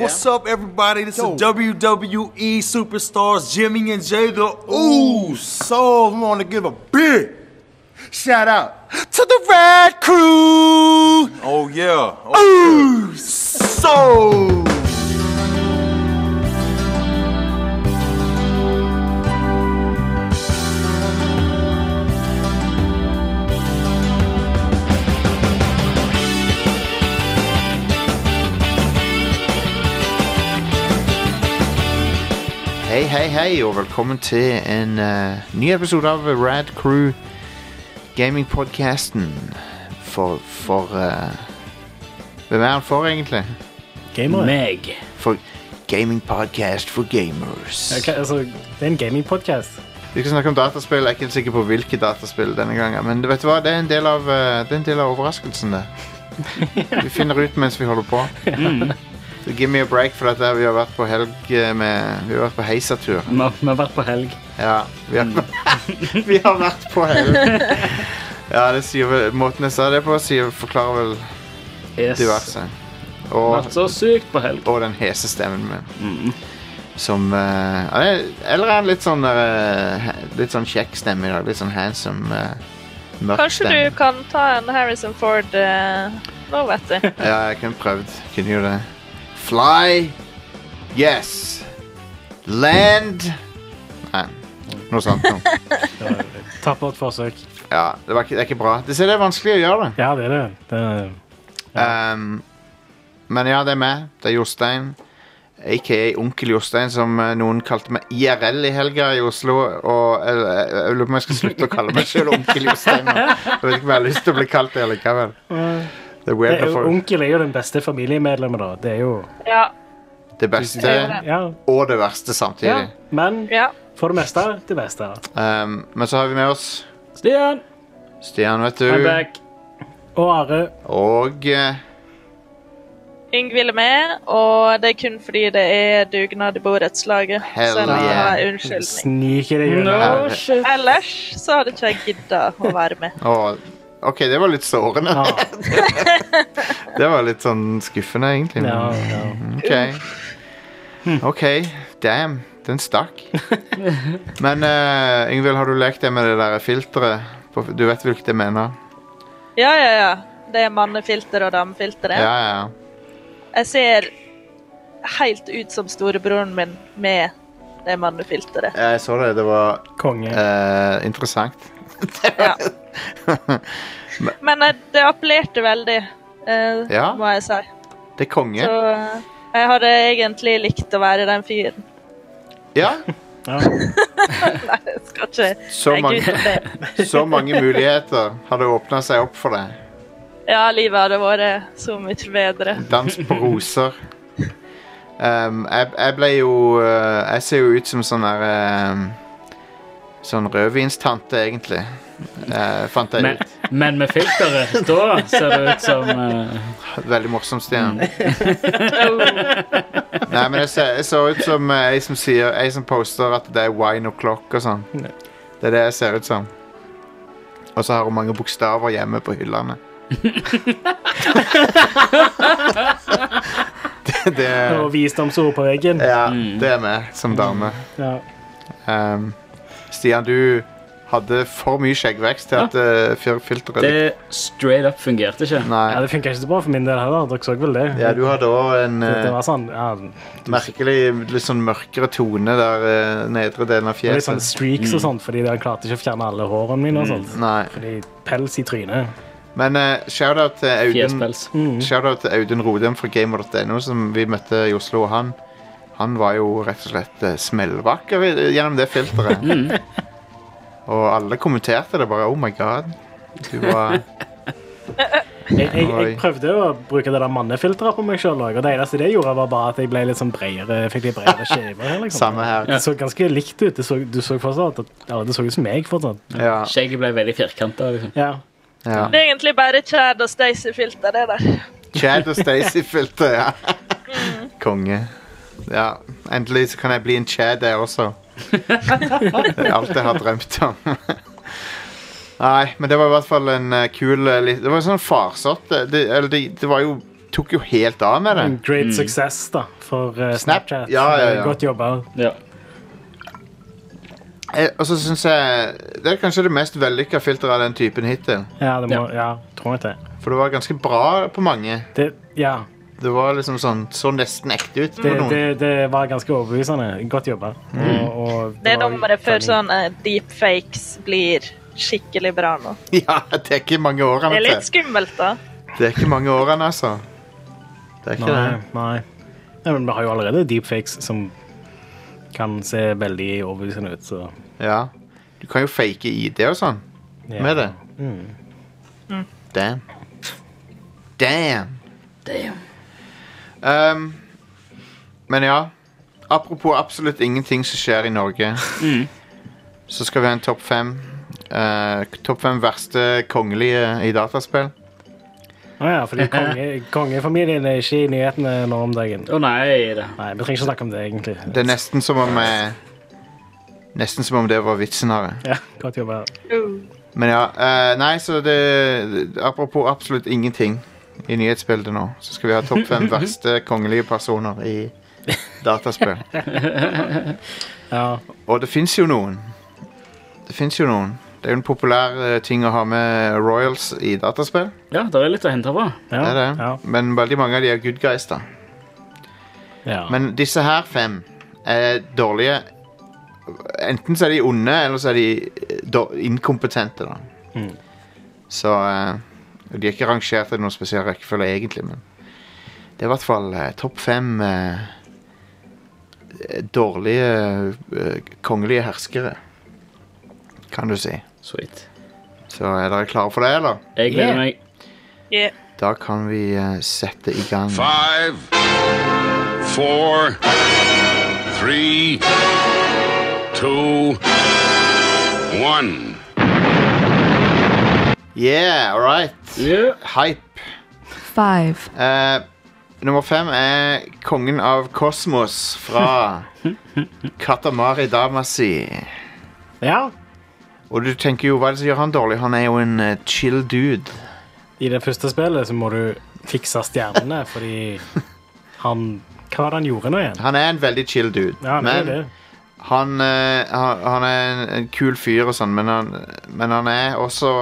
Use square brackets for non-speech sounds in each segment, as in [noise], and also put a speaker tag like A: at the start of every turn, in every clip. A: What's up, everybody? This is WWE superstars Jimmy and Jay the
B: Ooh,
A: Ooze.
B: so we want to give a big shout out
A: To the Red Crew!
C: Oh yeah. Oh,
A: Ooh, so.
D: Hei, hei, hei, og velkommen til en eh, ny episode av Rad Crew Gaming-podcasten. For, for eh, Hvem er han for, egentlig?
E: Gamer?
F: Meg.
D: For Gaming Podcast for Gamers.
E: Ok, altså, det er en gamingpodcast.
D: Vi skal snakke om dataspill. Jeg er ikke helt sikker på hvilke dataspill denne gangen, men vet du hva? det er en del av, eh, det er en del av overraskelsen,
F: [laughs]
D: det. vi finner ut mens vi holder på.
F: Mm.
D: Så give me a break for dette. Vi har vært på helg eh, med Vi har vært på heisatur.
F: Vi har, vi har vært på helg.
D: Ja, vi har,
F: Mm.
D: [laughs] vi har vært på hell. Ja, det sier vel, måten jeg sa det på, sier, forklarer vel
F: Yes.
D: diverse. Og,
F: Vært så sykt på helg.
D: og den hese stemmen min. Som eh, ja, det- Eller er han litt sånn der, eh, he- Litt sånn kjekk stemme i dag. Litt sånn handsome, eh, mørk
G: Kanskje
D: stemme.
G: du kan ta en Harrison Ford eh, nå,
D: [laughs]
G: vet du.
D: Ja, jeg kunne prøvd. Kunne jo det. Fly. Yes. Land. Nei, noe sånt noe.
E: Tappert forsøk.
D: Ja, det, var ikke, det er ikke bra. Det ser det er vanskelig å gjøre det.
E: Ja, det er det. det er,
D: Um, men ja, det er meg. Det er Jostein. Aka Onkel Jostein, som eh, noen kalte meg IRL i helga i Oslo. Og jeg, jeg, jeg lurer på om jeg skal slutte å kalle meg sjøl Onkel Jostein. nå. Jeg vet ikke om jeg har lyst til å bli kalt det likevel. Det er
E: det
D: weird
E: er
D: når
E: jo,
D: folk
E: onkel er jo den beste familiemedlemmet, da. Det er jo
G: Ja.
D: Det beste
E: Ja.
D: og det verste
E: ja.
D: samtidig.
E: Men
G: ja.
E: for det meste det beste.
D: Um, men så har vi med oss
F: Stian,
D: Stian, vet
F: I'm
D: du.
F: back.
E: Og Are.
D: Og eh,
G: Yngvild er med, og det er kun fordi det er dugnad i borettslaget.
D: Hell
G: så nå har
D: yeah.
G: jeg unnskyldning.
E: Sniker deg
F: No
E: unna.
D: Herre.
F: shit.
G: Ellers så hadde ikke jeg gidda å være med.
D: og, OK, det var litt sårende.
E: Ja,
D: [laughs] Det var litt sånn skuffende, egentlig.
E: ja,
D: men-
E: ja.
D: Ok. Ok, damn. Den stakk. Men uh, Yngvild, har du lekt deg med det der filteret? På- Du vet hvilket jeg mener?
G: Ja, ja, ja. Det er mannefilter og damefilter.
D: Ja,
G: det.
D: ja. ja.
G: Jeg ser helt ut som storebroren min med det
D: [laughs]
G: mannefilteret.
D: Jeg så det. Det var
E: Konge.
D: eh, interessant.
G: Ja. Men eh, det appellerte veldig, eh,
D: Ja.
G: må jeg si.
D: Det er konge.
G: Så eh, jeg hadde egentlig likt å være den fyren. [laughs]
D: Ja,
E: Ja.
G: Nei, jeg skal ikke
D: så
G: legge ut
D: mange,
G: om det.
D: så mange muligheter hadde åpna seg opp for deg.
G: Ja, livet hadde vært så mye bedre.
D: Dans på roser. Um, jeg, jeg ble jo eh, Jeg ser jo ut som sånn der eh, Sånn rødvinstante, egentlig. Eh, fant jeg
F: Men,
D: ut.
F: men med filteret, da ser det ut som eh,
D: Veldig morsomt,
E: Mm.
D: Stian. [laughs] Nei, men jeg ser, jeg ser ut som eh, ei som, sier, ei som poster at det er wine o'clock og sånn. Det er det jeg ser ut som. Og så har hun mange bokstaver hjemme på
E: [laughs]
D: hyllene. [laughs] det, det,
E: Og visdomsord på veggen. Mm.
D: ja, det er meg som dame.
E: Ja.
D: Um, Stian, du hadde for mye skjeggvekst til at eh, fil- filteret
F: Det straight up fungerte ikke.
E: ja,
D: Nei.
E: Det funka ikke så bra for min del heller. Dere så vel det?
D: Ja, du hadde òg en
E: det, det
D: eh,
E: var sånn ja,
D: merkelig litt sånn mørkere tone der eh, nedre delen av
E: det var litt sånn
D: fjeset.
E: streaks og sånt, fordi han klarte ikke å fjerne alle hårene mine. og sånt.
D: Nei.
E: Fordi pels i trynet.
D: Men uh, shout-out til Audun
F: Fjespels.
D: Shoutout til Audun Rodem fra gamer.no, som vi møtte i Oslo. og Han, han var jo rett og slett eh, smellvakker i- gjennom det filteret. Og alle kommenterte det bare. Oh my god. Du var
E: Jeg, jeg, jeg
D: Oi.
E: prøvde å bruke det der mannefilteret på meg sjøl, og det eneste det gjorde, var bare at jeg ble litt sånn bredere, fikk
D: [laughs]
E: litt bredere skjever. her, Liksom.
D: samme her.
E: Det så ganske likt ut. Det så, du så fortsatt at ja, det så ut som meg fortsatt.
D: Ja,
F: Skjegget ble veldig firkanta. Liksom.
E: Ja.
D: ja.
G: Det er egentlig bare Chad og Stacey-filter, det der.
D: Chad og
G: [laughs]
D: Stacey-filter, ja.
G: Mm.
D: Konge. Ja, endelig så kan jeg bli en Chad, jeg
G: [laughs]
D: også. Det er alt jeg har drømt om. [laughs] Nei, men det var i hvert fall en eh, kul eh, li- Det var en sånn farsott. Det, eller det, det var jo tok jo helt av med det.
E: En great success da, for eh,
D: Mm. Snap.
E: Snapchat.
D: Ja, ja, ja.
E: Godt jobba.
F: Ja.
D: Eh, Og så syns jeg Det er kanskje det mest vellykka filteret av den typen hittil.
E: Ja, det må, ja. tror jeg det.
D: For det var ganske bra på mange.
E: det ja,
D: Det var liksom sånn Så nesten ekte ut.
E: det,
D: på noen. Mm.
E: det, det var ganske overbevisende. Godt jobba. Og, og
G: Det er
E: var
G: nummeret før
E: funny.
G: sånn eh, deepfakes blir skikkelig bra nå.
D: [laughs] Ja, det er ikke mange
G: Det
D: årene
G: er litt
D: til.
G: skummelt, da.
D: Det er ikke mange årene, altså. Det er ikke
E: Nei,
D: det.
E: nei. nei, men vi har jo allerede deepfakes som kan se veldig overbevisende ut, så
D: Ja. Du kan jo fake ID og sånn
E: ja. Mm.
D: med det. Damn. Damn. Um, men ja. Apropos absolutt ingenting som skjer i Norge,
E: Mm.
D: så skal vi ha en topp fem. Eh, topp fem verste kongelige i dataspill.
E: Å ja,
D: [laughs]
E: fordi konge, kongefamilien er ikke i nyhetene nå om dagen.
F: Å nei da.
E: Nei, vi trenger ikke snakke om det, egentlig.
D: Det er nesten som om eh, Nesten som om det var vitsen av det.
E: Ja, godt jobba.
D: Men ja, eh, nei, så det Apropos absolutt ingenting i nyhetsbildet nå, så skal vi ha topp
E: [laughs]
D: fem verste kongelige personer i dataspill.
E: Ja,
D: Og det fins jo noen. Det fins jo noen. Det er jo en populær eh, ting å ha med royals i dataspill.
F: Ja, det er litt å hente på.
E: ja,
D: Det er det.
E: Ja,
D: Men veldig mange av de er good guys, da.
E: ja.
D: Men disse her fem er dårlige. Enten så er de onde, eller så er de eh, dår- inkompetente, da.
E: Mm.
D: Så eh, De er ikke rangert i noen spesiell rekkefølge, egentlig, men det er i hvert fall eh, topp fem eh, dårlige eh, kongelige herskere, kan du si.
F: Sweet.
D: Så er dere klare for det, eller?
F: Jeg
E: Yeah.
F: gleder meg.
G: Yeah.
D: Da kan vi eh, sette i gang.
C: Five, four, three, two, one.
D: Yeah, all right.
F: Yeah.
D: Hype.
H: Five.
D: Eh, nummer fem er kongen av kosmos fra Katamari Damasi.
E: ja.
D: Og du tenker jo, hva er det som gjør han dårlig? Han er jo en eh, chill dude.
E: I det første spillet så må du fikse
D: [laughs]
E: stjernene, fordi han Hva var det han gjorde nå igjen?
D: Han er en veldig chill dude.
E: Ja, han er
D: men
E: det.
D: han, eh, han, han er en, en kul fyr og sånn, men, han- men han er også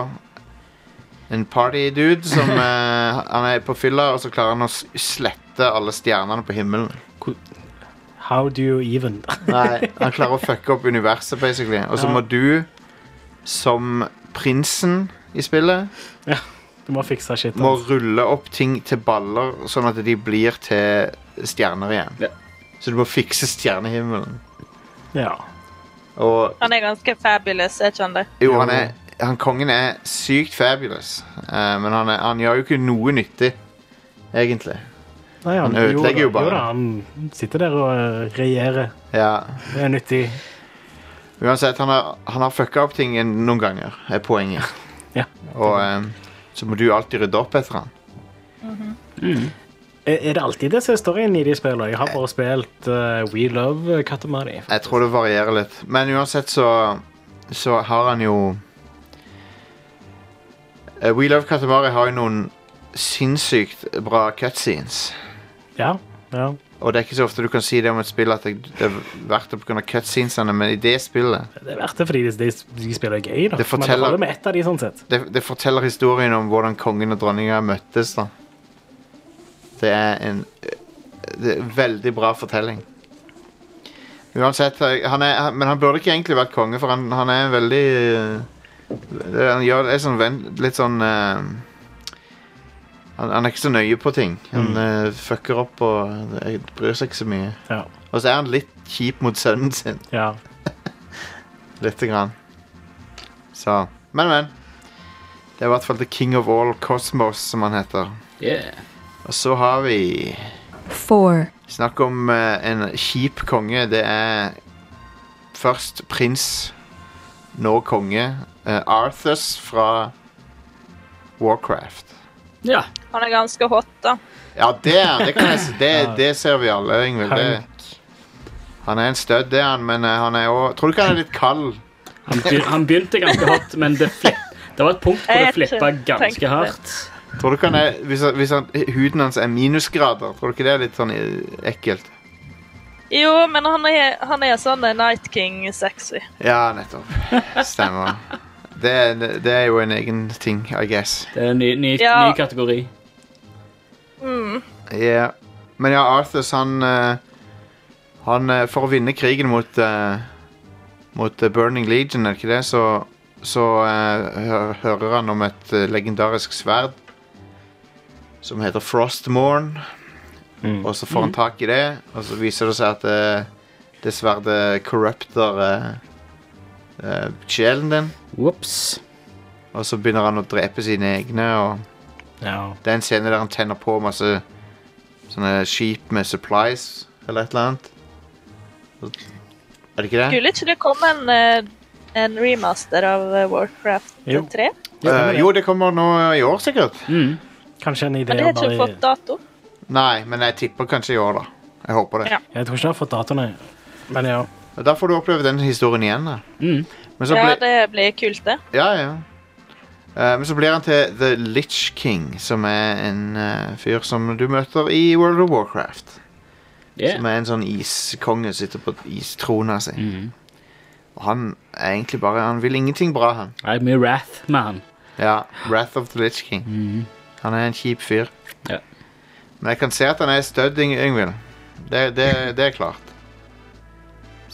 D: en party dude som eh, Han er på fylla, og så klarer han å s- slette alle stjernene på himmelen.
E: How do you even [laughs]
D: Nei, han klarer å fucke opp universet, basically. Og så
E: Ja.
D: må du, som prinsen i spillet,
E: Du må fikse shit.
D: må
E: altså.
D: rulle opp ting til baller, sånn at de blir til stjerner igjen.
F: Ja.
D: Så du må fikse stjernehimmelen.
E: Ja.
D: Og
G: Han er ganske fabulous, er ikke han det?
D: jo, han er han, Kongen er sykt fabulous, eh, men han, er, han gjør jo ikke noe nyttig, egentlig.
E: Nei,
D: Han ødelegger jo
E: da,
D: bare.
E: Jo da, han sitter der og eh, regjerer.
D: Ja.
E: Det er nyttig.
D: Uansett, han har, han har fucka opp ting en- noen ganger, er poenget.
E: [laughs] Ja.
D: Og eh, så må du alltid rydde opp etter han.
E: Er er det alltid det som er storyen i de spillene? Jeg har bare spilt eh, We Love Katamari.
D: Jeg tror det varierer litt. Men uansett så, så har han jo Eh, We Love Katamari har jo noen sinnssykt bra cutscenes.
E: Ja, ja.
D: Og det er ikke så ofte du kan si det om et spill at det det er verdt det pga. cutscenesene, men i det spillet
E: Det er verdt det fordi de, de, de spiller gøy. da.
D: Det
E: Men
D: forteller-
E: det holder med ett av de, sånn sett.
D: det, det forteller historien om hvordan kongen og dronninga møttes. da Det er en det er en veldig bra fortelling. Uansett, han er, han- men han burde ikke egentlig vært konge, for han, han er en veldig eh, det- Han gjør det er sånn ven- litt sånn eh, han, han er ikke så nøye på ting. Han eh, fucker opp og eh, bryr seg ikke så mye.
E: Ja.
D: Og så er han litt kjip mot sønnen sin.
E: ja.
D: Lite grann. Så Men, men. Det er i hvert fall The King of All Cosmos, som han heter.
F: Yeah.
D: Og så har vi
H: Four.
D: Snakk om eh, en kjip konge. Det er først prins, nå konge. Eh, Arthurs fra Warcraft.
F: Ja.
G: Han er ganske hot, da.
D: Ja, det er han. Det, kan jeg, si. det, det ser vi alle, Ingvild. Det, han er en stødd, det er han, men eh, han er òg Tror du ikke han er litt kald?
F: Han, begy han begynte ganske hardt, men det, flipp- det var et punkt hvor
G: Jeg
F: det
G: har ikke
F: flippa
G: tenkt på
F: ganske
G: det.
F: hardt.
D: Tror du ikke han er, hvis, han- hvis han, huden hans er minusgrader, tror du ikke det er litt sånn eh, ekkelt?
G: Jo, men han er, han er sånn en Night King-sexy.
D: Ja, nettopp. Stemmer. Det, er- det er jo en egen ting, I guess.
F: Det er en ny, ny,
G: Ja.
F: ny kategori.
D: Ja. Men ja, Arthurs, han eh, Han eh, For å vinne krigen mot eh, Mot eh, Burning Legion, er det ikke det, så så eh, hø- hører han om et eh, legendarisk sverd som heter Frostmorn. Og så får han tak i det, og så viser det seg at eh, det sverdet corrupter eh, eh, sjelen din.
F: Ops.
D: Og så begynner han å drepe sine egne, og
E: Ja.
D: det er en scene der han tenner på masse sånne skip med supplies eller et eller annet. Er det ikke det?
G: Skulle ikke det komme en, eh, en remaster av eh, Warcraft
E: Jo.
G: 3?
D: Eh, jo, det kommer nå i år, sikkert.
E: Kanskje en idé
G: Men det har
E: bare
G: ikke fått dato.
D: Nei, men jeg tipper kanskje i år, da. Jeg håper det.
G: Ja.
E: Jeg tror ikke jeg har fått datoene. Men ja.
D: Og Da får du oppleve den historien igjen, da. Men så
G: Ja,
D: blir,
G: det blir kult, det.
D: ja, ja. Eh, men så blir han til The Litch King, som er en eh, fyr som du møter i World of Warcraft.
F: Yeah.
D: Som er en sånn iskonge som sitter på istrona si. Og han er egentlig bare Han vil ingenting bra, han.
F: Nei, mye wrath med han.
D: Ja, Wrath of the Litch King. Han er en kjip fyr.
F: Mhm. Ja.
D: Men jeg kan se at han er stødd, Yng- Yngvild. Det, det, det er klart.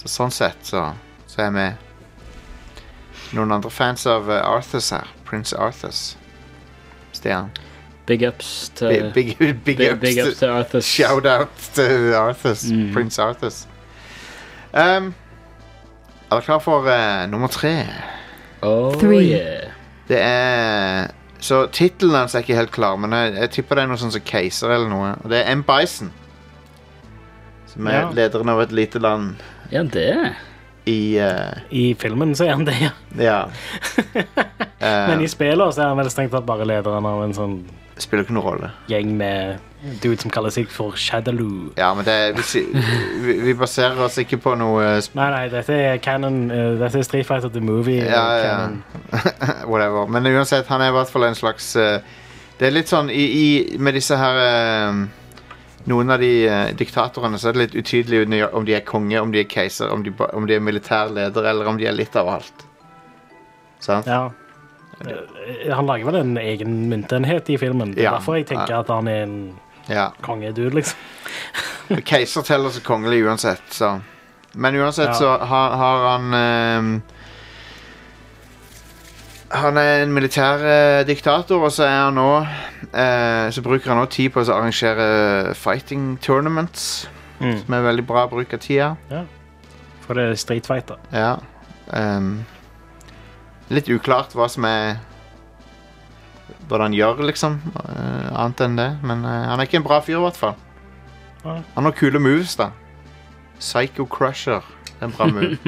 D: Så sånn sett så, så er jeg med. Noen andre fans av eh, Arthurs her. Prince Arthurs. Stian.
F: Big ups til
D: Big, big, big,
F: Eh, big-
D: ups
F: big
D: til-
F: ups Mm. til Arthur.
D: Shout out til Arthurs. Prince Arthurs. Um, er dere klar for eh, nummer tre?
F: Oh,
H: Three.
F: yeah.
D: Det er Så tittelen hans er ikke helt klar, men jeg, jeg tipper det er noe sånn som Keiser eller noe. Og det er M. Bison. Som er
E: Ja.
D: lederen av et lite land
F: Ja, det.
D: i eh,
E: I filmen så er han det, ja.
D: Ja.
E: Men
D: Uh,
E: i spillet så er han vel strengt tatt bare lederen av en sånn
D: spiller ikke noen rolle.
E: gjeng med dude som kaller seg for Shadaloo.
D: Ja, men det er, vi, si- vi, vi baserer oss ikke på noe eh, sp
E: Nei, nei, dette er canon. eh, dette er Street Fighter the Movie. eh,
D: Ja, ja.
E: canon.
D: Whatever. Men uansett, han er i hvert fall en slags eh, Det er litt sånn i, i, med disse her eh, Noen av de eh, diktatorene så er det litt utydelig om de- om de er konge, om de er keiser, om de, ba- om de er militær leder, eller om de er litt av alt. Sant?
E: ja. Eh, Han lager vel en egen myntenhet i filmen. Det er
D: Ja.
E: derfor jeg tenker at han er en
D: Ja.
E: kongedude, liksom.
D: Keiser teller som kongelig uansett, så Men uansett
E: Ja.
D: så har, har han ehm, Han er en militær eh, diktator, og så er han nå eh, Så bruker han nå tid på å arrangere fighting tournaments.
E: Mm.
D: Som er veldig bra bruk av tida.
E: For det er Street Fighter.
D: Ja. ehm, litt uklart hva som er Hva han gjør, liksom. eh, annet enn det. Men eh, han er ikke en bra fyr, i hvert fall.
E: Nei.
D: Han har kule moves, da. Psycho Crusher. Det er en bra move.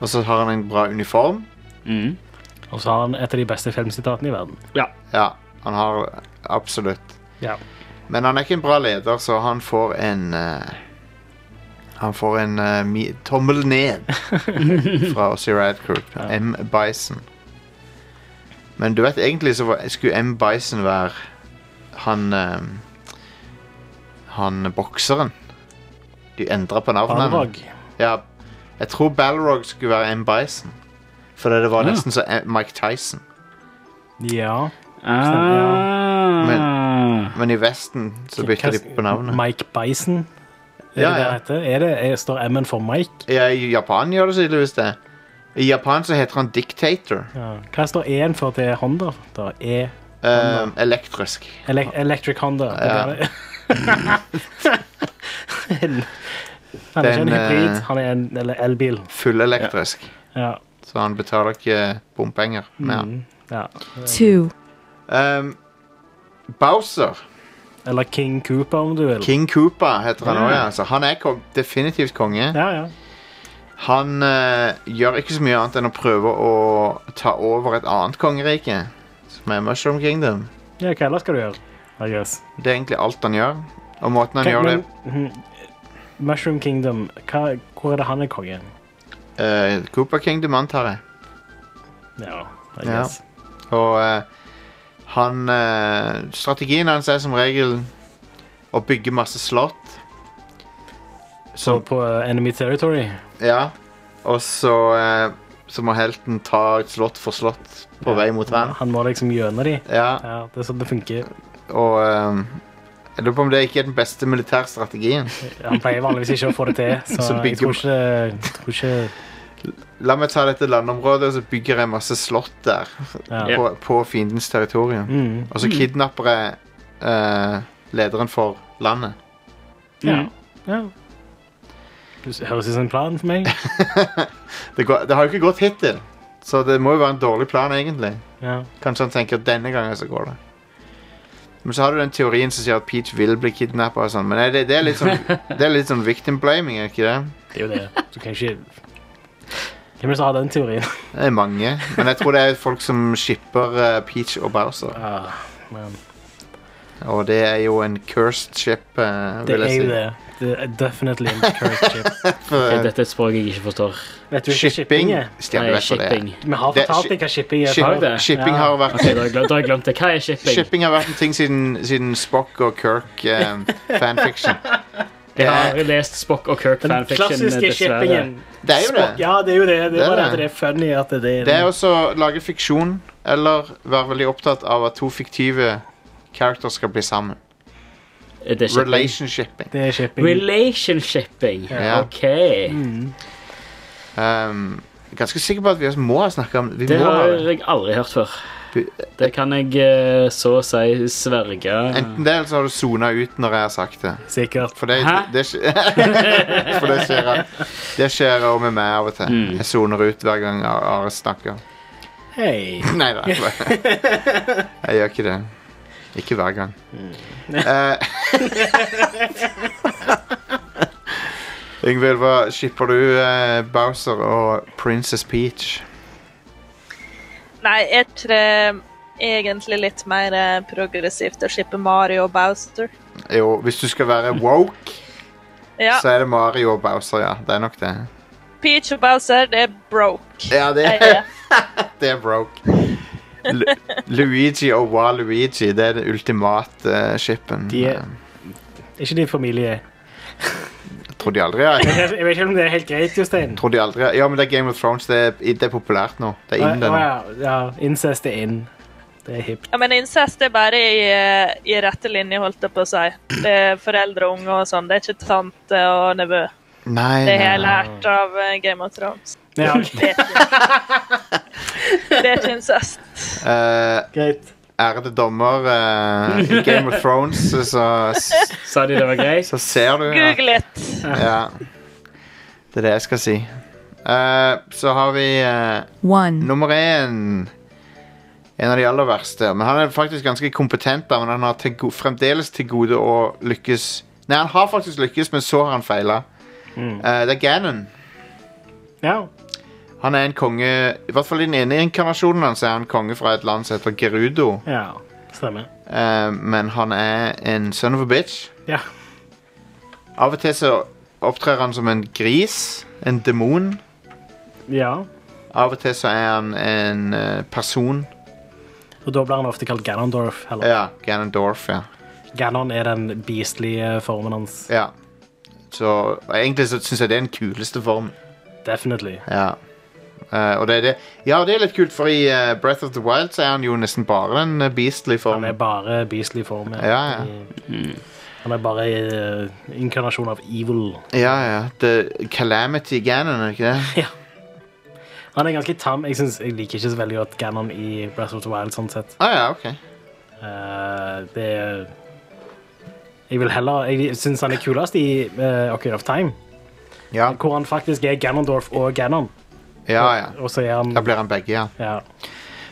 D: Og så har han en bra uniform.
F: Mm.
E: Og så har han et av de beste filmsitatene i verden.
D: Ja, han har absolutt.
E: Ja.
D: Men han er ikke en bra leder, så han får en eh, Han får en eh, mi tommel ned fra Ossie Rad Group. M. Bison. Men du vet, egentlig så var, skulle M. Bison være han eh, Han bokseren. De endra på navnet.
E: Balrog.
D: hans. Ja, jeg tror Balrog skulle være M. Bison. Fordi det var
F: Ja.
D: nesten som eh, Mike Tyson.
E: Ja.
F: Ah.
D: Men i Vesten så bytter de på navnet.
E: Mike Bison. Er
D: Ja,
E: det det
D: ja.
E: han heter? Er det, er, står M-en for Mike?
D: Ja, I Japan gjør det tydeligvis det. I Japan så heter han Dictator.
E: Ja. Hva står E-en for til Honda? Da? E
D: Ehm, elektrisk.
E: Ele Electric Honda.
D: Ja. [laughs]
E: Det er det. han er ikke
D: Den,
E: en hybrid,
D: eh,
E: han er en eller elbil.
D: Fullelektrisk.
E: Ja.
D: Så han betaler ikke bompenger med han.
E: Ja.
H: two,
D: Ehm, Bowser.
E: Eller King Cooper, om du vil.
D: King Koopa heter han òg. Ja. Altså, han er kom definitivt konge.
E: Mm. Ja, ja.
D: Han eh, gjør ikke så mye annet enn å prøve å ta over et annet kongerike, som er Mushroom Kingdom.
E: ja, hva ellers skal du gjøre? I guess.
D: Det er egentlig alt han gjør. Og måten han
E: Hva-
D: gjør det
E: men, mhm, Mushroom Kingdom, hva, hvor er det han er konge?
D: uh, Koopa Kingdom, antar jeg.
E: Ja, I
D: Ja.
E: guess.
D: Og eh, Han eh, Strategien hans er som regel å bygge masse slott.
E: Så på eh, Enemy Territory.
D: Ja. Og så, eh, så må helten ta et slott for slott på vei mot vann.
E: Han må liksom gjennom de.
D: Ja,
E: Ja, det er sånn det funker.
D: og eh, jeg lurer på om det ikke er den beste militærstrategien.
E: Han pleier vanligvis ikke å få det [laughs] til, så,
D: Så
E: jeg
D: bygger-
E: tror ikke, jeg tror ikke
D: La meg ta dette landområdet, og så bygger jeg masse slott der.
E: Ja.
D: På, på fiendens territorium.
E: Mm.
D: Og så kidnapper jeg eh, lederen for landet.
E: Ja. ja. Det høres ut som en plan for meg.
D: Det, går, det har jo ikke gått hittil, så det må jo være en dårlig plan, egentlig.
E: Ja.
D: Kanskje han tenker at denne gangen så går det. Men så har du den teorien som sier at Peach vil bli kidnappa og sånn, men nei, det, det, er litt
F: [laughs]
D: sånn, det er litt sånn victim blaming, er ikke det?
E: Det er jo det. Du kan ikke Hvem er det som har den teorien?
D: Det er mange, men jeg tror det er folk som shipper eh, Peach og Bowser,
E: Ah, men
D: og det er jo en cursed ship, eh,
E: det
D: vil
E: er jo
D: jeg si.
E: det. Det er definitely in the current
D: [laughs]
E: ship.
D: For, eh,
F: Dette er et språk jeg ikke forstår.
E: Vet du ikke
D: Shipping
E: shipping er?
D: Stian, du
F: Nei,
D: vet hva det er.
F: shipping.
E: Vi har
D: Det-
E: fortalt deg hva shipping er.
D: Ship,
F: Har det?
D: shipping,
E: Ja.
D: har vært,
F: Ok, da har jeg glemt, da har jeg glemt det. Hva er shipping?
D: shipping har vært en ting siden, siden Spock og Kirk eh,
F: [laughs]
D: fanfiction. Det
F: Jeg
D: er,
F: har lest Spock og Kirk
E: Den
F: fanfiction,
E: klassiske
F: dessverre.
E: shippingen.
D: det er jo det.
E: Ja, det er jo det. Det
D: Det er
E: er bare
D: det.
E: at det er funny at det er
D: Det er også å lage fiksjon, eller være veldig opptatt av at to fiktive characters skal bli sammen.
F: Er det shipping?
D: Relationshipping.
E: Det er shipping.
F: Relationshipping.
D: Ja.
F: OK.
D: Um, jeg er ganske sikker på at vi også må snakke om vi
F: Det
D: må,
F: har jeg aldri hørt før. Det kan jeg eh, så å si sverge.
D: Enten det, eller så har du sona ut når jeg har sagt det.
E: Sikkert.
D: For det,
F: Hæ?
D: det, skje- [laughs] for det skjer Det skjer også med meg av og til.
F: Mm.
D: Jeg soner ut hver gang Ar- Are snakker.
E: Hei.
D: [laughs] Nei
E: [laughs]
D: da. Jeg gjør ikke det. Ikke hver gang.
E: Mm.
D: Eh,
E: [laughs]
D: Yngvild, hva skipper du eh, Bowser og Princess Peach?
G: Nei, jeg tror egentlig litt mer eh, progressivt å slippe Mario og Bowser.
D: Jo, hvis du skal være woke,
G: Ja,
D: så er det Mario og Bowser, ja. Det er nok det.
G: Peach og Bowser, det er
D: [laughs]
G: broke.
D: Ja, det,
G: Jeg eh, er-
D: [laughs] det er broke. Lu Luigi og Waluigi, det er det ultimate eh, shippen.
E: De er-
D: Eh,
E: Ikke din familie.
D: Jeg tror de aldri har jeg
E: Jeg vet ikke om det er helt greit, Jostein.
D: tror de aldri har- Ja, men det er Game of Thrones. Det er, det er populært nå. Det er
E: Å,
D: inn det nå.
E: ja, ja, incest er in. Det er hipt.
G: Ja, men incest er bare i, eh, i rette linje, holdt jeg på å si. Det er foreldre og unge og sånn. Det er ikke tante og nevø.
D: Nei,
G: Det har
D: nei,
G: jeg
D: nei.
G: lært av eh, Game of Thrones.
D: [laughs]
E: Ja,
G: Det er ikke, det er ikke incest.
D: Eh,
E: greit.
D: ærede dommer eh, i Game of Thrones, så,
F: Sa de det var greit?
D: så ser du at-
G: Google it!
D: ja. Det er det jeg skal si. Eh, så har vi eh,
H: 1.
D: nummer én. En av de aller verste. Men han er faktisk ganske kompetent, da, men han har til go fremdeles til gode å lykkes Nei, han har faktisk lykkes, men så har han feila. Eh, det er Gannon.
E: Ja.
D: Han er en konge I hvert fall i den ene inkarnasjonen hans er han konge fra et land som heter Gerudo.
E: ja. Stemmer.
D: Eh, men han er en son of a bitch.
E: Ja.
D: Av og til så opptrer han som en gris, en demon.
E: ja.
D: Av og til så er han en eh, person.
E: Og da blir han ofte kalt Ganondorf. Eller
D: Ja, Ganondorf, ja.
E: Ganon er den beastlige formen hans.
D: ja. Så og egentlig så syns jeg det er den kuleste formen.
E: Definitely.
D: Ja. Eh, og det er det. Ja, det er litt kult, for i eh, Breath of the Wild så er han jo nesten bare en eh, beastly
E: Han
D: form.
E: er bare beastly form.
D: Ja, ja.
E: Han er bare uh, inkarnasjon av evil.
D: Ja, ja. The Calamity Ganon, er ikke det?
E: Han er ganske tam. Jeg, synes, jeg liker ikke så veldig godt Ganon i Breath of the Wild. sånn sett.
D: Å ah, ja, OK.
E: Eh, det er Jeg vil heller Jeg syns han er kulest i uh, Ocarina of Time,
D: Ja,
E: hvor han faktisk er Ganondorf og Ganon.
D: ja. ja.
E: Og så er han
D: Da blir han begge, ja.
E: ja.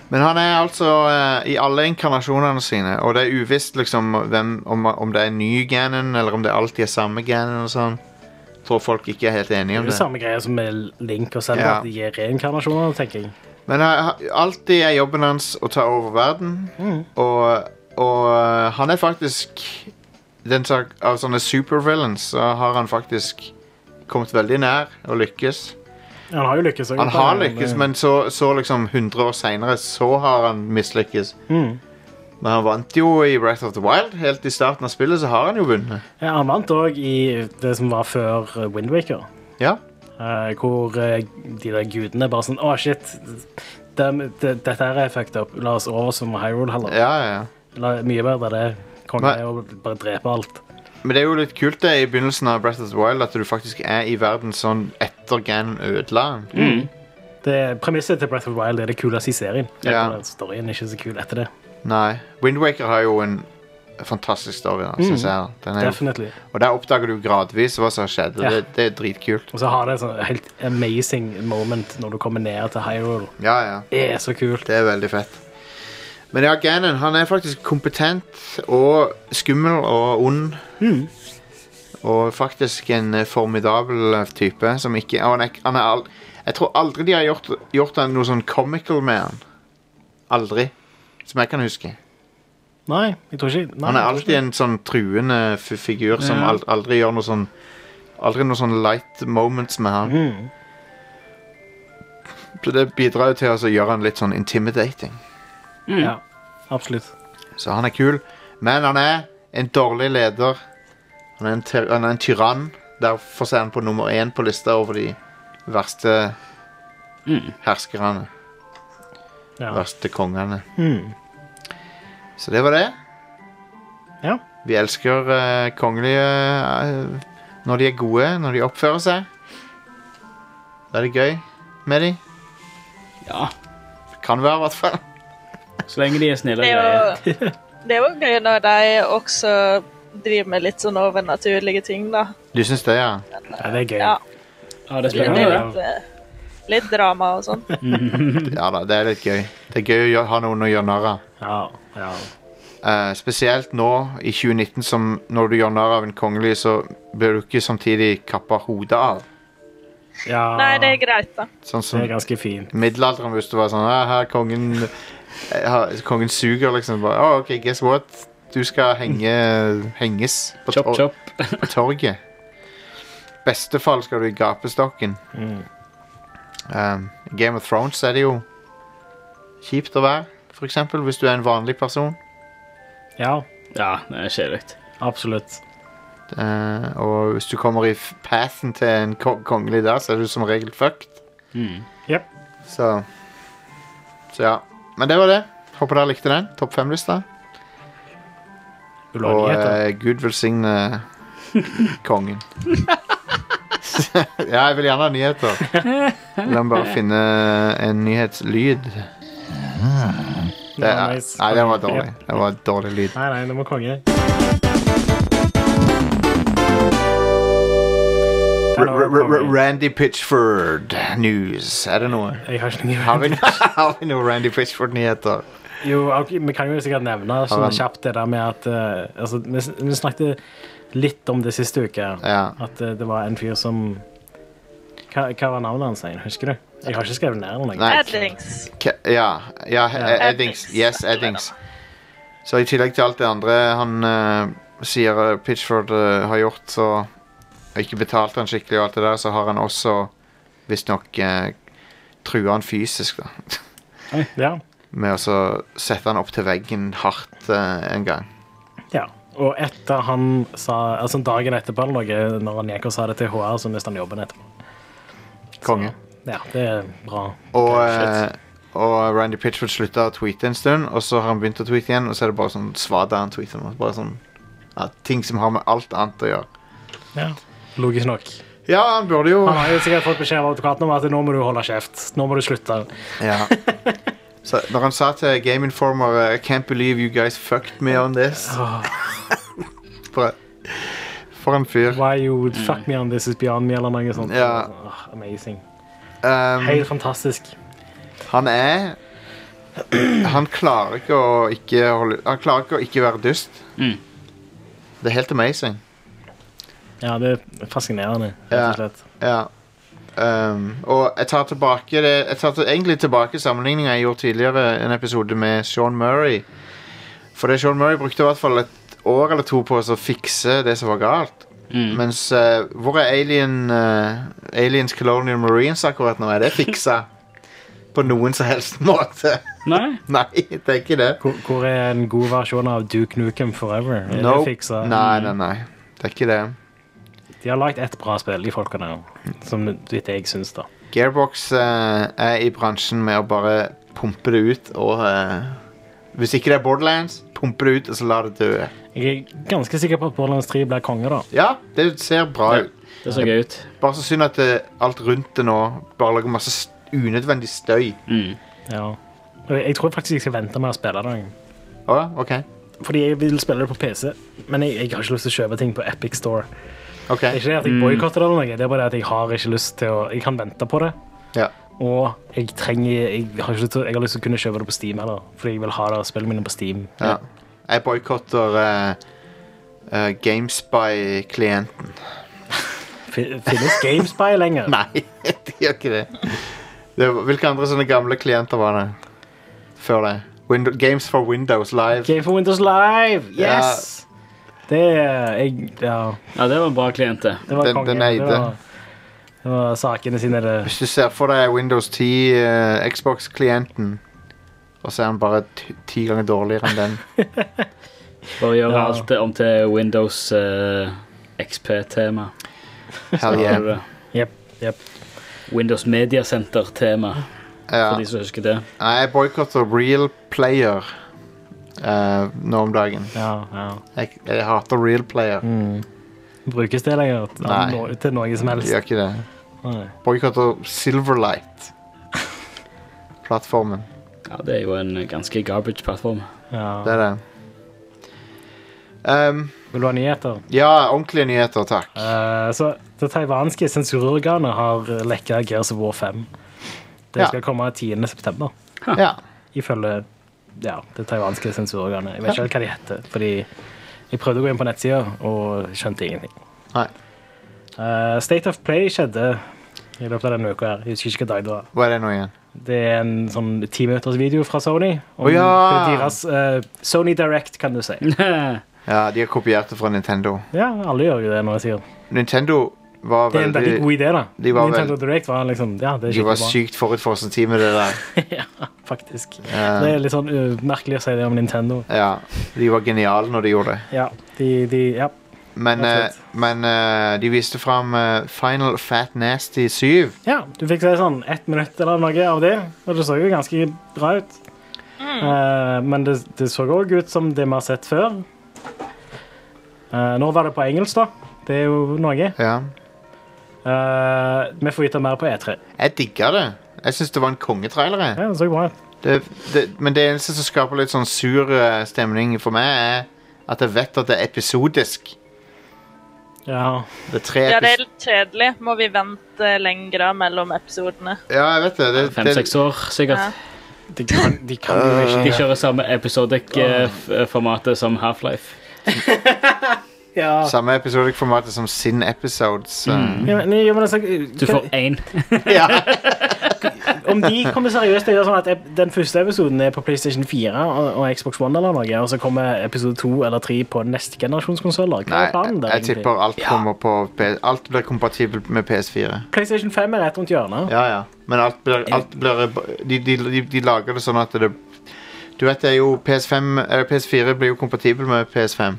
D: Men han er altså eh, i alle inkarnasjonene sine, og det er uvisst liksom hvem, om, om det er en ny Ganon, eller om det alltid er samme Ganon og sånn. Tror folk ikke er helt enige
E: Det er
D: om
E: jo
D: det.
E: samme greia som med Link og Zelda,
D: Ja.
E: at de er reinkarnasjoner, tenker jeg.
D: Men eh, alltid er jobben hans å ta over verden,
E: Mm.
D: og, og eh, han er faktisk den sak, Av sånne supervillains så har han faktisk kommet veldig nær å lykkes.
E: Han har jo lykkes. også,
D: Han har
E: men, eh, Mm.
D: lykkes, men så, så liksom 100 år seinere så har han mislykkes. Men han vant jo i Breath of the Wild. Helt i starten av spillet så har han jo vunnet.
E: Ja, han vant òg i det som var før Windwaker.
D: Ja.
E: Eh, hvor eh, de der gudene bare sånn Å, shit. Dem- det- dette her er fucked up. La oss oversumme Hyrule heller.
D: ja, ja, ja.
E: La, mye bedre det. Konge
D: Nei.
E: er å bare drepe alt.
D: Men det er jo litt kult det i begynnelsen av Breath of the Wild at du faktisk er i verden sånn etter Ganon ødela den.
E: Mm. Det, premisset til Breath of the Wild er det kuleste i serien.
D: Ja.
E: Etter det, Storyen er ikke så kul etter det.
D: Nei. Windwaker har jo en fantastisk story, da, synes
E: Mm.
D: jeg. Den er jo,
E: Definitely.
D: og der oppdager du gradvis hva som skjedde.
E: Ja.
D: Det, det er dritkult.
E: Og så har det et sånn helt amazing moment når du kommer ned til Hyrule.
D: Ja, ja.
E: Det er så kult.
D: Det er veldig fett. Men ja, Ganon han er faktisk kompetent og skummel og ond.
E: Mm.
D: Og faktisk en eh, formidabel eh, type som ikke og han er, han er ald- Jeg tror aldri de har gjort, gjort han noe sånn comical med han. Aldri. Som jeg kan huske.
E: Nei, jeg tror ikke
D: Han
E: nei,
D: er
E: jeg tror ikke
D: alltid en sånn truende f- figur som
E: Ja.
D: ald- aldri gjør noe sånn Aldri noe sånn light moments med han.
E: Mm.
D: Så det bidrar jo til å gjøre han litt sånn intimidating.
E: det. Ja, absolutt.
D: Så han er kul. Men han er en dårlig leder. Han er en, ty- han er en tyrann. Derfor er han på nummer én på lista over de verste herskerne.
E: Ja.
D: Verste kongene. Så det var det.
E: Ja.
D: Vi elsker eh, kongelige eh, når de er gode, når de oppfører seg. Da er det gøy med de.
F: Ja,
D: Kan være, i hvert fall.
F: så lenge de er snille.
G: Det
F: og
G: er
F: greier.
G: jo, det er jo gøy når de også driver med litt sånn overnaturlige ting, da.
D: Du syns det, ja?
E: Ja, det er gøy.
G: Ja,
F: Ja, det er
G: det
F: spennende.
G: er
F: det.
G: litt, eh, litt drama og sånn.
D: Ja da, det er litt gøy. Det er gøy å gjøre- ha noen å gjøre narr av.
E: Ja, ja.
D: Eh, spesielt nå i 2019, som når du gjør narr av en kongelig, så blir du ikke samtidig kappa hodet av.
E: ja
G: Nei, det er greit, da.
D: Sånn som
E: det er ganske fint.
D: i middelalderen, hvis du var sånn «Ah, her, kongen, eh, ha- kongen suger, liksom. Bare, «Ah, OK, guess what? Du skal henge, henges på,
F: Chop,
D: tor
F: chop.
D: på torget. Beste fall skal du i gapestokken. Um, I Game of Thrones er det jo kjipt å være, for eksempel, hvis du er en vanlig person.
E: Ja,
F: Ja, det er kjedelig.
E: absolutt.
D: Eh, og hvis du kommer i f- pathen til en ko- kongelig der, så er du som regel fucked.
E: Jep.
D: Så Så ja. Men det var det. Håper dere likte den. Topp fem-lista. Og
E: Ulovligheter.
D: eh, gud
E: [laughs]
D: velsigne kongen. [laughs] ja, jeg vil gjerne ha nyheter. La meg bare finne en nyhetslyd. Det
E: Ja,
D: er,
E: nice.
D: nei, den var dårlig. Det var dårlig lyd.
E: Nei, nei, det var konge.
D: R R R Randy Pitchford News. Er det noe?
E: Jeg har ikke noe
D: Har vi, [laughs] har vi noen Randy Pitchford-nyheter?
E: Jo, ok, vi kan jo sikkert nevne sånn
D: han-
E: kjapt det der med at eh, altså, vi, s- vi snakket litt om det siste uke.
D: Ja.
E: At eh, det var en fyr som hva, hva var navnet hans igjen? Husker du? Jeg har ikke skrevet ned noe.
D: Nei.
G: Eddings.
D: Ke- Ja, ja, he-
E: Ja.
D: Eddings. Yes, Eddings. Så i tillegg til alt det andre han eh, sier eh, Pitchford eh, har gjort, så og ikke betalte han skikkelig og alt det der, så har han også visstnok uh, trua han fysisk, da. [laughs]
E: Ja.
D: Med å så sette han opp til veggen hardt eh, en gang.
E: ja. Og etter han sa Altså dagen etterpå eller noe, når han gikk og sa det til HR, så mistet han jobben etterpå.
D: Konge.
E: Ja, det er bra.
D: Og, eh, og Randy Pitchford slutta å tweete en stund, og så har han begynt å tweete igjen, og så er det bare sånn svada han tweeter nå. Bare sånn ja, ting som har med alt annet å gjøre.
E: Ja. Logisk nok.
D: Ja, han burde jo
E: Han har jo sikkert fått beskjed av advokaten om at nå må du holde kjeft. Nå må du slutte.
D: Ja. Så når han sa til Game Informer eh, I can't believe you guys fucked me on this [laughs] For, for en fyr.
E: Why you fuck me on this is beyond me, eller noe sånt.
D: Ja.
E: Åh, amazing.
D: Um,
E: Helt fantastisk.
D: han er [clears throat] Han klarer ikke å ikke holde Han klarer ikke å ikke være dust. Det er helt amazing.
E: Ja, det er fascinerende, rett
D: Ja.
E: og slett.
D: Ja. Um, og jeg tar tilbake det Jeg tar til, egentlig tilbake sammenligninga jeg gjorde tidligere, en episode med Sean Murray. For det Sean Murray brukte i hvert fall et år eller to på å så fikse det som var galt.
E: Mm.
D: Mens eh,
E: [laughs]
D: hvor er Alien eh, Aliens Colonial Marines akkurat nå? Er det fiksa? på noen som helst [laughs] måte.
F: Nei?
D: Nei, det er ikke det.
E: Hvor, hvor er en god versjon av Duke Nukem Forever? Er det Mm.
D: Nope.
E: fiksa?
D: Nei, nei, nei. Det er ikke det.
E: Mm. De har lagd ett bra spill, de folkene her. Som litt jeg syns, da.
D: Gearbox eh, er i bransjen med å bare pumpe det ut og eh, Hvis ikke det er Borderlands, pumpe det ut og så la det dø.
E: Jeg er ganske sikker på at Borderlands 3 blir konge, da.
D: Ja, det ser bra ut.
F: Det så gøy ut.
D: Bare så synd at det, alt rundt det nå bare lager masse s- unødvendig støy.
E: Mm. Ja. Og Jeg jeg tror faktisk jeg skal vente med å spille det.
D: Å, OK.
E: Fordi jeg vil spille det på PC, men jeg, jeg har ikke lyst til å kjøpe ting på Epic Store.
D: ok.
E: Det er ikke det at
D: Mm.
E: jeg boikotter det, eller noe, det er bare det at jeg har ikke lyst til å Jeg kan vente på det,
D: Ja.
E: og jeg trenger Jeg har, ikke lyst, til, jeg har lyst til å kunne kjøpe det på Steam heller, fordi jeg vil ha det spillene mine på Steam.
D: ja. Jeg boikotter GameSpy-klienten. [laughs]
E: Fin- Finnes GameSpy lenger?
D: Nei, de gjør ikke det. det var- hvilke andre sånne gamle klienter var det før det? Window, Games for Windows Live.
E: Game for Windows Live! Yes! Det er jeg, Ja,
F: Ja, det var en bra klient, det.
E: det var
D: Den-
E: konge.
D: den eide.
E: Det var, det var sakene sine, det.
D: Hvis du ser for deg Windows 10, eh, Xbox-klienten, og så er den bare ti- ti ganger dårligere enn
F: [laughs]
D: den.
F: Bare gjøre
E: Ja.
F: alt det om til Windows eh, XP-tema.
D: Hell
F: Har du
D: yeah.
F: det?
E: Jep, jep.
F: Windows Media Center-tema, for
D: Ja.
F: de som husker det.
D: Nei, Jeg boikotter Real Player eh, nå om dagen.
E: Ja, ja.
D: Jeg, jeg hater Real Player.
F: Mm.
E: Brukes det lenger til,
D: Mm. Nei.
E: no- til noe som
D: De
E: helst?
D: gjør ikke det.
E: Nei.
D: Boikotter Silverlight. Plattformen.
F: Ja, Det er jo en eh, ganske garbage plattform. [laughs]
D: Det
E: Ja.
D: er det. Um,
E: Vil du ha nyheter?
D: ja, ordentlige nyheter, takk.
E: Eh, så det taiwanske sensurorganet har lekka Gears of War 5. Det
D: Ja.
E: skal komme 10. september,
D: Ja.
E: ifølge ja, det taiwanske sensurorganet. Jeg vet ikke helt hva de heter, fordi jeg prøvde å gå inn på nettsida og skjønte ingenting.
D: Nei.
E: Eh, State of Play skjedde i løpet av denne uka her. Jeg husker ikke hva dag det var.
D: Hva er det nå igjen?
E: Det er en sånn minutters video fra Sony. Om
D: Å ja!
E: deres eh, Sony Direct, kan du si.
D: Ja, De har kopiert det fra Nintendo.
E: Ja, alle gjør jo det når jeg sier
D: Nintendo var
E: Det er en
D: veldig
E: veldig god idé, da.
D: de var
E: Nintendo
D: vel-
E: Direct var liksom Ja, det er
D: De var
E: skikkelig bra.
D: sykt forut for sin tid med det der.
E: [laughs] ja, faktisk.
D: Ja.
E: Det er litt sånn uh, merkelig å si det om Nintendo.
D: Ja, De var geniale når de gjorde det.
E: Ja, de, de Ja.
D: Men, eh,
E: Absolutt.
D: men eh, de viste fram eh, Final Fat Nasty 7.
E: ja du fikk se sånn ett minutt eller noe av det, og det så jo ganske bra ut. Eh, men det, det så òg ut som det vi har sett før. Eh, nå var det på engelsk, da. Det er jo noe.
D: Ja.
E: Eh, vi får vite mer på E3.
D: Jeg digga det. Jeg syns det var en kongetrailer. jeg.
E: Ja, det så bra ut.
D: Det, det, men det eneste som skaper litt sånn sur eh, stemning for meg, er at jeg vet at det er episodisk.
E: Ja.
D: Det er tre
G: Ja, det er
D: episoder.
G: litt kjedelig. Må vi vente lenger mellom episodene?
D: Ja, jeg vet det. det, det
F: Fem-seks år, sikkert.
G: Ja.
E: De kan, de kan jo ikke
F: De kjører samme eh, episodic-formatet som Half-Life.
E: Ja.
D: Samme episodisk formatet som Sin Episodes. eh.
E: Ja, men, ja, men altså,
F: Du får én.
D: [laughs]
E: [laughs]
D: Ja.
E: om de kommer seriøst og gjør sånn at ep- den første episoden er på PlayStation 4 og, og Xbox One, eller noe, og så kommer episode 2 eller 3 på neste generasjons konsoller. Hva
D: Nei,
E: er planen der?
D: jeg
E: egentlig?
D: tipper alt kommer på P- Alt blir kompatibelt med PS4.
E: PlayStation 5 er rett rundt hjørnet.
D: Ja, ja. Men alt blir, alt blir de, de, de, de lager det sånn at det Du vet det er jo PS5 eh, PS4 blir jo kompatibel med PS5.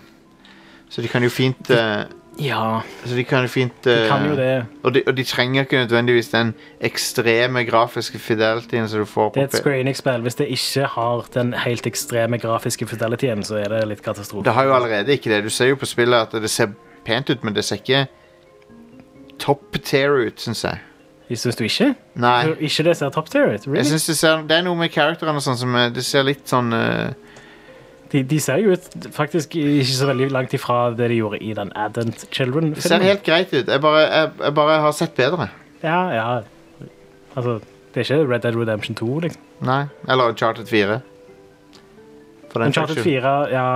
D: Så de kan jo fint eh,
E: Ja,
D: Så Altså, de kan jo fint
E: de kan
D: eh,
E: jo det.
D: Og, de, og de trenger ikke nødvendigvis den ekstreme grafiske fidelityen som du får
E: Det
D: på
E: er et
D: P-
E: Square Enix-spill. Hvis det ikke har den helt ekstreme grafiske fidelityen, så er det litt katastrofe.
D: Det har jo allerede ikke det. Du ser jo på spillet at det ser pent ut, men det ser ikke top tear ut, syns jeg.
E: Syns du ikke?
D: Nei.
E: Tror Ikke det ser top tier ut?
D: Jeg
E: Really?
D: synes det, ser, det er noe med karakterene og sånn som eh, Det ser litt sånn eh,
E: De, de ser jo ut faktisk ikke så veldig langt ifra det de gjorde i den Advent
D: Det ser
E: Children-filmen.
D: helt greit ut. Jeg bare, jeg, jeg bare har sett bedre.
E: Ja, ja. Altså, det er ikke Red Dead Redemption 2, liksom.
D: Nei. Eller Uncharted 4. For den
E: Uncharted
D: saks skyld.
E: 4, ja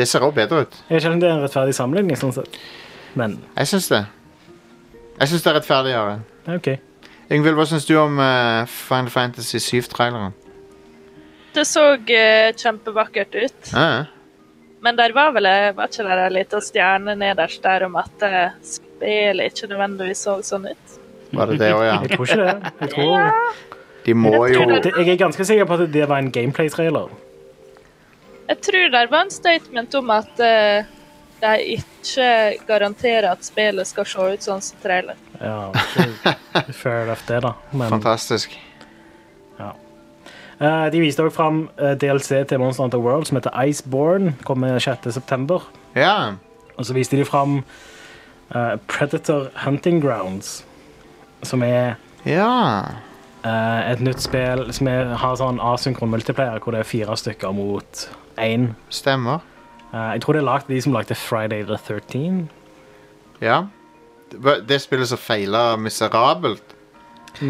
D: Det ser også bedre ut.
E: Jeg vet ikke om det er en rettferdig sammenligning, sånn sett. Men
D: Jeg syns det. Jeg syns det er rettferdigere.
E: det er OK.
D: Yngvild, hva syns du om eh, Final Fantasy 7-traileren?
G: Det så eh, kjempevakkert ut.
D: Ja, ja.
G: Men der var vel eh, var ikke det en liten stjerne nederst der om at eh, spillet ikke nødvendigvis så sånn ut?
D: var det det òg, ja?
E: Jeg tror ikke det. Jeg tror,
D: De må jo
E: Det, jeg er ganske sikker på at det var en gameplay-trailer.
G: Jeg tror det var en statement om at eh, de ikke garanterer at spillet skal se ut sånn som trailer.
E: Ja, ikke fair enough, det, da. Men
D: Fantastisk.
E: eh, de viste også fram eh, DLC til Monster Hunter World som heter Iceborne. Kommer 6.9.
D: Ja.
E: Og så viste de fram eh, Predator Hunting Grounds, som er
D: Ja.
E: eh, et nytt spill som er, har sånn asynkron multiplayer, hvor det er fire stykker mot én.
D: Stemmer.
E: Eh, jeg tror det er lagt, de som lagde Friday the 13.
D: Ja. Det det spillet som feila miserabelt.
F: I,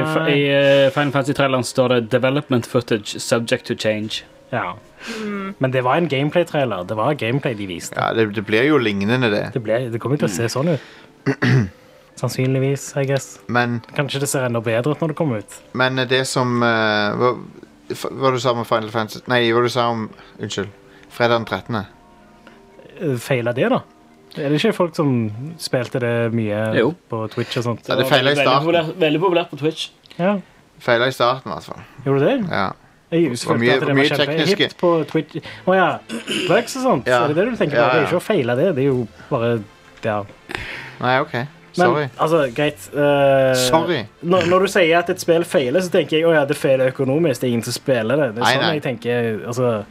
F: f- i eh, Final Fantasy-traileren står det 'Development footage subject to change'.
E: Ja. Men det var en gameplay-trailer. Det var gameplay de viste.
D: Ja, Mm. det, det blir jo lignende, det.
E: Det, ble, det kommer jo til å se sånn ut.
D: [clears throat]
E: Sannsynligvis, I guess.
D: Men,
E: Kanskje det ser enda bedre ut når det kommer ut.
D: men det som eh, hva, f- hva du sa om Final Fantasy Nei, hva du sa om Unnskyld. Fredag den 13.
E: Eh, Feila det, da? Er det ikke folk som spilte det mye
F: Jo.
E: på Twitch og sånt?
D: Ja, det feilet i
F: Veldig
D: starten.
F: populært- Veldig populært på Twitch.
E: Ja,
D: Feila i starten, i hvert fall.
E: Gjorde det?
D: Ja.
E: Jeg følte
D: Hvor mye-
E: at
D: hvor
E: det
D: mye
E: var
D: tekniske-
E: kjempehipt på Twitch. Å ja. Bugs og sånt.
D: Ja.
E: Er det det du tenker på?
D: Ja, ja.
E: Det er jo ikke å feile det. Det er jo bare Ja.
D: Nei, OK.
E: Men
D: Sorry.
E: altså, greit. eh,
D: Sorry.
E: Når, når du sier at et spill feiler, så tenker jeg at ja, det feiler økonomisk. Det er ingen som spiller det. Det er
D: Nei,
E: sånn
D: nei.
E: jeg tenker, altså,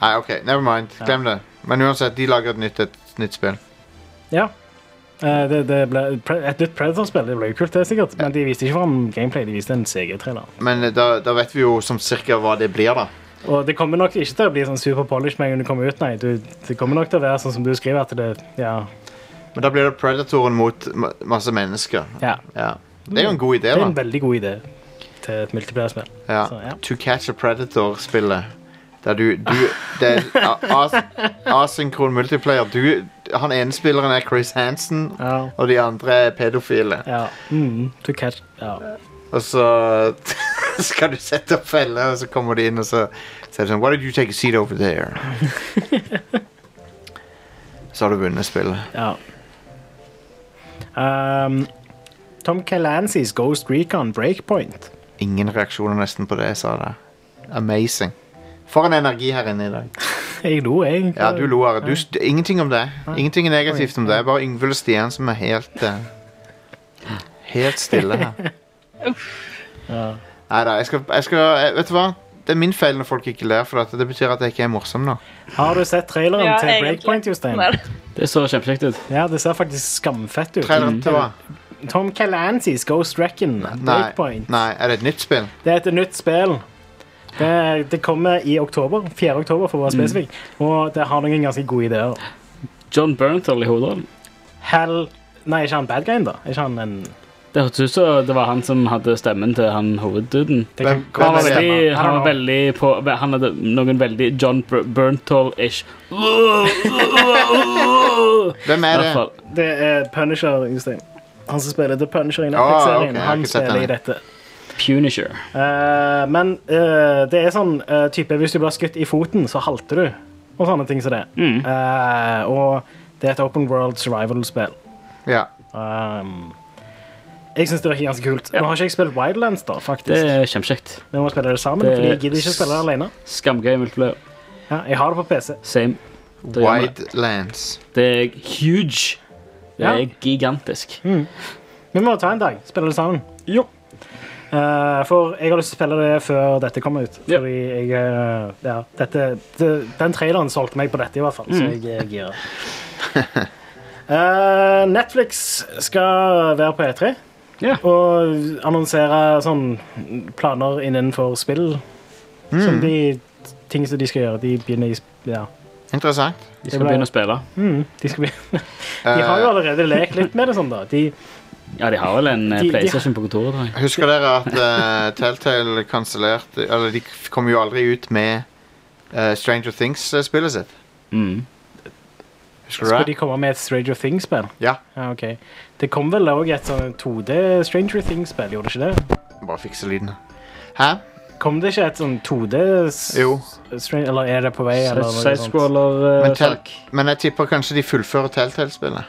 D: Nei, OK. Never mind. Glem det. Men uansett, de lager et nytt, et nytt spill.
E: ja. Eh, Det, det ble, pre- et nytt Predator-spill det ble jo kult, det sikkert. Men de viste ikke fram gameplay, de viste en CG-trailer.
D: Men eh, da, da vet vi jo som cirka hva det blir, da.
E: Og det kommer nok ikke til å bli sånn super polished med en gang det kommer ut. Nei, du, det kommer nok til å være sånn som du skriver, at det Ja.
D: Men da blir det Predatoren mot ma- masse mennesker.
E: ja.
D: Ja. Det er jo en god idé,
E: Det er en
D: da.
E: veldig god idé til et multiplayer-spill.
D: Ja.
E: Mm. Så, ja.
D: To Catch a Predator-spillet. Der du, du Det er a- as, asynkron multiplayer. Du, han ene spilleren er Chris Hansen,
E: Ja.
D: og de andre er pedofile.
E: Ja. Mm, to catch. Ja.
D: Og så [laughs] skal du sette opp felle, og så kommer de inn, og så så er det sånn Why did you take a seat over
E: [laughs]
D: there? Så har du vunnet spillet.
E: Ja. Um, Tom Calancys Ghost Recon Breakpoint.
D: Ingen reaksjoner nesten på det jeg sa der. Amazing. For en energi her inne i dag.
E: Jeg lo, jeg.
D: Ja, du lo Are. Du, st- ingenting om det. Ingenting er negativt om det. Bare Yngvild og Stian som er helt eh, Helt stille her. Nei da, jeg skal, jeg skal jeg, Vet du hva? Det er min feil når folk ikke ler, for at det betyr at jeg ikke er morsom nå.
E: Har du sett traileren
G: Ja,
E: til
G: egentlig.
E: Breakpoint, Jostein?
G: Nei.
F: Det så kjempekjekt ut.
E: Ja, det ser faktisk skamfett ut. Mm.
D: Traileren til hva?
E: Tom Calancys Ghost Recon
D: Nei,
E: Breakpoint.
D: nei, er det et nytt spill?
E: Det er et nytt spill. Det, det kommer i oktober. 4. oktober, for å være
D: Mm.
E: spesifikk. Og det har noen ganske gode ideer.
F: John Bernthal i hovedrollen.
E: Hell Nei, ikke han bad guyen, da? Er ikke han en
F: Det hørtes ut som det var han som hadde stemmen til han hovedduden.
E: det
D: Hvem-
E: kan-
F: Han var
D: hvem er det?
F: veldig, han var veldig på Han hadde noen veldig John Br- Bernthal-ish I
D: Hvem er
F: hvert
D: det?
F: fall.
E: Det er Punisher, Jostein. Han som spiller The Punisher i
D: Ah, ok,
E: Netflix-serien.
D: jeg har
E: han
D: ikke sett
E: spiller i
D: den.
E: dette.
F: Punisher.
E: Eh, men eh, det er sånn eh, type Hvis du blir skutt i foten, så halter du. Og sånne ting som det. Eh, og det er et open world survival-spill.
D: Ja.
E: Um, jeg syns det virker ganske kult. Nå har ikke jeg spilt Wildlands, da, faktisk.
F: Det er kjempekjekt.
E: Vi må spille det sammen,
F: det-
E: Fordi jeg gidder ikke spille det alene.
F: Skamgøy multiplayer.
E: Ja, jeg har det på PC.
F: Same. Det gjør vi.
D: Widelands.
F: Det er huge. Det
E: Ja.
F: er gigantisk.
E: Vi må ta en dag. Spille det sammen. Jo. Eh, for jeg har lyst til å spille det før dette kommer ut.
F: Ja.
E: Fordi jeg eh, Ja, dette det, Den traileren solgte meg på dette, i hvert fall. Så jeg er gira. [laughs] Eh, Netflix skal være på E3
F: Ja.
E: og annonsere sånn planer innenfor spill. Som de ting som de skal gjøre. De begynner i sp- Ja.
D: Interessant.
F: De skal begynne å spille.
E: Mm, de, skal begynne. de har jo allerede lekt litt med det sånn, da. De,
F: Ja, de har vel en eh,
E: De- de-
F: PlayStation på kontoret, tror jeg.
D: Husker dere at eh, Telltale kansellerte Eller de kom jo aldri ut med eh, Stranger Things-spillet sitt.
F: Mm.
D: Husker
E: skal
D: du
E: de
D: det?
E: komme med et Stranger Things-spill?
D: Ja.
E: Ja, ok. Det kom vel òg et sånn 2D Stranger Things-spill, gjorde det ikke det?
D: Bare fikse lyden. Hæ?
E: Kom det ikke et sånn 2D s-
D: Jo.
E: Stran- Eller er det sånn- på vei, eller noe sånt?
D: Men,
F: Sidescroller
D: tel men jeg tipper kanskje de fullfører Telltale-spillet.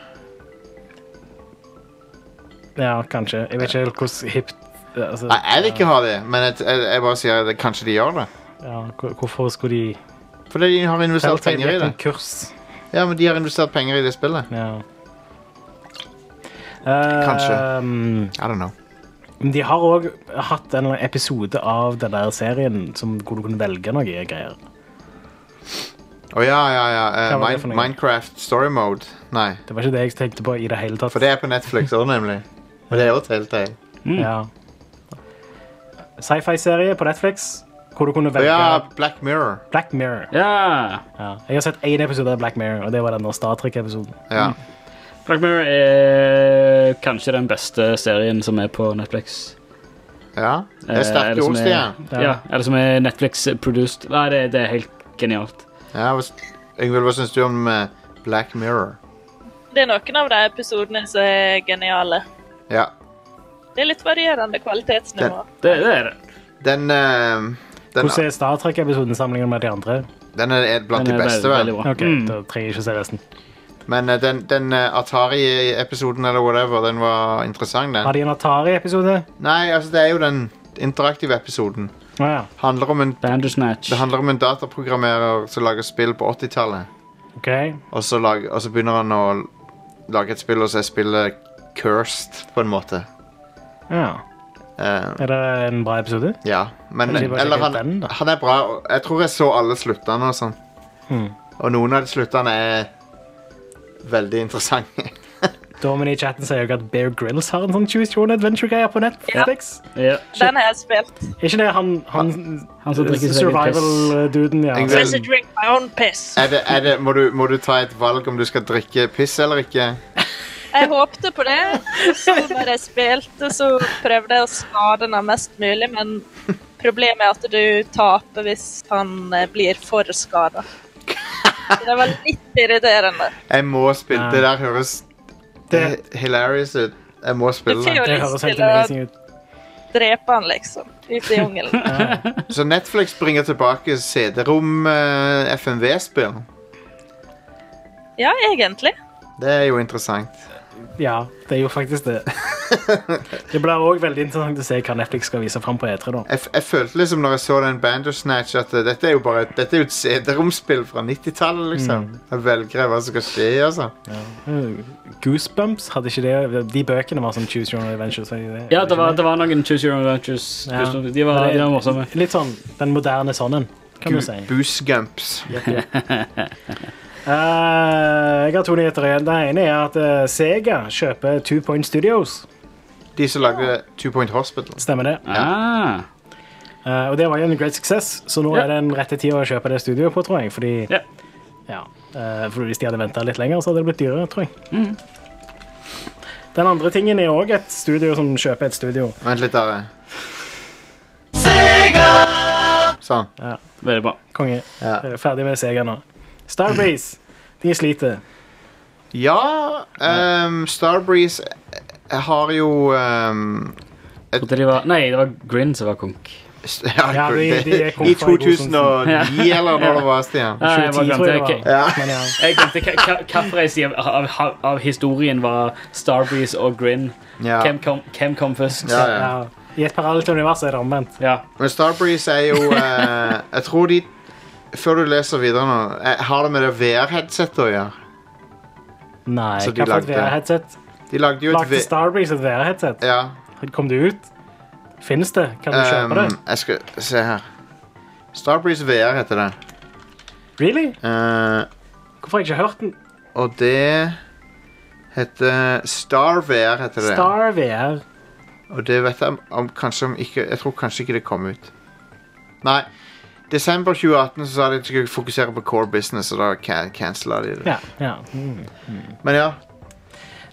E: Ja, kanskje. Jeg vet ikke helt hvordan hipt det, altså,
D: Nei, jeg vil ikke ha det, men jeg, jeg, jeg bare sier at kanskje de gjør det.
E: ja, hvor- hvorfor skulle de
D: Fordi de har investert
E: Telltale
D: penger i
E: gikk
D: det.
E: en kurs.
D: Ja, men de har investert penger i det spillet.
E: Ja.
D: Kanskje.
E: Um,
D: I don't know.
E: Men De har òg hatt en episode av den der serien som, hvor du kunne velge noe greier.
D: Å ja, ja, ja. eh,
E: Hva var det
D: Min-
E: for noe?
D: Minecraft story mode. Nei.
E: Det var ikke det jeg tenkte på i det hele tatt.
D: For det er på Netflix også,
E: [laughs]
D: nemlig. Og det er jo Telltale.
E: Mm. Ja. Sci-fi-serie på Netflix hvor du kunne
D: Å
E: velge
D: ja, Black Mirror.
E: Black Mirror.
F: Ja!
E: Ja. Jeg har sett én episode av Black Mirror, og det var den Star Trek-episoden.
D: Ja.
F: Black Mirror er kanskje den beste serien som er på Netflix.
D: ja. Det er
F: Eh,
D: sterke
F: eller som
D: ord,
F: er-
D: Stian.
F: Ja, eller som er Netflix-produced. Nei, det, det er helt genialt.
D: Ja, hva s- Yngvild, hva syns du om eh, Black Mirror?
G: [laughs] Det er noen av de episodene som er geniale.
D: Ja.
G: Det er litt varierende kvalitetsnivå.
F: Det, det er det.
D: Den eh, den,
E: Hvordan er Star Trek-episoden sammenlignet med de andre?
D: den er er blant
F: Den
D: de
F: er
D: beste, vel.
F: veldig, veldig bra.
E: Ok,
F: Mm.
E: Da trenger jeg ikke å se resten.
D: Men eh, den, den eh, Atari-episoden eller whatever, den var interessant, den.
E: Har de en Atari-episode?
D: Nei, altså, det er jo den interaktive episoden.
E: Å ja.
D: Handler om en,
F: Bandersnatch.
D: det handler om en dataprogrammerer som lager spill på 80-tallet.
E: OK.
D: Og, så lag- og så begynner han å lage et spill, og så er spillet cursed, på en måte.
E: Ja.
D: Eh,
E: Er det en bra episode?
D: ja, men
E: Kanskje de bare
D: Eller
E: sjekker
D: han,
E: ut den, da?
D: han er bra. og Jeg tror jeg så alle sluttene og sånn.
E: Mhm.
D: Og noen av de sluttene er veldig interessante.
E: Domini i chatten sier jo at Bear Grylls har en sånn Choose Your Own Adventure-greier på Netflix.
F: Ja.
G: Den har jeg spilt.
E: Er ikke det han, han,
F: Han som drikker seg litt piss.
E: survival-duden, eh, ja.
D: Jeg
G: So I
D: vil-
G: should drink my own piss.
D: Er det, er det, må, du, må du ta et valg om du skal drikke piss eller ikke?
G: Jeg håpte på det, og så når jeg spilte, så prøvde jeg å skade den mest mulig, men problemet er at du taper hvis han eh, blir for skada. Det var litt irriterende.
D: Jeg må spille.
E: Ja.
D: Det der høres
E: Det-
D: he- hilarious ut. Jeg må
G: Du
D: spille
G: får
D: det.
G: jo
E: Det
G: lyst
E: høres helt
G: til å
E: amazing ut.
G: drepe han, liksom, ute i jungelen.
D: Så Netflix bringer tilbake CD-rom eh, FMV-spill.
G: Ja, egentlig.
D: Det er jo interessant.
E: Ja, det er jo faktisk
D: [laughs]
E: det. Det blir òg veldig interessant å se hva Netflix skal vise fram på E3, da.
D: Jeg, f- jeg følte liksom når jeg så den Bandersnatch, at eh, dette er jo bare dette er jo et CD-romspill fra 90-tallet, liksom.
E: Mm.
D: Jeg velger hva som skal skje, altså.
E: Eh, Goosebumps, hadde ikke det De bøkene var sånn Choose Your Own Adventure. Så det,
F: Ja, det var, det var noen Choose Your Own Adventures.
E: Ja.
F: De var, de var morsomme.
E: Litt sånn den moderne sånnen, kan du si.
D: Boosgumps.
E: Eh, jeg har to nyheter igjen. Det ene er at eh, Sega kjøper Two Point Studios.
D: De som lagde Two Point Hospital.
E: Stemmer det.
F: Ah.
E: Eh, og det var jo en great success, så nå
F: Ja.
E: er det en rette tid å kjøpe det studioet på, tror jeg. Fordi,
F: Ja.
E: Ja, eh, for hvis de hadde venta litt lenger, så hadde det blitt dyrere, tror jeg.
F: Mhm.
E: Den andre tingen er òg et studio som kjøper et studio.
D: Vent litt, Are. Sånn.
F: Veldig bra.
E: Konge.
D: Ja.
E: Eh, Ferdig med Sega nå. Starbreeze. De sliter.
D: Ja, ehm, Starbreeze eh, har jo ehm,
F: Trodde de var Nei, det var Grin som var konk.
D: s- [laughs] ja,
E: Ja, de- de er
D: I
E: kommet fra [laughs]
D: 2009 eller når det var, Stian.
F: Nei, jeg
E: 2010,
F: bare glemte
E: tror jeg det
F: ok.
E: var.
D: Ja.
E: Men ja.
F: Jeg glemte hva- hva- hvilken side av, av, av historien var Starbreeze og Grin.
D: Ja.
F: Hvem, kom, hvem kom først?
D: Ja, ja.
E: Ja. I et parallelt univers er det omvendt.
F: Ja.
D: Men Starbreeze er jo eh, Jeg tror de Før du leser videre nå eh, Har det med det VR-headsetet å gjøre?
E: Nei,
D: Så de
E: hva for et
D: lagde-
E: VR-headset?
D: De lagde jo et
E: Lagde
D: VR...
E: Starbreeze et VR-headset?
D: Ja.
E: Kom det ut? Finnes det? Kan du kjøpe
D: ehm,
E: det?
D: jeg skal se her. Starbreeze VR heter det.
E: Really?
D: Eh,
E: Hvorfor har jeg ikke hørt den?
D: og det heter Star VR heter det.
E: Star VR.
D: Og det vet jeg om, om kanskje om ikke Jeg tror kanskje ikke det kom ut. Nei. Desember 2018 så sa de at de skulle fokusere på core business, og da can cancela de det.
E: Ja, ja. Mm.
D: Men ja.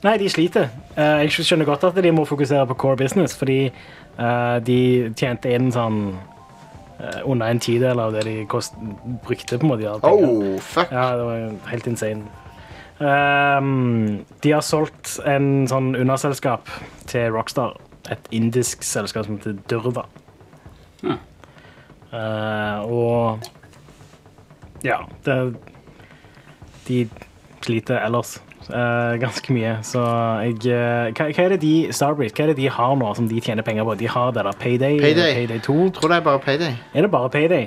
E: Nei, de sliter. Eh, jeg skjønner godt at de må fokusere på core business, fordi eh, de tjente inn sånn eh, under en tidel av det de kost brukte, på en måte. i alle penger.
D: Oh, fuck.
E: Ja, det var jo helt insane. Ehm, de har solgt en sånn underselskap til Rockstar. Et indisk selskap som heter Durva. Eh, og ja det, De sliter ellers. eh, ganske mye. Så jeg eh, hva, hva er det de Starbreeze, hva er det de har nå som de tjener penger på? De har det der Payday, eller
D: Payday.
E: payday 2.
D: Tror det er bare Payday.
E: Er det bare Payday?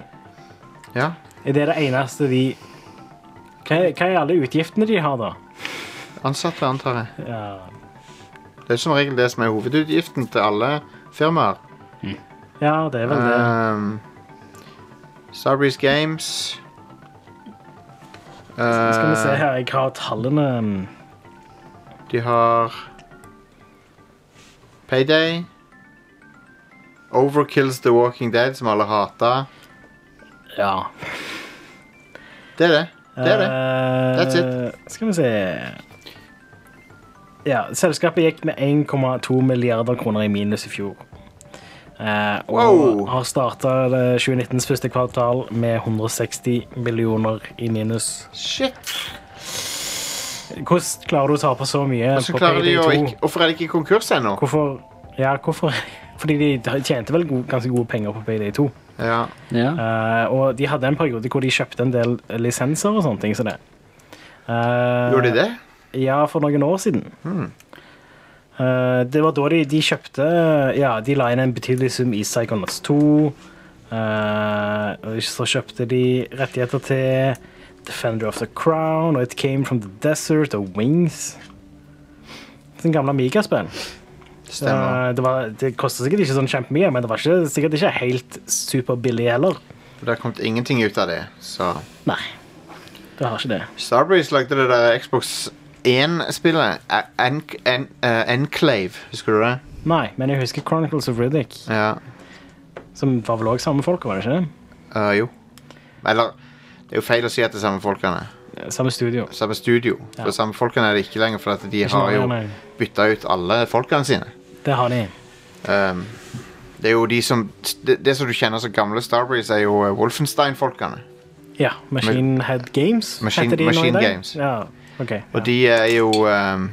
D: Ja.
E: Er det det eneste de Hva er, hva er alle utgiftene de har, da?
D: Ansatte, antar jeg.
E: Ja,
D: Det er som regel det som er hovedutgiften til alle firmaer.
E: ja det er vel det.
D: Um, Starbreeze Games
E: Skal vi se
D: Eh,
E: her, jeg har tallene
D: De har Payday. Overkills The Walking Dead, som alle hater.
E: Ja.
D: Det er det. Det er det.
E: Eh,
D: That's
E: it. Skal vi se Ja, selskapet gikk med 1,2 milliarder kroner i minus i fjor. Eh, og
D: Wow.
E: har starta 2019s første kvartal med 160 millioner i minus.
D: Shit.
E: Hvordan klarer du å tape så mye
D: Så
E: på
D: klarer de
E: Payday
D: jo
E: 2?
D: ikke Hvorfor er de ikke i konkurs ennå?
E: Hvorfor? Ja, hvorfor? [laughs] Fordi de tjente vel go- ganske gode penger på Payday 2.
D: Ja.
F: Ja.
E: Eh, og de hadde en periode hvor de kjøpte en del lisenser og sånne ting. Så det. Eh,
D: Gjorde de det?
E: Ja, for noen år siden. Eh, det var da de, de kjøpte Ja, de la inn en betydelig sum i Psychonauts 2. eh, og så kjøpte de rettigheter til Defender of the Crown og It Came From The Desert og Wings. Den gamle Amiga-spill.
D: Stemmer.
E: Eh, det var- det kosta sikkert ikke sånn kjempemye, men det var ikke, sikkert ikke helt superbillig heller.
D: For Det har kommet ingenting ut av det. Så
E: Nei, det har ikke det.
D: Starbreeze lagde det der Xbox 1-spillet. A- En en eh, Enclave, husker du det?
E: Nei, men jeg husker Chronicles of Riddick,
D: Ja.
E: som var vel òg samme folk, var det ikke det?
D: Eh, jo. Eller Det er jo feil å si at det er samme folkene.
E: Samme studio.
D: Samme studio. For samme folkene er det ikke lenger, for at de har jo
E: noe, nei.
D: bytta ut alle folkene sine.
E: Det har de.
D: Um, det er jo de som Det, det som du kjenner som gamle Starbreeze, er jo eh, Wolfenstein-folkene.
E: Ja, Machine Head Games
D: Machine-
E: heter de nå i
D: Machine
E: dag.
D: Games.
E: Ja, ok.
D: Og de er jo ehm,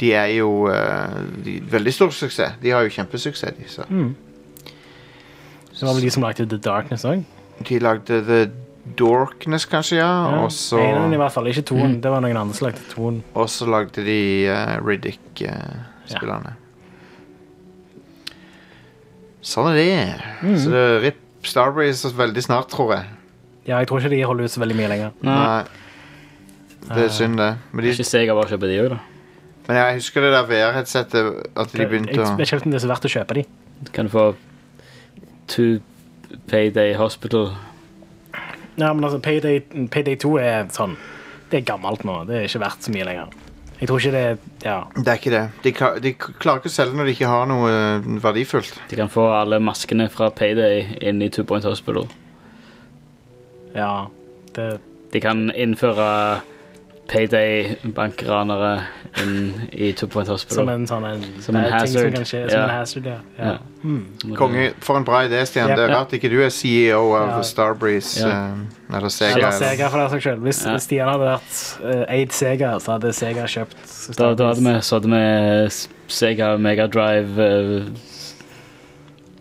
D: De er jo eh, de, Veldig stor suksess. De har jo kjempesuksess, de.
E: Mm.
D: Så.
E: Det var vel de som lagde The Darkness òg.
D: De lagde The Dorkness, kanskje, ja. Og så Mm.
E: i hvert fall, ikke toen. Det var noen andre som lagde toen.
D: og så lagde de eh, Riddick-spillerne. Sånn er det. Så det er RIP Starbreeze veldig snart, tror jeg.
E: Ja, jeg tror ikke de holder ut så veldig mye lenger.
F: Nei.
D: Nei. Det er synd, det. Men, de,
F: Ikke se jeg har bare kjøpt de òg, da.
D: men jeg husker det der VR-headsetet. At de
E: Jeg,
D: begynte å
E: jeg kjøpte om det er så verdt å kjøpe de.
F: Kan du få Two Payday Hospital?
E: Ja, men altså, Payday, Payday 2 er sånn Det er gammelt nå. Det er ikke verdt så mye lenger. Jeg tror ikke det er Ja.
D: Det er ikke det. De, ka- de k- klarer ikke å selge når de ikke har noe eh, verdifullt.
F: De kan få alle maskene fra Payday inn i Two Point Hospital.
E: ja det,
F: De kan innføre Payday-bankranere inn i Two Point Hospital.
E: som en sånn en,
F: Som en
E: bad ting
F: hazard.
E: Som kan skje, som
F: Ja.
E: en hazard ja. Ja.
F: Ja.
D: Konge, for en bra idé, Stian.
E: Ja.
D: Det er rart ikke du er CEO av
E: Ja.
D: Starbreeze
F: Ja.
D: eh, eller Sega.
E: Eller
D: eller-
E: Sega, for den saks skyld. Hvis
F: Ja.
E: Stian hadde vært eh, eid Sega, så hadde Sega kjøpt
F: Da, da hadde vi, så hadde vi S- Sega Mega Drive eh,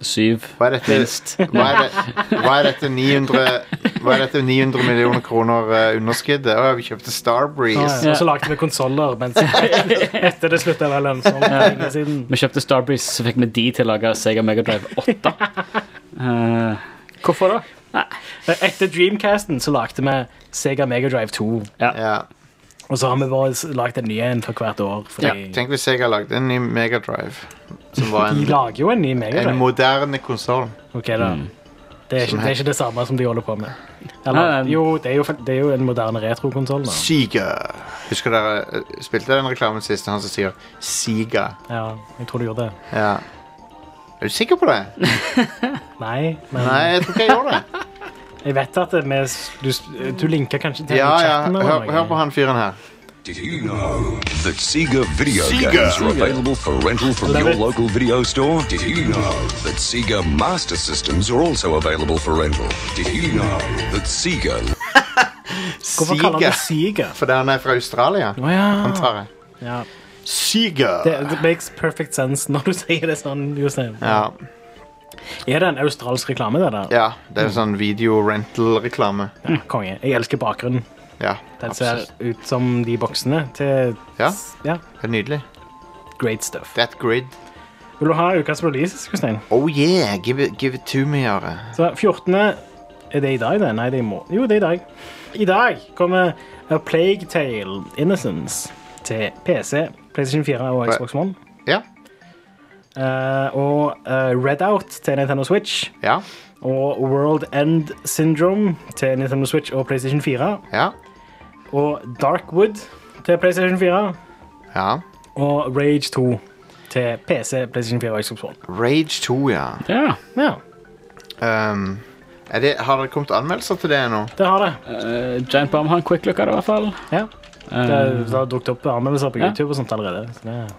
F: 7,
D: Hva er dette?
F: minst.
D: Hva er, det, hva, er dette 900, hva er dette 900 millioner kroner eh, underskuddet? Å, vi kjøpte
E: Ja,
D: Starbreeze.
E: ja. Og så lagde vi konsoller,
F: [laughs]
E: men så- etter det slutta å være lønnsomt. for lenge siden.
F: Vi kjøpte Starbreeze, så fikk vi de til å lage Sega Mega Drive 8.
D: [laughs]
F: Eh,
E: Hvorfor det? Eh, Etter Dreamcasten så lagde vi Sega Megadrive 2,
D: Ja.
E: og så har vi bare lagd en ny en for hvert år. Fordi
D: Tenk hvis Sega lagde en ny Megadrive. Som var
E: de
D: en,
E: lager jo en ny
D: en
E: Megadrive.
D: moderne konsoll.
E: Ok, da. Det er, ikke, det er ikke det samme som de holder på med. Eller,
F: Mm. Nei, nei.
E: jo, det er jo, det er jo en moderne retrokonsoll. da.
D: Sega. Husker dere eh, spilte den reklamen sist, han som sier Sega?
E: Ja, jeg tror du gjorde det.
D: Ja. Er du sikker på det?
E: Nei, men
D: Nei, jeg tror ikke jeg gjorde
E: [laughs]
D: det.
E: Jeg vet at det med, du, du linker kanskje til
D: Ja, ja.
E: chatten
D: Hør, hør på han fyren her.
I: Did you know that Sega video games are available for rental from
E: Love
I: your
E: it.
I: local video store? Did you know that Sega Master Systems are also available for rental? Did you know that Sega
E: Hvorfor kaller
D: Sega.
E: han det Sega?
D: Fordi han er fra Australia,
E: Å ja.
D: antar jeg.
E: ja.
D: Sega.
E: Det, det makes perfect sense [laughs] når du sier det sånn, Jostein.
D: Ja.
E: Er det en australsk reklame, det der?
D: ja. Det er jo sånn video-rental-reklame.
E: Ja, konge. Jeg elsker bakgrunnen.
D: Ja,
E: Den ser
D: absolutt.
E: ut som de boksene til
D: Ja.
E: ja.
D: Det er nydelig.
E: Great stuff.
D: That grid.
E: Vil du ha ukas release, Kristein?
D: Oh yeah, give it, give it to me, Are.
E: Så 14. Er det i dag, det? Nei, det er i morgen. Jo, det er i dag. I dag kommer A Plague Tale Innocence til PC, PlayStation 4 og Xbox One.
D: Ja.
E: Eh, og eh, Redout til Nintendo Switch.
D: Ja.
E: Og World End Syndrome til Nintendo Switch og PlayStation 4.
D: Ja.
E: Og Darkwood til PlayStation 4.
D: ja.
E: Og Rage 2 til PC, PlayStation 4 og Xbox One.
D: Rage 2, ja.
F: Ja,
E: Ja,
D: Um, er det, har det kommet anmeldelser til det ennå?
E: det har det.
F: eh, Giant Bomb har en quick look av det, i hvert fall.
E: Ja.
F: Eh,
E: Det, det har dukket opp anmeldelser på
F: Ja.
E: YouTube og sånt allerede. Så det,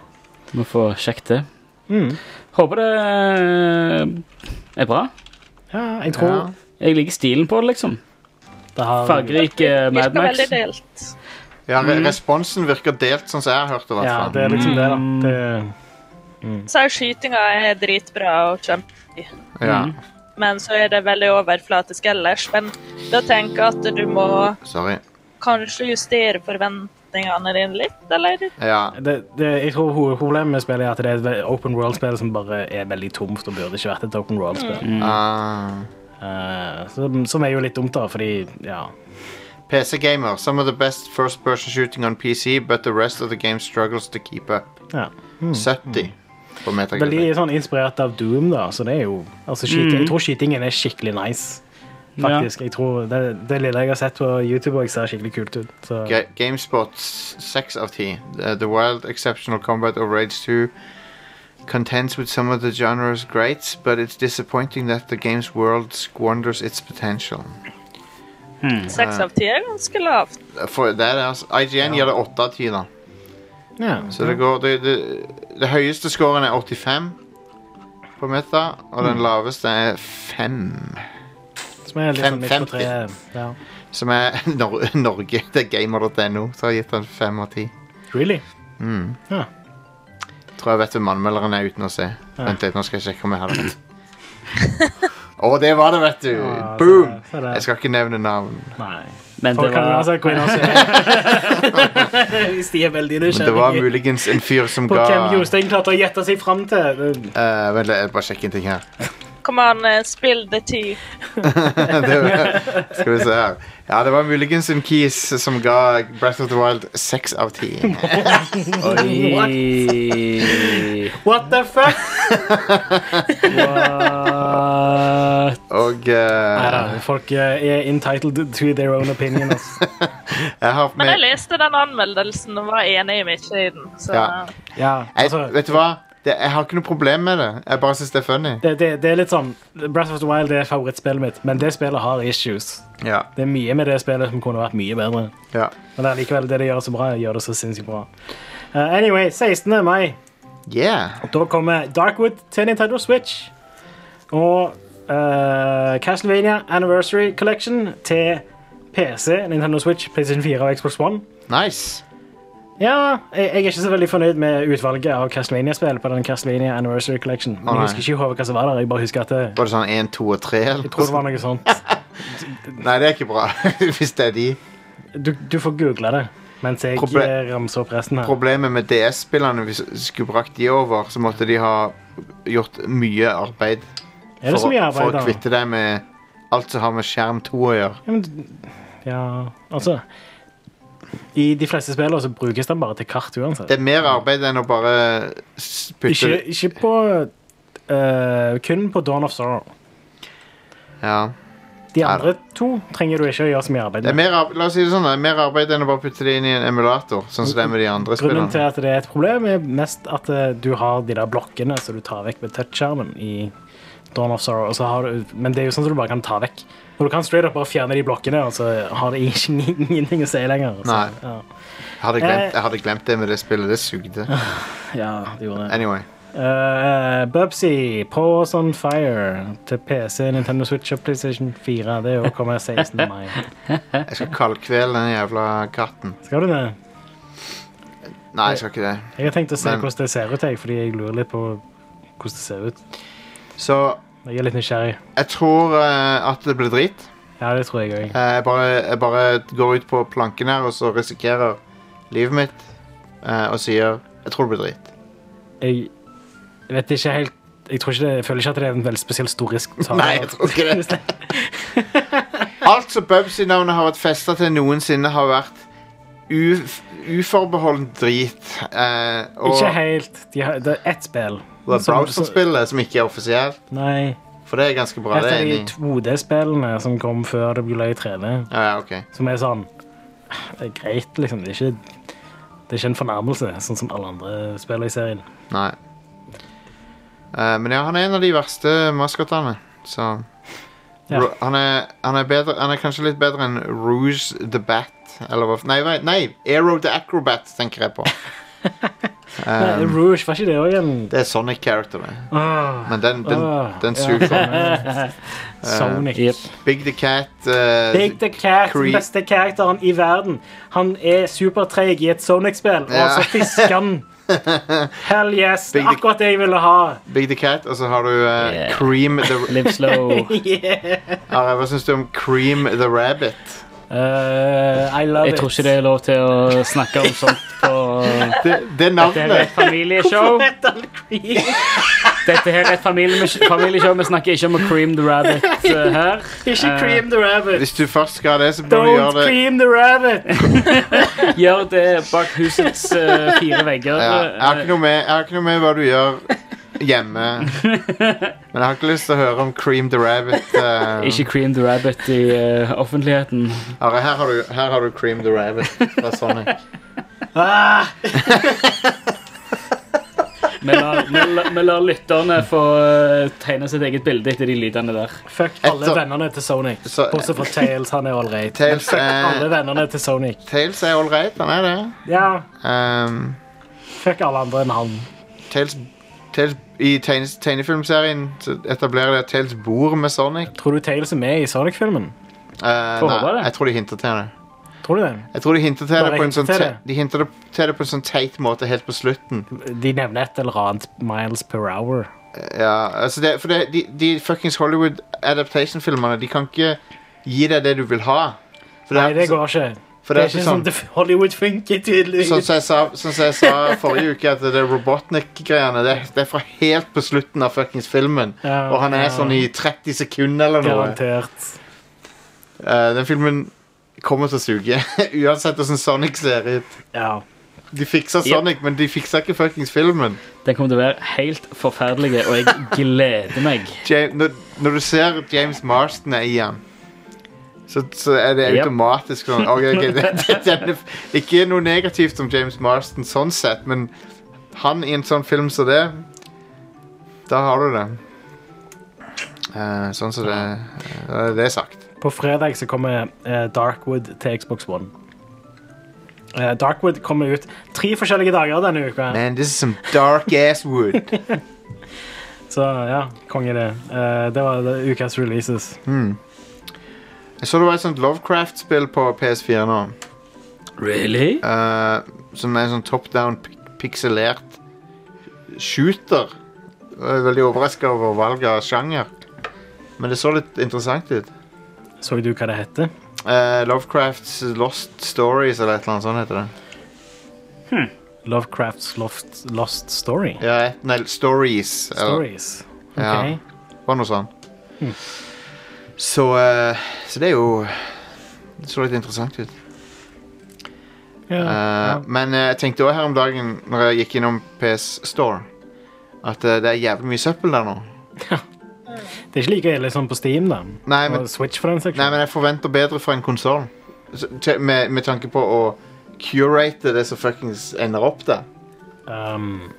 F: Vi får sjekket det.
D: Mm.
F: Håper det eh, er bra.
E: ja, jeg tror
D: Ja.
F: Jeg liker stilen på det, liksom.
E: det har
F: Fargerik eh, Mad
G: Virker
F: Max.
G: veldig delt.
D: Ja, re responsen virker delt, sånn som jeg har hørt det. i
E: Mm. Ja,
D: hvert
E: det
D: fall.
E: er liksom det, da.
F: Mm.
E: Det,
G: Så er skytinga er dritbra og kjempegøy.
D: Ja.
E: Mm.
G: Men så er det veldig overflatisk ellers. Men da tenker jeg at du må
D: Sorry.
G: kanskje justere forventningene dine litt, eller?
D: Ja.
E: det, det, jeg tror hovedproblemet med spillet er at det er et ve- open world-spill som bare er veldig tomt og burde ikke vært et open world-spill.
D: Ah.
E: Eh, som, som er jo litt dumt, da, fordi ja.
D: PC Gamer. Some of the best first person shooting on PC, but the rest of the game struggles to keep up.
E: ja.
D: 70 på
E: Mm. Veldig
D: Metacritic.
E: sånn inspirert av Doom, da, så det er jo altså,
D: Mm.
E: skyting, Jeg tror skytingen er skikkelig nice. Faktisk, jeg tror det, det lille jeg har sett på YouTube, og jeg ser skikkelig kult ut. Så.
D: Ga GameSpot 6 av 10. The, the Wild Exceptional Combat of Rage 2 contends with some of the genre's greats, but it's disappointing that the game's world squanders its potential.
G: Seks av ti er ganske lavt.
D: For det er det, altså. IGN gir det 8 av 10, da.
E: Ja.
D: Så det går Det, det, det høyeste scoren er 85 på Meta, og den laveste er 5.
E: Som er litt sånn midt på
D: 550.
E: treet. Ja.
D: Som er [laughs] Nor Norge. Det er gamer.no som har gitt den fem av ti.
E: Really?
D: Tror jeg vet hvem anmelderen er uten å se. Vent litt, nå skal jeg sjekke om jeg har det rett. Å, det var det, vet du!
E: Ja,
D: Boom!
E: så- så det-
D: Jeg skal ikke nevne navn.
E: Nei.
F: Men det
E: Folk kan
F: var,
E: uansett gå inn og se.
D: [laughs]
E: Hvis de er veldig
D: Men det var
E: nysgjerrige
D: muligens en fyr som
E: [laughs] på
D: ga
E: hvem Jostein klarte å gjette seg fram til. Det-
D: Eh, Vent litt, jeg bare sjekker en ting her. [laughs]
G: Kom an, eh, spill the tea.
D: det var, skal vi se her. Ja, det var muligens en kis som ga Breath of the Wild seks av
E: [laughs]
D: ti. [laughs]
F: Oi.
E: What the fuck?
D: Og eh,
E: Neida, folk eh, er entitled to their own opinion.
D: [laughs]
E: ass.
D: jeg har
G: Men jeg
D: med
G: leste den anmeldelsen og var enig i mye i den. Så
D: Ja.
E: Ja,
D: jeg,
E: altså,
D: Vet du hva? Det, jeg har ikke noe problem med det. Jeg bare syns det er funny.
E: det, det, det er litt sånn Breath of the Wild er favorittspillet mitt, men det spillet har issues.
D: Ja,
E: Det er mye med det spillet som kunne vært mye bedre.
D: ja.
E: Men det er likevel det de gjør så bra, gjør det så sinnssykt bra. Eh, anyway, 16. mai,
D: Yeah.
E: da kommer Darkwood til Nintendo Switch. Og eh, Castlevania Anniversary Collection til PC, Nintendo Switch, PlayStation 4 og Xbox One.
D: Nice.
E: Ja, jeg, jeg er ikke så veldig fornøyd med utvalget av Castlevania-spill på den Castlevania Anniversary Collection. Men
D: nei.
E: jeg husker ikke i hodet hva som var der. Jeg bare husker at det,
D: Var det sånn 1, 2 og 3? Eller?
E: jeg tror det var noe sånt.
D: [laughs] Nei, det er ikke bra. [laughs] Hvis det er de.
E: Du, du får google det mens jeg
D: Proble-
E: eh, ramser opp resten her.
D: Problemet med DS-spillene, hvis vi skulle brakt de over, så måtte de ha gjort mye arbeid
E: Er
D: for,
E: det så mye
D: å- for
E: arbeid,
D: å
E: da?
D: kvitte deg med alt som har med skjerm 2 å gjøre.
E: Ja, men, ja, altså I de fleste spillene så brukes den bare til kart uansett.
D: Det er mer arbeid enn å bare s- putte
E: Ikke, ikke på eh, Kun på Dawn of Sorrow.
D: Ja.
E: De andre to trenger du ikke å gjøre så mye arbeid
D: Det er
E: med.
D: mer, ar- la oss si det sånn, det er mer arbeid enn å bare putte det inn i en emulator, sånn som det er med de andre
E: Grunnen til
D: spillene.
E: at det er et problem, er mest at eh, du har de der blokkene som du tar vekk med touch-skjermen i Dawn of Sorrow. Og så har du, men det er jo sånn som du bare kan ta vekk. Og du kan straight up bare fjerne de blokkene, og så har det ikke- [laughs] ingenting å si lenger. Så,
D: Nei.
E: Ja.
D: Jeg hadde,
E: Eh.
D: glemt, jeg hadde glemt det med det spillet. Det sugde.
E: ja, det gjorde det.
D: Anyway.
E: Eh, Bubsy, Paws on Fire til PC, Nintendo Switch og PlayStation 4. Det er jo kommer 16. [laughs] mai.
D: Jeg skal kaldkvele den jævla katten.
E: Skal du det?
D: Nei, jeg skal ikke det.
E: Jeg har tenkt å se
D: Men-
E: hvordan det ser ut, jeg, fordi jeg lurer litt på hvordan det ser ut.
D: Så
E: Jeg er litt nysgjerrig.
D: jeg tror eh, at det blir drit.
E: Ja, det tror jeg òg.
D: Eh, Jeg bare, jeg bare går ut på planken her og så risikerer livet mitt eh, og sier Jeg tror det blir drit.
E: Jeg vet ikke helt jeg, tror ikke det, jeg føler ikke at det er en veldig spesielt stor risk. å ta.
D: Nei, jeg tror ikke det.
E: [laughs]
D: Alt som Bubsy-navnet har vært festa til noensinne, har vært uf uforbeholden drit. Eh, og
E: Ikke helt. sånn De har, det er ett spill.
D: det er
E: Som-
D: browserspillet som ikke er offisielt.
E: Nei.
D: For det er ganske bra.
E: Et
D: det er
E: av
D: jeg
E: de
D: enig i.
E: 2D-spillene som kom før det ble 3D,
D: Ja, ja, ok.
E: som er sånn Det er greit, liksom. Det er ikke, det er ikke en fornærmelse, sånn som alle andre spiller i serien.
D: Nei. Eh, men ja, han er en av de verste maskottene. Så
E: Ja.
D: Ru- han, er, han, er bedre, han er kanskje litt bedre enn Rouge the Bat. Eller hva f- Nei, nei, nei Aero the Acrobat tenker jeg på. Um.
E: Nei, Rouge, var ikke det
D: [laughs]
E: òg en Ah.
D: Det er Sonic character, det.
E: Åh,
D: Men den, den,
E: Åh,
D: den suger.
E: Sonic.
F: Jep.
D: Big the Cat. eh,
E: Big the Cat,
D: Cre-
E: den beste karakteren i verden. Han er supertreig i et Sonic-spill, og
D: Ja.
E: så
D: [laughs]
E: fisker han. Hell yes! Det
D: Big
E: er
D: the-
E: akkurat det jeg ville ha.
D: Big the Cat, og så har du eh,
F: Yeah.
D: Cream the
F: [laughs] Live slow.
D: Are, Hva syns du om Cream the Rabbit?
E: Eh, I love
F: Jeg
E: it.
F: tror ikke det er lov til å snakke om sånt på
D: Det, det
F: [laughs] Dette her er
D: navnet
F: et
D: [laughs]
F: familieshow.
E: Metal Cream.
F: Dette her er et familie- familieshow. Vi snakker ikke om å cream the rabbit eh, her.
E: [laughs] Ikke
F: Eh,
E: cream the rabbit.
D: Hvis du først skal ha det, så bør du
E: Don't
D: gjøre det
E: cream the
D: [laughs]
E: rabbit.
F: Gjør det bak husets eh, fire vegger.
D: ja, jeg, har ikke noe med, jeg har ikke noe med hva du gjør hjemme. Men jeg har ikke lyst til å høre om Cream the Rabbit. eh.
F: Ikke cream the rabbit i eh, offentligheten.
D: Are, her, har du, her har du Cream the Rabbit fra Sonic.
E: Ah,
F: Vi lar, vi lar, vi lar lytterne få eh, tegne sitt eget bilde etter de lydene der.
E: fuck alle
D: Etter-
E: vennene til Sonic.
D: Så-
E: Bortsett fra Tails, han er
D: [laughs]
E: ålreit.
D: Tails
E: Alle
D: er,
E: vennene til Sonic.
D: Tails er all right, han er det.
E: Ja,
D: Um,
E: fuck alle andre enn han.
D: Tails, Tails, I tegne, tegnefilmserien så etablerer de at Tails bor med Sonic.
E: Tror du Tails er med i Sonic-filmen?
D: Eh,
F: Får håpe
D: nei,
F: det.
D: jeg tror de hinter til det.
E: Tror du det?
D: Jeg tror de hinter til
E: Bare
D: det på en
E: hinter
D: sånn
E: til
D: te,
E: det.
D: De hinter det til det på en sånn teit måte helt på slutten.
E: De nevner et eller annet miles per hour.
D: Ja, altså det, for det, de, de fuckings Hollywood adaptation-filmerne De kan ikke gi deg det du vil ha. For
E: Nei,
D: er-
E: det går ikke.
D: for
E: Det
D: det
E: er ikke sånn det- Hollywood funker,
D: Sånn
E: tydeligvis.
D: som jeg sa, sånn som jeg sa forrige uke, at det Robotnik-greiene det, det er fra helt på slutten av fuckings filmen.
E: Ja,
D: og han er
E: ja.
D: sånn i 30 sekunder eller noe.
E: Garantert.
D: Eh, den filmen kommer til å suge. [laughs] Uansett hvordan Sonic ser ut.
E: Ja.
D: De fiksa Sonic, men de fiksa ikke fuckings filmen.
F: Den kommer til å være helt forferdelig, og jeg gleder meg.
D: Ja- når, når du ser James Marston er i han så, så er det
F: Yep.
D: automatisk sånn ok, ok, det, det, denne, Ikke noe negativt om James Marston sånn sett, men han i en sånn film som det Da har du det. Eh, sånn som det eh, Det er sagt.
E: På fredag så kommer eh, Darkwood til Xbox One. Eh, Darkwood kommer ut tre forskjellige dager denne uka.
D: Man, this is some dark ass wood.
E: Så ja, konge det. Eh, det var det ukas releases.
D: Jeg så det var et sånt Lovecraft-spill på PS4 nå.
F: Really?
D: eh, som er en sånn top down pikselert shooter. Jeg er veldig overraska over valget av sjanger. Men det så litt interessant ut.
E: Så du hva det heter?
D: Eh, Lovecrafts Lost Stories eller et eller annet sånt heter det.
E: Lovecrafts Lost, Lost Story.
D: Ja, et- nei, Stories. eller-
E: Stories.
D: Ja.
E: Ok. Hm.
D: var noe sånn. Så, eh, så det er jo Det så litt interessant ut.
E: Ja.
D: Eh, Men eh, jeg tenkte også her om dagen Når jeg gikk innom PS Store At eh, det er jævlig mye søppel der nå
E: Det er ikke like ille som på Steam, da.
D: Nei, men-
E: Og Switch for den saks
D: Nei,
E: skyld.
D: men jeg forventer bedre fra en konsol Så- te- med, med tanke på å Curate det som fuckings ender opp der
E: Um,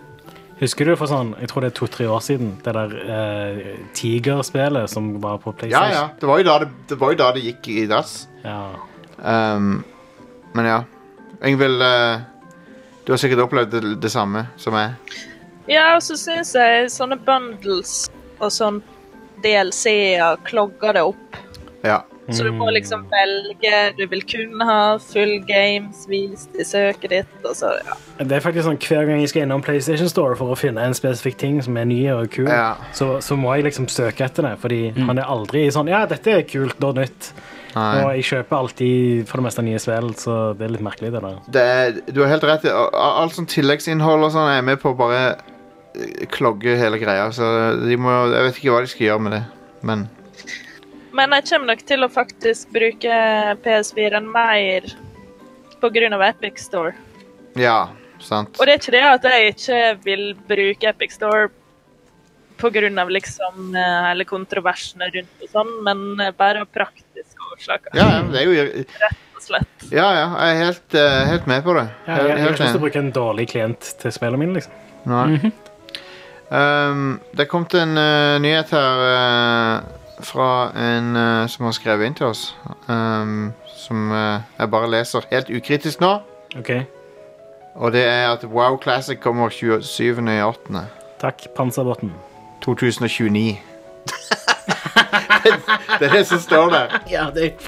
E: husker du for sånn, jeg tror det er to-tre år siden, det der eh, tigerspillet som var på
D: Ja, ja,
E: PlayStation?
D: det var jo da det, det, var jo da det gikk i dass
E: ja.
D: um, Men ja Yngvild eh, Du har sikkert opplevd det, det samme som jeg
G: Ja, og så syns jeg sånne bundles og sånn DLC-er klogger det opp.
D: Ja,
G: Så du må liksom velge Du vil kun ha full games vist i søket ditt, og så ja.
E: Det er faktisk sånn Hver gang jeg skal innom PlayStation Store for å finne en spesifikk ting som er ny og kul,
D: Ja.
E: så, så må jeg liksom søke etter det. Fordi han er aldri sånn Ja, dette er kult og nytt.
D: Nei.
E: Og jeg kjøper alltid for det meste nye spill, så det er litt merkelig, det der.
D: det er, du har helt rett. i- a- a- Alt sånn tilleggsinnhold og sånn er med på å bare eh, klogge hele greia. Så de må, jeg vet ikke hva de skal gjøre med det. Men
G: Men jeg kommer nok til å faktisk bruke PS4-en mer på grunn av Epic Store.
D: ja, sant.
G: Og det er ikke det at jeg ikke vil bruke Epic Store på grunn av liksom eh, hele kontroversene rundt og sånn, men eh, bare av praktiske årsaker,
D: Ja, ja, det er jo ir-
G: rett og slett.
D: Ja, ja, jeg er helt, eh, helt med på det.
E: Ja, jeg, jeg, har
D: Helt
E: ikke lyst til å
D: enig.
E: bruke en dårlig klient til spillene mine, liksom.
D: Nei. Um, det kom til en eh, nyhet her eh, fra en eh, som har skrevet inn til oss. Um, som eh, jeg bare leser helt ukritisk nå.
E: OK.
D: Og det er at Wow Classic kommer 27.8.
E: Takk, Panserbotn.
D: 2029. [laughs] det, det er det som står der. [laughs]
E: Ja, det [laughs]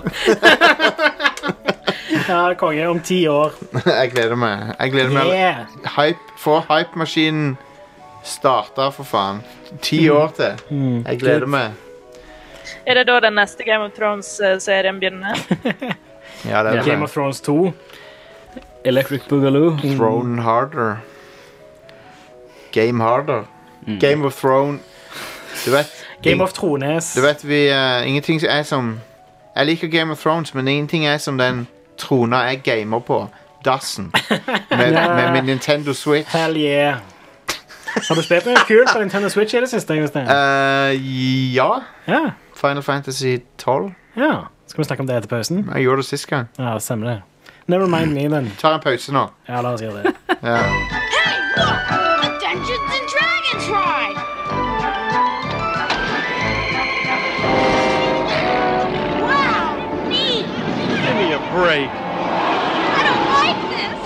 E: Ja, konge. Om ti år.
D: Jeg gleder meg. Jeg gleder meg.
E: Yeah.
D: Hype, Få hypemaskinen starta, for faen. Ti
E: Mm.
D: år til. Jeg gleder meg.
G: Er det da den neste Game of
D: [laughs]
G: Thrones-serien begynner?
D: Ja, det er
E: Game
D: det.
E: of Thrones 2.
F: Electric Boogaloo.
D: Throne harder. Game harder.
E: Mm.
D: Game of Throne. Du vet,
E: Game of Trones.
D: du vet vi eh, Ingenting er som Jeg liker Game of Thrones, men ingenting er som den trona jeg gamer på.
E: [laughs]
D: Dassen. Med, med min Nintendo Switch.
E: Hell yeah. Har du spilt noe kult på Nintendo Switch i det siste? Jostein?
D: Eh, ja.
E: Ja,
D: Final Fantasy 12.
E: ja. Skal vi snakke om det etter pausen?
D: Jeg gjorde det sist gang.
E: Ja, stemmer det. Never mind me, then.
D: Tar en pause nå.
E: Ja, la oss gjøre det.
D: Ja.
J: Hey, look! A Dungeons and Dragons ride! Wow! Neat!
A: Give me a break.
J: I don't like this!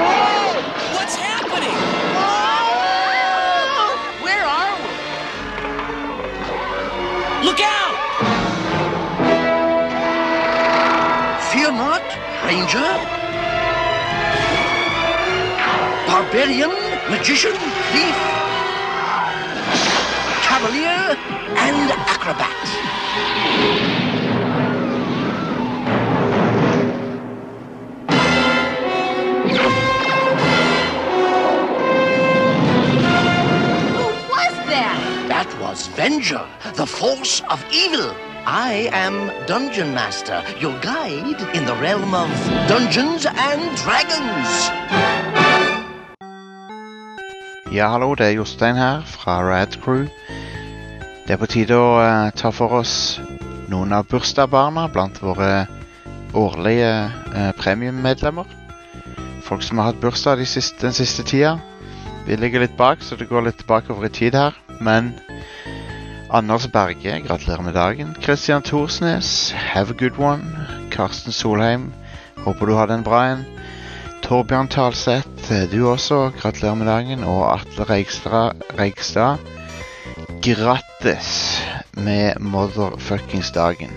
J: Whoa! What's happening? Whoa! Where are we?
K: Look out! Fear not, Ranger. Barbarian, magician, thief, cavalier, and acrobat.
J: Who was that?
K: That was Venger, the force of evil. I am Dungeon Master, your guide in the realm of Dungeons and Dragons.
D: Ja, hallo, det er Jostein her fra Rad Crew. Det er på tide å eh, ta for oss noen av bursdagsbarna blant våre årlige eh, premiummedlemmer. Folk som har hatt bursdag de siste, den siste tida. Vi ligger litt bak, så det går litt bakover i tid her. Men Anders Berge, gratulerer med dagen. Christian Thorsnes, have a good one. Karsten Solheim, håper du hadde en bra en. Torbjørn Talseth, eh, du også. Gratulerer med dagen. Og Atle Reigstra- Reigstad. Grattis med motherfuckings dagen.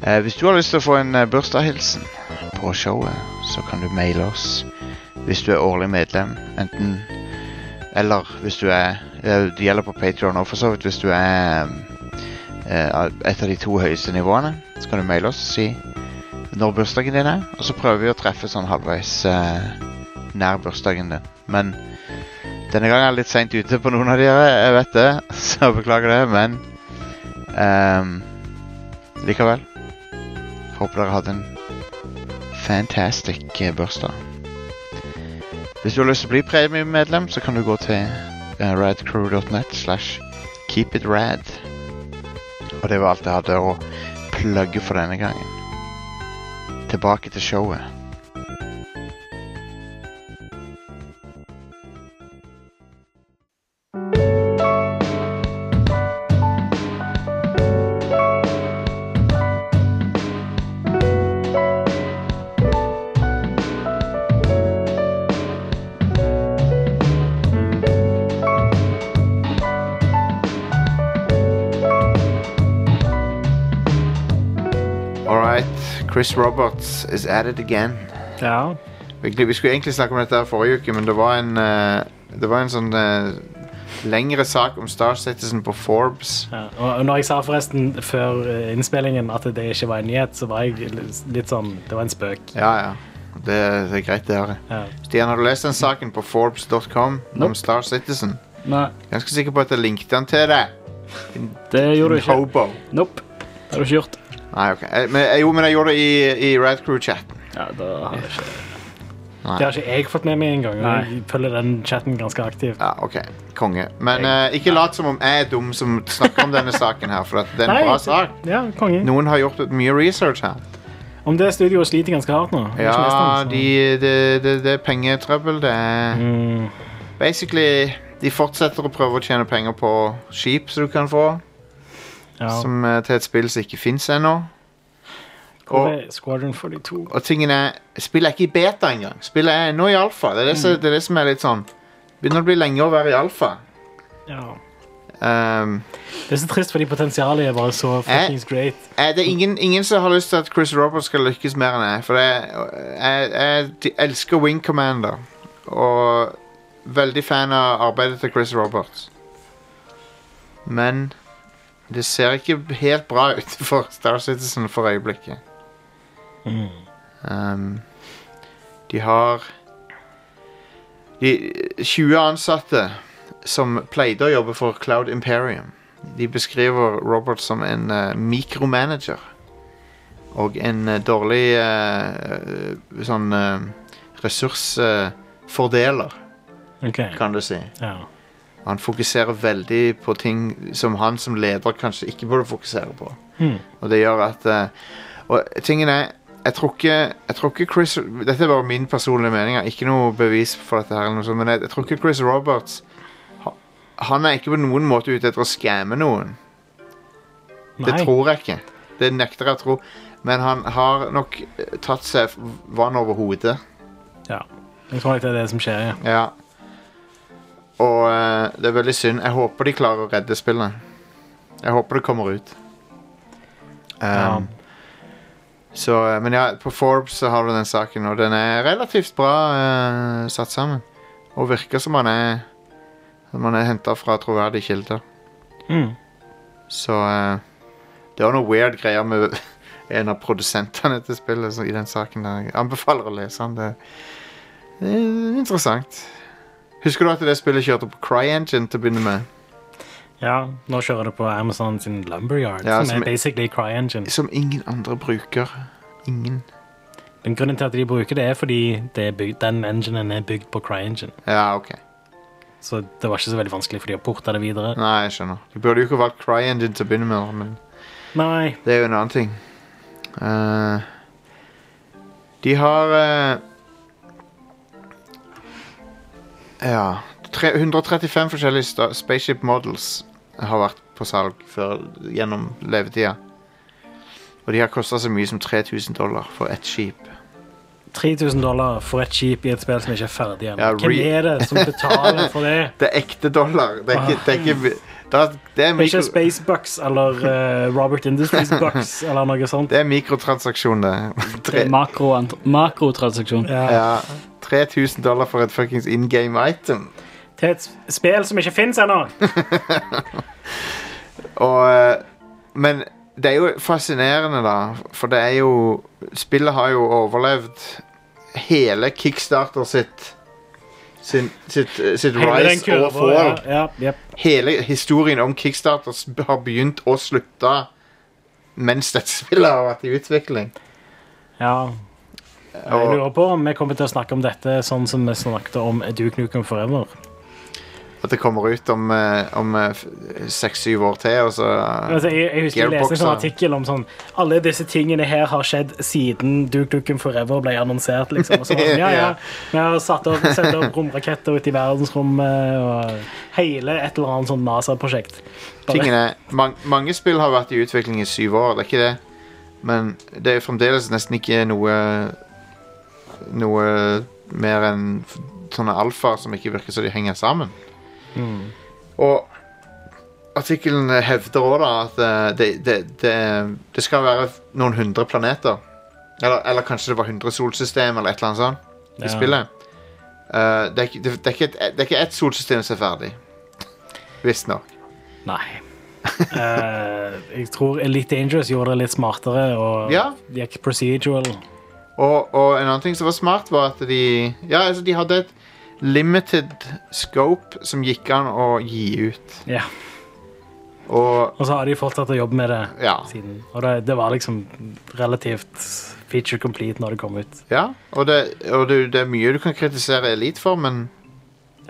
D: Eh, hvis du har lyst til å få en eh, bursdagshilsen på showet, så kan du maile oss hvis du er årlig medlem. Enten Eller hvis du er eh, Det gjelder på Patreon òg, for så vidt. Hvis du er eh, et av de to høyeste nivåene, så kan du maile oss og si når bursdagen din er, og så prøver vi å treffe sånn halvveis eh, nær bursdagen din. Men denne gangen er jeg litt seint ute på noen av dere, jeg vet det, så beklager det, men ehm, Likevel. Håper dere hadde en fantastic eh, bursdag. Hvis du har lyst til å bli premiemedlem, så kan du gå til eh, radcrew.net slash keepitrad. Og det var alt jeg hadde å plugge for denne gangen tilbake til showet. Chris Roberts is at it again.
E: Ja.
D: Vi, vi skulle egentlig snakke om dette her forrige uke, men det var en, eh, det var en sånn eh, lengre sak om Star Citizen på Forbes.
E: Ja, og når jeg sa forresten før eh, innspillingen at det ikke var en nyhet, så var jeg litt- litt sånn Det var en spøk.
D: Ja, ja. Det, det er greit, det her.
E: Ja.
D: Stian, har du lest den saken på Forbes.com om Star Citizen?
F: Nei,
D: Ganske sikker på at jeg linket den til deg. Din-
F: det gjorde du
D: din
F: ikke.
D: Hobo.
F: Nope. Det har du ikke gjort.
D: Nei, ok. Eh, Men, eh, jo, men jeg gjorde det i, i Radcrew-chatten.
F: Ja, da har jeg ikke
D: Nei.
E: Det har ikke jeg fått med meg engang.
F: Nei.
E: og Jeg følger den chatten ganske aktivt.
D: Ja, ok. Konge. Men eh, ikke lat som om jeg er dum som snakker om denne saken her, for at det er en
E: Nei,
D: bra sak.
E: Ja, konge.
D: Noen har gjort mye research her.
E: Om det studioet sliter ganske hardt nå. Jeg har ikke
D: Ja,
E: lest den, så-
D: de, det, det, det er pengetrøbbel. Det er Basically, de fortsetter å prøve å tjene penger på skip som du kan få,
E: Ja.
D: som, eh, til et spill som ikke fins ennå.
E: Hvor er Squadron 42?
D: Og tingen er Spillet er ikke i beta engang. Spillet er ennå i alfa. Det er det, som, det er det som er litt sånn Begynner å bli lenge å være i alfa.
E: Ja.
D: Ehm,
E: Det er så trist, fordi potensialet er bare så fuckings great.
D: eh, det er ingen, ingen som har lyst til at Chris Roberts skal lykkes mer enn jeg. For det er, jeg, jeg de- elsker Wing Commander. Og veldig fan av arbeidet til Chris Roberts. Men det ser ikke helt bra ut [laughs] for Star Citizen for øyeblikket. Ehm, de har de, 20 ansatte som pleide å jobbe for Cloud Imperium. De beskriver Robert som en eh, mikromanager. Og en eh, dårlig eh, eh, sånn ressursfordeler,
E: Ok.
D: kan du si.
E: Ja.
D: Han fokuserer veldig på ting som han som leder kanskje ikke burde fokusere på.
E: Hmm.
D: Og det gjør at eh, Og tingen er jeg tror, ikke, jeg tror ikke Chris Dette er bare min personlige mening. Jeg har ikke noe bevis for dette. her eller noe sånt, Men jeg, jeg tror ikke Chris Roberts ha- Han er ikke på noen måte ute etter å skamme noen. Det
E: Nei.
D: tror jeg ikke. Det nekter jeg å tro. Men han har nok eh, tatt seg vann over hodet.
E: Ja. Jeg tror nok det er det som skjer, ja.
D: Ja. Og eh, det er veldig synd. Jeg håper de klarer å redde spillet. Jeg håper det kommer ut. Um, Så, eh, men ja, på Forbes så har du den saken, og den er relativt bra eh, satt sammen. Og virker som han er Som han er henta fra troverdige kilder.
E: Mm.
D: Så eh, det var noe weird greier med [laughs] en av produsentene til spillet så, i den saken. Der. Jeg anbefaler å lese den. Det, det er eh, interessant. Husker du at det spillet kjørte på CryEngine til å begynne med?
E: ja. Nå kjører det på Amazon sin Lumberyard,
D: Ja,
E: som
D: som
E: er
D: er-
E: basically CryEngine.
D: Som ingen andre bruker. Ingen.
E: Den grunnen til at de bruker det, er fordi det er bygd, den enginen er bygd på CryEngine.
D: Ja, ok.
E: Så det var ikke så veldig vanskelig for de å porte det videre.
D: Nei, jeg skjønner. De burde jo ikke valgt CryEngine til å begynne med, men
E: Nei.
D: Det er jo en annen ting. Eh, de har eh, Ja. tre- 135 forskjellige sta- spaceship models har vært på salg før, gjennom levetida. Og de har kosta så mye som 3000 dollar for ett skip.
E: 3000 dollar for et skip i et spill som ikke er ferdig ennå.
D: Ja,
E: Hvem
D: re-
E: er det som betaler for det?
D: Det er ekte dollar. Det er ikke, det er ikke da- det er
E: Det er ikke
D: [laughs] mikro,
E: Spacebucks eller eh, Robert Industries
D: [laughs]
E: Bucks eller noe sånt.
D: det er mikrotransaksjon, det.
F: Det
D: Tre,
F: er makro- Makrotransaksjon.
E: Ja.
D: ja, 3000 dollar for et fuckings in game item.
E: Til et spill som ikke fins ennå.
D: Og, eh, men det er jo fascinerende, da. For det er jo Spillet har jo overlevd hele Kickstarter sitt sin, sitt, eh, sitt
E: Hele den
D: rise og
E: kurven,
D: fall.
E: Ja, ja, jep.
D: Hele historien om Kickstarter s- har begynt og slutta mens dette [laughs] spillet har vært i utvikling.
E: ja. Jeg
D: Og,
E: lurer på om vi kommer til å snakke om dette sånn som vi snakket om Duke Nukem Forever.
D: at det kommer ut om, eh, om eh, f- seks-syv år til, og så
E: Altså, jeg, jeg husker jeg leste en sånn
D: Gearboxer.
E: artikkel om sånn Alle disse tingene her har skjedd siden Duke Nukem Forever ble annonsert. liksom. Og så var
D: [laughs]
E: det sånn, ja, ja. Vi har satt opp, sendt opp romraketter ut i verdensrommet og hele et eller annet sånn NASA-prosjekt. Bare-
D: Tingen er, man, mange spill har vært i utvikling i syv år, det er ikke det. Men det er fremdeles nesten ikke noe Noe mer enn f- sånne alfaer som ikke virker så de henger sammen. Og artikkelen hevder òg at eh, det, det, det, det skal være noen hundre planeter Eller, eller kanskje det var 100 solsystem eller et eller annet sånt i
E: Ja.
D: spillet. Eh, det, er, ikke- det, det, er ikke et, det er ikke ett solsystem som er ferdig. [laughs] Visstnok.
E: Nei. [laughs] Eh, jeg tror Elite Dangerous gjorde det litt smartere og
D: Ja.
E: gikk procedural.
D: Og, og en annen ting som var smart, var at de Ja, altså, de hadde et limited scope som gikk an å gi ut.
E: Ja.
D: Og
E: Og så har de fortsatt å jobbe med det
D: Ja.
E: siden. Og det, det var liksom relativt feature complete når det kom ut.
D: Ja, og det, og det, det er mye du kan kritisere Elite for, men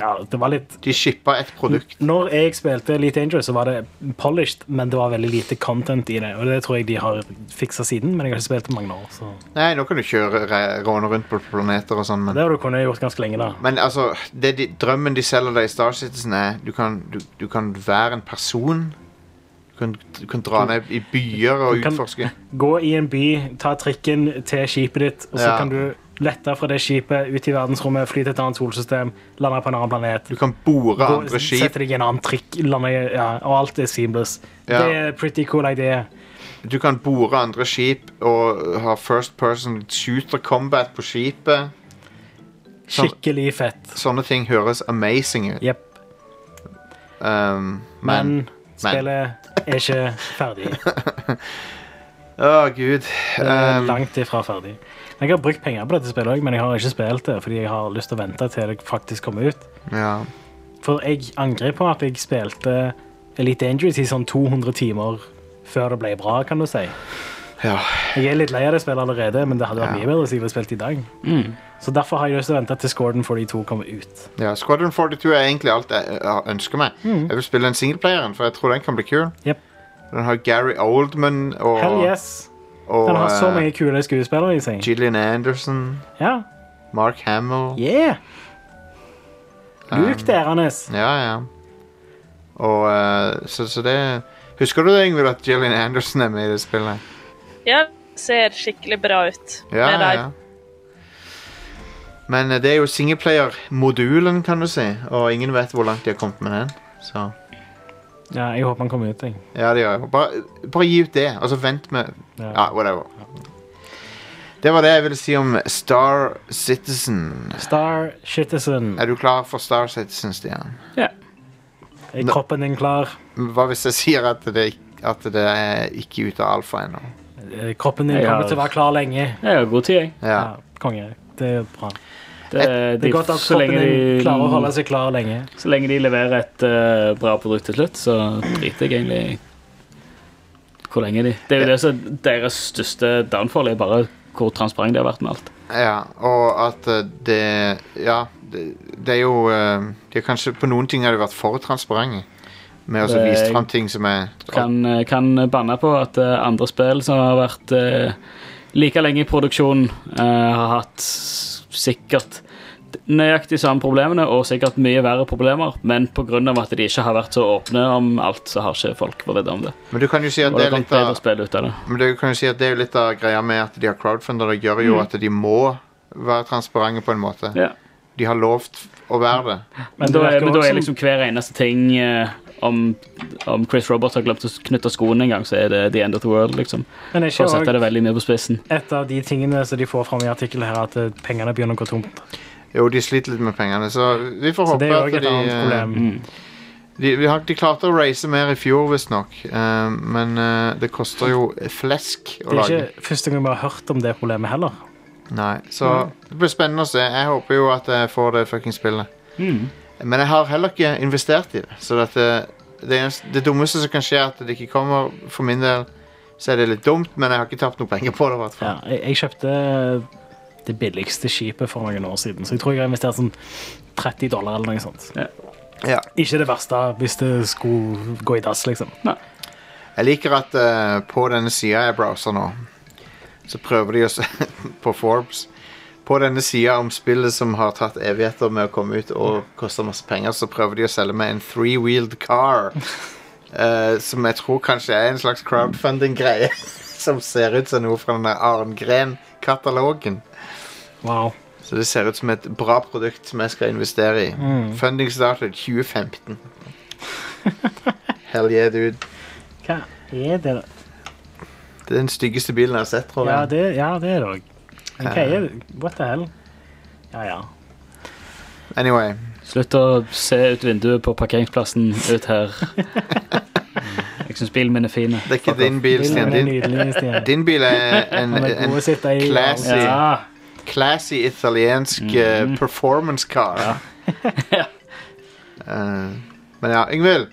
E: Ja, det var litt
D: de shippa et produkt.
E: Når jeg spilte Elite Dangerous, så var det polished, men det var veldig lite content i det. Og det tror jeg de har fiksa siden, men jeg har ikke spilt på mange år. Så.
D: Nei, nå kan du kjøre re- råne rundt på planeter og sånn, men
E: Det har du kunnet gjort ganske lenge, da.
D: Men altså, det de, drømmen de selger deg i Star Citizen, er du kan, du, du kan være en person. Du kan, du kan dra ned i byer og
E: Du kan-
D: utforske.
E: Gå i en by, ta trikken til skipet ditt, og så
D: Ja.
E: kan du lette fra det skipet ut i verdensrommet, fly til et annet solsystem, lande på en annen planet.
D: Du kan bore
E: Gå- liksom
D: andre skip.
E: Sette deg i en annen trikk, lande, i- ja, og alt er seamless.
D: Ja.
E: Det er pretty cool idé.
D: Du kan bore andre skip og ha first person shooter combat på skipet. Sånn-
E: Skikkelig fett.
D: sånne ting høres amazing ut.
E: Jepp.
D: Um,
E: Men,
D: men
E: spillet er ikke ferdig.
D: Å, gud.
E: Det er
D: [laughs] Um,
E: langt ifra ferdig. Men Jeg har brukt penger på dette spillet òg, men jeg har ikke spilt det fordi jeg har lyst til å vente til det faktisk kommer ut.
D: ja.
E: For jeg angrer på at jeg spilte Elite Dangerous i sånn 200 timer før det ble bra, kan du si.
D: ja.
E: Jeg er litt lei av det spillet allerede, men det hadde vært
D: Ja.
E: mye bedre hvis jeg hadde spilt i dag.
F: Mm.
E: Så derfor har jeg lyst til å vente til Scorden 42 kommer ut.
D: ja. Squadron 42 er egentlig alt jeg jeg ønsker meg. Jeg vil spille den singleplayeren, for jeg tror den kan bli kul.
E: Mm. Jep.
D: Den har Gary Oldman og,
E: Hell yes!
D: og
E: Den har så
D: eh,
E: mange kule skuespillere i seg.
D: Gillian Anderson,
E: Ja.
D: Mark Hamill
E: Yeah!
D: Um,
E: Luke det er hans.
D: Ja, ja. Og eh, så, så det Husker du det, Ingvild, at Gillian Anderson er med i det spillet?
G: Ja, ser skikkelig bra ut.
D: Ja,
G: med
D: ja,
G: de-
D: ja. Men eh, det er jo singleplayer-modulen, kan du si, og ingen vet hvor langt de har kommet med den. Så
E: Ja, jeg håper han kommer ut, jeg.
D: ja, de har bare, bare gi ut det, og så vent med
E: Ja.
D: Ja, whatever. Det var det jeg ville si om Star Citizen.
E: Star Citizen.
D: Er du klar for Star Citizen, Stian?
F: Ja.
E: Er kroppen din klar?
D: Hva hvis jeg sier at det, at det er ikke ute av alfa ennå?
E: Eh, Kroppen din
F: Jeg
E: kommer
F: har-
E: til å være klar lenge.
F: Jeg har god tid, jeg.
D: Ja.
E: Ja, konge. Det er bra.
F: Det,
E: Det er godt at
F: så,
E: kroppen
F: lenge
E: din klarer å holde
F: de,
E: seg klar lenge.
F: så lenge de leverer et eh, bra produkt til slutt, så driter jeg egentlig i hvor lenge de Det er jo det som er deres største downfall, er bare hvor transparent de har vært med alt.
D: Ja, og at eh, det Ja, det, det er jo eh, De har kanskje På noen ting har de vært for transparente med å så
F: Det-
D: vise fram ting som er
F: Kan, eh, kan banne på at eh, andre spill som har vært eh, like lenge i produksjon, eh, har hatt s- sikkert nøyaktig samme problemene, og sikkert mye verre problemer, men pga. at de ikke har vært så åpne om alt, så har ikke folk fått vite om det.
D: Men du kan jo si at
F: Og
D: det
F: det
D: er
F: kom
D: litt av
F: bedre spill ut av det.
D: Men det kan jo si at det er jo litt av greia med at de har crowdfunder. Det gjør
E: Mm.
D: jo at de må være transparente på en måte.
F: Ja.
D: De har lovt å være det.
F: Men
E: det
F: da er,
E: virker
F: men da
E: også
F: er liksom hver eneste ting eh, om, om Chris Roberts har glemt å knytte skoene en gang, så er det the end of the world, liksom.
E: som- Men er
F: For å sette
E: ikke
F: det veldig mye på spissen.
E: også et av de tingene som de får fram i artikkelen her, at eh, pengene begynner å gå tomt.
D: Jo, de sliter litt med pengene, så vi får
E: Så
D: håpe
E: det er jo
D: at
E: også et
D: de,
E: annet
D: eh,
E: problem.
F: Mm.
D: de vi har, De klarte å raise mer i fjor, visstnok, eh, men eh, det koster jo flesk å
E: Det er
D: lage.
E: ikke første gang vi har hørt om det problemet heller.
D: Nei, Så det blir spennende å se. Jeg håper jo at jeg får det fuckings spillet. Men jeg har heller ikke investert i det, så dette, det, eneste, det dummeste som kan skje, er at det ikke kommer. For min del så er det litt dumt, men jeg har ikke tapt noe penger på det. i hvert fall.
E: Ja, jeg, jeg kjøpte eh, det billigste skipet for noen år siden, så jeg tror jeg har investert sånn 30 dollar eller noe sånt.
D: Ja.
E: Ikke det verste hvis det skulle gå i dass, liksom.
D: Jeg liker at eh, på denne sida jeg browser nå, så prøver de å se [laughs] på Forbes På denne sida om spillet som har tatt evigheter med å komme ut og koster masse penger, så prøver de å selge meg en three-wheeled car. eh, som jeg tror kanskje er en slags crowdfunding-greie. [laughs] Som ser ut som noe fra den der Arngren-katalogen.
E: Wow.
D: Så det ser ut som et bra produkt som jeg skal investere i. Funding started 2015. Hell yeah, dude.
E: Hva er det? da?
D: Det er den styggeste bilen jeg har sett, tror jeg.
E: Ja, det, ja, det er det òg.
D: Ja.
E: what the hell? Ja, ja.
D: Anyway.
F: Slutt å se ut vinduet på parkeringsplassen
E: [laughs]
F: ut her. Jeg syns bilen min er fin.
D: Det er ikke din bil,
E: Bilen
D: Stian.
E: er
D: Din,
E: nydelig, Stian.
D: din bil er en,
E: [laughs] Han er god
D: en
E: å sitte i.
D: classy,
E: Ja.
D: classy italiensk eh, performance car. [laughs] Eh, men ja, Yngvild,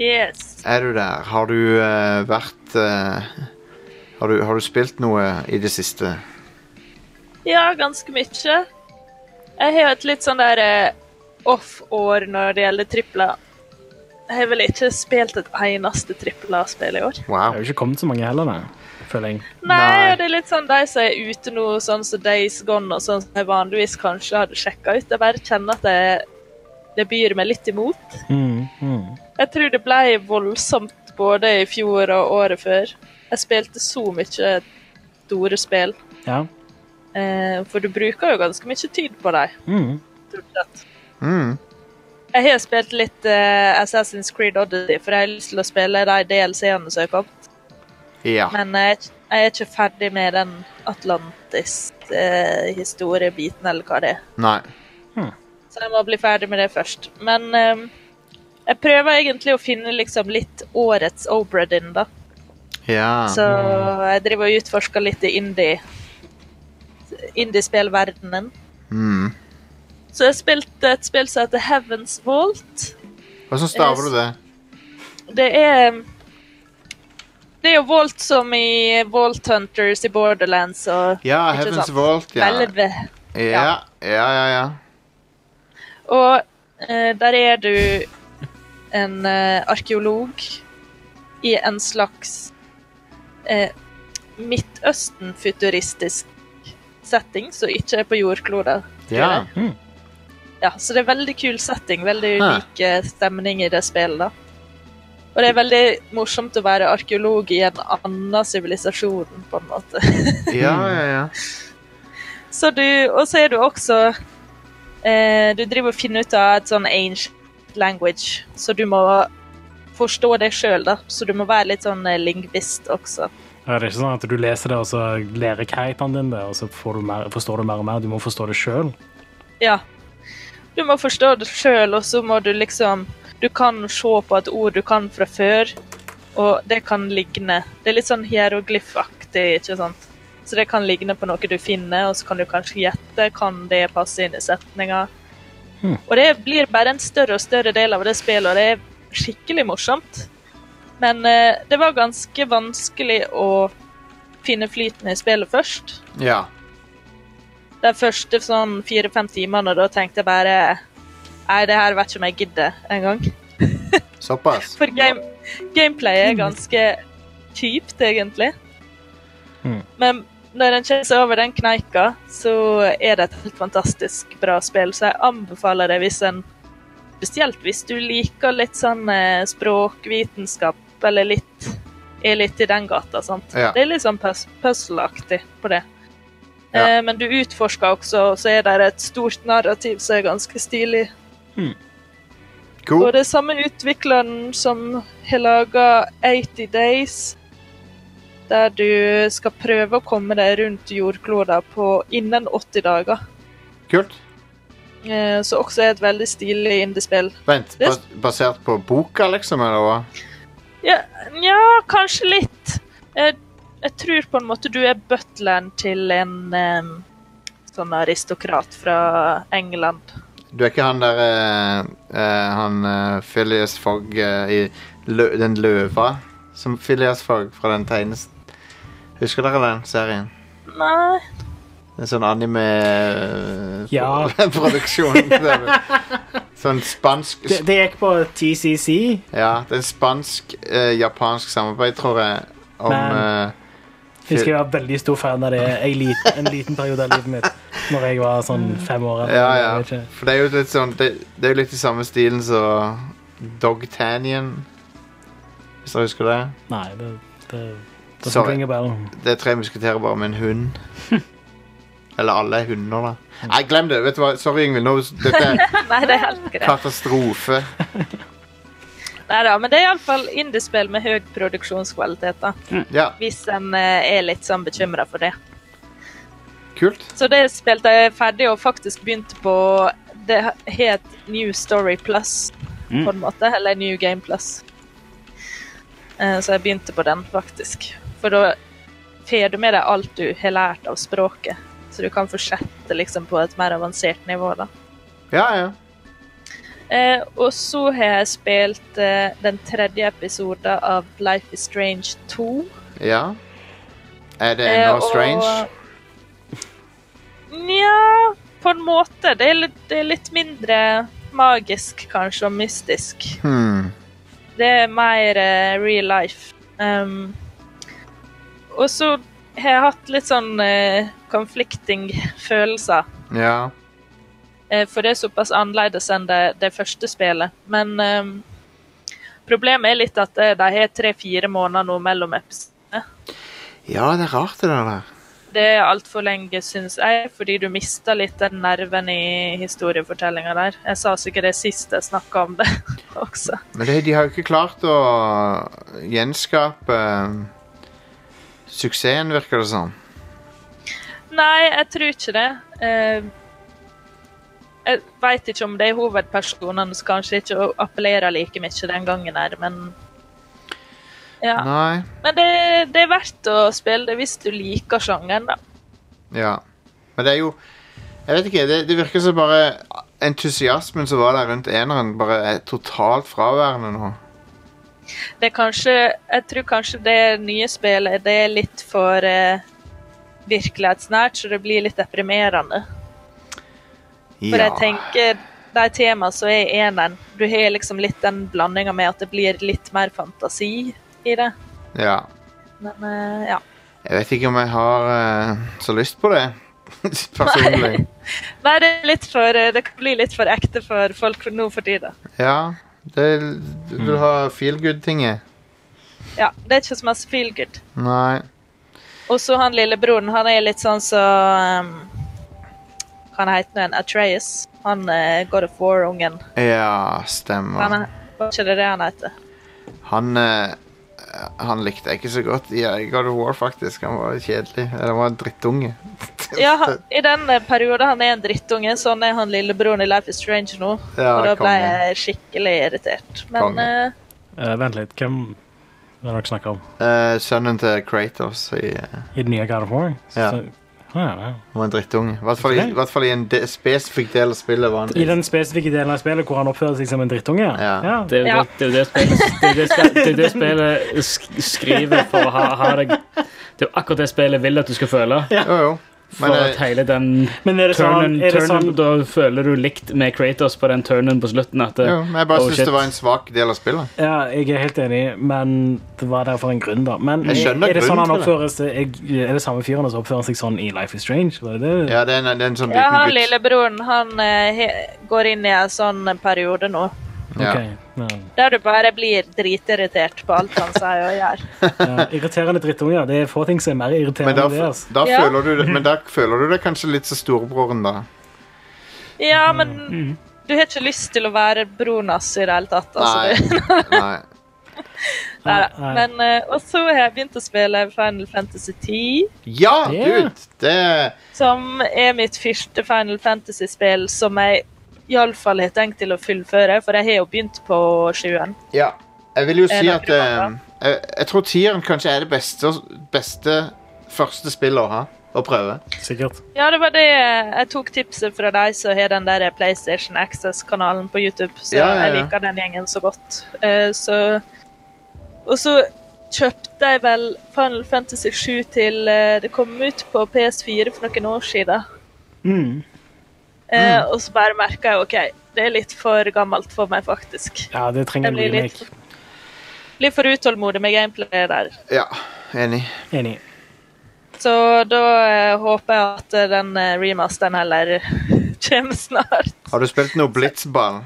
G: Yes.
D: er du der? Har du eh, vært eh, har, du, har du spilt noe i det siste?
G: Ja, ganske mye. Jeg har et litt sånn der eh, off-år når det gjelder tripler. Jeg har vel ikke spilt et eneste trippel-A-spill i år.
E: Det
D: Wow.
E: har jo ikke kommet så mange heller, nei. Føler jeg.
G: Nei, og det er litt sånn de som er ute nå, sånn som Days Gone og sånn som jeg vanligvis kanskje hadde sjekka ut. Jeg bare kjenner at det, det byr meg litt imot.
E: Mm, mm.
G: Jeg tror det ble voldsomt både i fjor og året før. Jeg spilte så mye store spill,
E: Ja.
G: eh, for du bruker jo ganske mye tid på dem.
E: Mm.
G: stort sett.
D: Mm.
G: Jeg har spilt litt eh, Assassin's Creed Oddity, for jeg har lyst til å spille de DLC-ene som er kommet.
D: Ja.
G: Men jeg, er ikke- jeg er ikke ferdig med den Atlantis-historiebiten, eller hva det er.
D: Nei.
G: Så jeg må bli ferdig med det først. Men eh, jeg prøver egentlig å finne liksom litt årets Obradin, da.
D: Ja.
G: Så jeg driver og utforsker litt i indie indiespillverdenen.
D: Mm.
G: Så jeg spilte et spill som heter Heaven's Vault.
D: Hvordan staver
G: eh,
D: du det?
G: Det er Det er jo Volt som i Volt Hunters i Borderlands og
D: Ja,
G: ikke
D: Heaven's
G: sant?
D: Vault. Ja, ja,
G: Hvelve.
D: ja. ja, ja.
G: Og eh, der er du en eh, arkeolog i en slags eh, Midtøsten-futuristisk setting som ikke er på jordkloden.
D: ja.
G: Ja, så det er veldig kul setting. Veldig
D: Hæ.
G: unik eh, stemning i det spillet. da. Og det er veldig morsomt å være arkeolog i en annen sivilisasjon, på en måte. [laughs]
D: ja, ja, ja.
G: Så du, og så er du også eh, Du driver og finner ut av et sånn ancient language, så du må forstå det sjøl, da. Så du må være litt sånn eh, lingvist også.
E: Ja, Det er ikke sånn at du leser det, og så lærer karakteren din det, og så får du mer, forstår du mer og mer. Du må forstå det sjøl.
G: Ja. Du må forstå det sjøl, og så må du liksom Du kan se på et ord du kan fra før, og det kan ligne. Det er litt sånn hieroglyfaktig, ikke sant? Så det kan ligne på noe du finner, og så kan du kanskje gjette. Kan det passe inn i setninga? Og det blir bare en større og større del av det spillet, og det er skikkelig morsomt. Men eh, det var ganske vanskelig å finne flyten i spillet først
D: ja.
G: de første sånn fire-fem timene, og da tenkte jeg bare Nei, det her vet ikke om jeg gidder engang.
D: Såpass.
G: For game, gameplay er ganske kjipt, egentlig.
E: Mm.
G: Men når en kommer seg over den kneika, så er det et helt fantastisk bra spill. Så jeg anbefaler det hvis en Spesielt hvis du liker litt sånn eh, språkvitenskap, eller litt er litt i den gata. sant?
D: Ja.
G: Det er litt sånn pus puzzle-aktig på det.
D: Ja.
G: Eh, men du utforsker også, og så er det et stort narrativ som er ganske stilig. Og
D: Cool.
G: det er samme utvikleren som har laga 80 Days, der du skal prøve å komme deg rundt jordkloda på innen 80 dager.
D: Kult.
G: Eh, Så også er et veldig stilig indiespill.
D: Vent, bas basert på boka, liksom, eller hva?
G: Ja, nja, kanskje litt. Jeg, jeg tror på en måte du er butleren til en em, sånn aristokrat fra England.
D: Du er ikke han der eh, eh, Han eh, Phileas Fogg eh, i lø Den løva som Phileas Fogg fra den tegnes... Husker dere den serien?
G: Nei
D: En sånn anime
E: Ja.
D: [laughs]
E: [laughs]
D: produksjon. sånn spansk
E: Det, det gikk på TCC.
D: Ja, det er en spansk-japansk samarbeid, tror jeg, om
E: Men-
D: eh,
E: Jeg husker jeg var veldig stor fan av det en liten, en liten periode av livet mitt. Når jeg var sånn fem år. eller
D: Ja,
E: noe,
D: ja.
E: jeg vet ikke.
D: For det er jo litt sånn Det, det er jo litt i samme stilen som Dogtanion. Hvis dere husker det.
E: Nei, det, det, det sånn
D: Sorry.
E: Sorry. Bell.
D: Det er tre musketerer bare med en hund. Eller alle er hunder, da. Nei, glem det.
G: [laughs]
D: vet du hva? Sorry, Ingvild. Nå, dette er
G: Nei, det er helt greit.
D: katastrofe.
G: Nei da, men det er iallfall indiespill med høy produksjonskvalitet. da.
D: Ja,
G: Hvis en eh, er litt sånn bekymra for det.
D: kult.
G: Så det spilte jeg ferdig og faktisk begynte på Det het New Story Plus,
F: Mm.
G: på en måte. Eller New Game Plus. Eh, Så jeg begynte på den, faktisk. For da får du med deg alt du har lært av språket. Så du kan fortsette liksom på et mer avansert nivå, da.
D: Ja, ja.
G: Eh, og så har jeg spilt eh, den tredje episoden av Life is Strange 2.
D: ja. Er det
G: Eh,
D: ennå
G: og-
D: strange?
G: [laughs] Nja, på en måte. Det er litt, det er litt mindre magisk, kanskje, og mystisk.
D: Hmm.
G: Det er mer eh, real life. Um, og så har jeg hatt litt sånn eh, conflicting [laughs] følelser.
D: Ja.
G: Eh, for det er såpass annerledes enn det, det første spillet. Men um, problemet er litt at eh, de har tre-fire måneder nå mellom episodene.
D: ja, det er rart det der.
G: Det er altfor lenge, syns jeg, fordi du mister litt den nerven i historiefortellinga der. Jeg sa sikkert det sist jeg snakka om det [laughs] også.
D: Men det, de har jo ikke klart å gjenskape eh, suksessen, virker det som.
G: Nei, jeg tror ikke det. Eh, jeg veit ikke om det er hovedpersonene som kanskje ikke appellerer like mye den gangen her, men Ja.
D: Nei.
G: Men det, det er verdt å spille det hvis du liker sjangeren, da.
D: Ja. Men det er jo Jeg vet ikke. Det, det virker som bare entusiasmen som var der rundt eneren, bare er totalt fraværende nå.
G: Det er kanskje Jeg tror kanskje det nye spillet det er litt for eh, virkelighetsnært, så det blir litt deprimerende. For jeg tenker de temaene som er i eneren, du har liksom litt den blandinga med at det blir litt mer fantasi i det.
D: ja.
G: Men eh, ja.
D: Jeg vet ikke om jeg har eh, så lyst på det. [laughs] Personlig.
G: Nei, det, er litt for, eh, det kan bli litt for ekte for folk nå for tida.
D: Ja. Det, du vil ha feel good-tinget.
G: Ja, det er ikke så masse feel good.
D: Nei.
G: Og så han lillebroren, han er litt sånn så um, Hva han heter han? Atreas. Han uh, God of War-ungen.
D: Ja,
G: Han
D: stemmer.
G: er- Var ikke det det han heter?
D: Han eh, han likte jeg ikke så godt i i God of War, faktisk. Han var litt kjedelig. Eller han var en drittunge.
G: Ja, han, I den eh, perioden han er en drittunge, sånn er han lillebroren i Life is Strange nå.
D: Ja,
G: og da ble
D: konge.
G: jeg skikkelig irritert. Men
D: Konge.
G: eh,
E: Eh, vent litt, hvem er det dere snakker om?
D: Eh, sønnen til Kratos i eh,
E: I den nye God of War?
D: Ja.
E: Så- Ja, ja.
D: Han var en drittunge. I hvert fall i-
E: Ok.
D: i hvert fall i en de spesifikk del av spillet. var
E: I
D: han
E: den spesifikke delen av spillet hvor han oppfører seg som en drittunge?
D: Ja.
F: Det er jo
G: Ja.
F: det- det er jo det spillet, det er det spe- det er det spillet sk- skriver for å ha, ha deg Det er jo akkurat det spillet vil at du skal føle.
D: Jo, jo.
F: For
D: Men
F: at
D: eh,
F: hele den
E: Men er det sånn,
F: turnen,
E: er det sånn
F: turnen Da føler du likt med Kratos på den turnen på slutten. At det,
D: jo, men jeg bare
F: oh,
D: synes
F: shit.
D: det var en svak del av spillet.
E: Ja, jeg er helt enig, men det var der for en grunn, da. Men
D: Jeg skjønner
E: er det sånn
D: grunnen
E: han
D: til
E: oppfører seg Er er det samme fyren som oppfører seg sånn i Life is Strange? Var det det?
D: Ja, det er en, det er en sånn
G: ja, han
D: liten gutt.
G: lillebroren han eh, he, går inn i en sånn periode nå.
D: Ja.
E: Ok, ja.
G: Der du bare blir dritirritert på alt han sier og gjør.
E: Ja, irriterende drittunger. Det er få ting som er mer
D: Men
E: irriterende
D: da,
E: enn det. Altså.
D: da,
G: Ja.
D: føler du, det- men da føler du deg kanskje litt som storebroren, da.
G: Ja,
D: Mm.
G: men du har ikke lyst til å være broren hans i det hele tatt.
D: Nei.
G: Altså, du,
D: [laughs] Nei.
G: [laughs] nei, da.
E: Nei.
G: Men, eh, og så har jeg begynt å spille Final Fantasy 10,
D: Ja,
E: Ja.
D: dude! Det
G: som er mitt første Final Fantasy-spill som jeg iallfall har tenkt til å fullføre, for jeg har jo begynt på sjuen.
D: Ja. Jeg vil jo si
G: det
D: at
G: bra,
D: eh, jeg, jeg tror tieren kanskje er det beste, beste første spillet å ha. Å prøve.
E: Sikkert.
G: Ja, det var det jeg tok tipset fra deg som har den der PlayStation Access-kanalen på YouTube. Så
D: Ja, ja, ja.
G: jeg liker den gjengen så godt. Eh, så Og så kjøpte jeg vel Final Fantasy 7 til eh, det kom ut på PS4 for noen år siden.
D: Mm.
G: Eh, og så bare merka jeg OK, det er litt for gammelt for meg, faktisk.
E: Ja, det trenger
G: Jeg
E: en
G: blir litt,
E: remake.
G: litt for utålmodig med gameplay der.
D: Ja, enig.
E: Enig.
G: Så da eh, håper jeg at eh, den eh, remasteren heller [laughs] kommer snart.
D: Har du spilt noe blitzball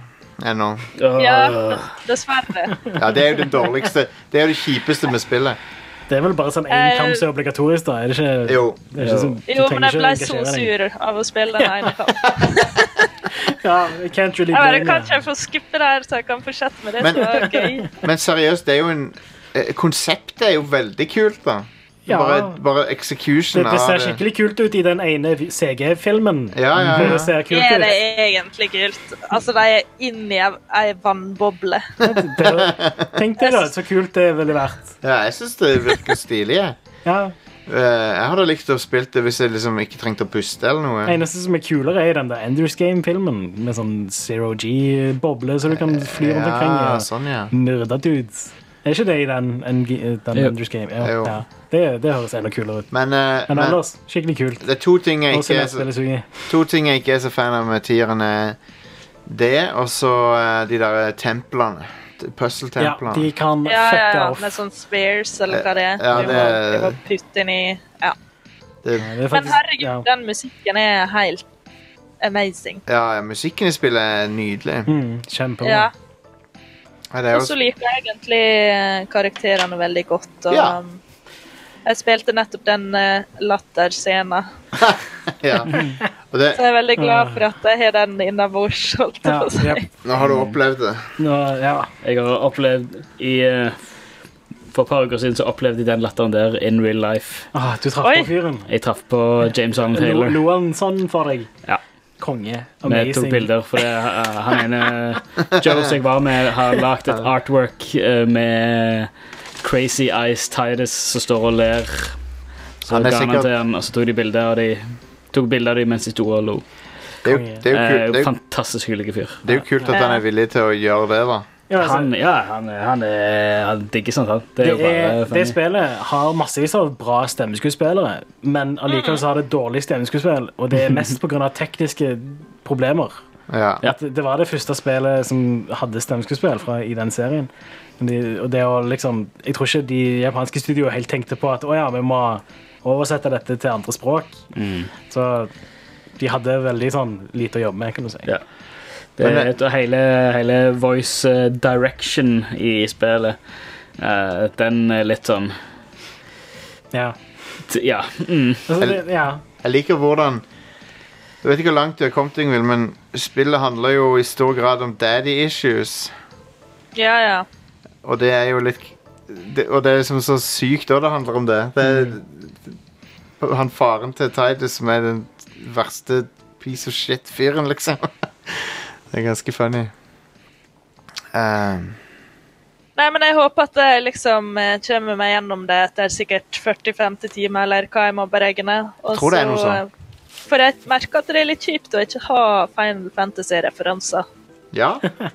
D: ennå?
F: Åh,
G: Ja, dessverre.
D: Ja, det er jo det dårligste. Det er jo det kjipeste med spillet.
E: Det er vel bare sånn én
G: Eh,
E: kamp som er obligatorisk, da? Er det ikke,
D: Jo.
E: Det er ikke sånn, [laughs] du
G: Jo, men
E: trenger
G: jeg
E: ikke
G: ble
E: engasjere
G: så
E: [laughs] deg.
G: sur av å spille den ene kampen.
E: Ja, I can't really
G: Jeg bare,
E: blame you.
G: kanskje jeg får skuppe det her, så jeg kan fortsette med det.
D: Men-
G: Men, det
E: [laughs]
G: var gøy.
D: Men seriøst, det er jo en eh, Konseptet er jo veldig kult, da.
E: Ja.
D: Bare, bare
E: Det,
D: execution
E: det
D: av
E: ser
D: det.
E: skikkelig kult ut i den ene CG-filmen.
D: Ja, ja, ja.
E: Det ser kult
G: Er det
E: ut.
G: egentlig gult? Altså, de er inni ei- ei vannboble.
E: Tenk deg da, så kult det ville vært.
D: Ja, jeg syns det virker stilig. jeg.
E: Ja.
D: Eh, jeg hadde likt å spille det hvis jeg liksom ikke trengte å puste eller noe.
E: eneste som er kulere, er den der Enders Game-filmen med sånn Zero G-boble, så du kan fly rundt omkring
D: Ja,
E: og
D: sånn, ja.
E: myrde dudes. Er ikke det i den, en, den
D: Jo.
E: Enders Game? Ja,
D: Jo.
E: ja. Det, det høres enda kulere ut.
D: Men, eh,
E: Men
D: men
E: ellers, skikkelig kult.
D: det er to ting jeg
E: Og
D: ikke er så
E: Celeste-spillesugi.
D: To ting jeg ikke er så fan av med tieren er det, og så eh, de der templene. T-
E: Ja,
D: Puzzle-templene.
E: de kan
G: Ja, ja,
E: fucke
G: ja,
E: off.
G: med sånn spears eller hva det er.
D: Ja,
G: Du må,
D: det-
G: du må putte inn i Ja.
D: Det-
E: Det er
G: Men
E: faktisk,
G: herregud,
E: ja.
G: den musikken er helt amazing.
D: ja, ja, musikken i spillet er nydelig.
E: Mm, kjempebra.
G: Ja.
D: Ja, det er
G: Og så
D: jo,
G: liker jeg egentlig eh, karakterene veldig godt. Og,
D: Ja.
G: um, Jeg spilte nettopp den eh, latterscenen,
D: ja. Og det,
G: så jeg er veldig
D: Ah.
G: glad for at jeg har den innabords. [laughs] holdt jeg
E: Ja,
G: på å si.
E: jep.
D: nå har du opplevd det.
E: Nå, ja.
F: Jeg har opplevd i eh, For et par uker siden så opplevde jeg den latteren der in real life.
E: Ah, du traff
G: Oi.
E: på fyren.
F: Jeg traff på James
E: Lo,
F: Arnold Taylor.
E: lo han sånn for deg?
F: Ja.
E: Konge.
F: Vi tok
E: Amazing.
F: bilder, for det, eh, han ene Joes jeg var med, har lagd et artwork eh, med Crazy Eyes Titus som står og ler. Så
D: Han er
F: ga han
D: sikkert-
F: til han, og så tok de bilder av de Tok bilder av de mens de sto og lo.
D: Det er jo, det er jo,
F: Eh,
D: kult, det er jo,
F: fantastisk hyggelig fyr.
D: det er jo kult at han er villig til å gjøre det, da.
E: Ja, altså,
F: Han, ja, han, er- han, er, han digger sånt, han. Det
E: det,
F: er jo bare
E: er,
F: funny.
E: det spillet har massevis av bra stemmeskuespillere, men allikevel så har det dårlig stemmeskuespill, og det er mest pga. tekniske problemer.
D: Ja.
F: Ja.
E: At det var det første spillet som hadde stemmeskuespill fra, i den serien. Men De, og det å liksom, jeg tror ikke de japanske studioene helt tenkte på at å ja, vi må oversette dette til andre språk.
F: Mm.
E: Så de hadde veldig sånn lite å jobbe med, kan du si.
F: Ja. Det
D: Men
F: er et, og hele, hele voice eh, direction i spillet. eh, den er litt sånn
E: Ja.
F: t- Ja. Mm.
E: Altså, det, ja.
D: Jeg liker hvordan Jeg vet ikke hvor langt du har kommet, Ingvild, men spillet handler jo i stor grad om daddy issues.
G: Ja, ja.
D: Og det er jo litt det, Og det er liksom så sykt òg det handler om det. det er, Han faren til Tidus som er den verste piece of shit-fyren, liksom. [laughs] Det er ganske funny. Ehm,
G: Nei, men jeg håper at jeg liksom eh, kommer meg gjennom det etter sikkert 40-50 timer, eller hva jeg må beregne. Og
D: Tror det er noe
G: så,
D: sånn.
G: eh, For jeg merker at det er litt kjipt å ikke ha Final Fantasy-referanser.
D: ja.
E: [laughs]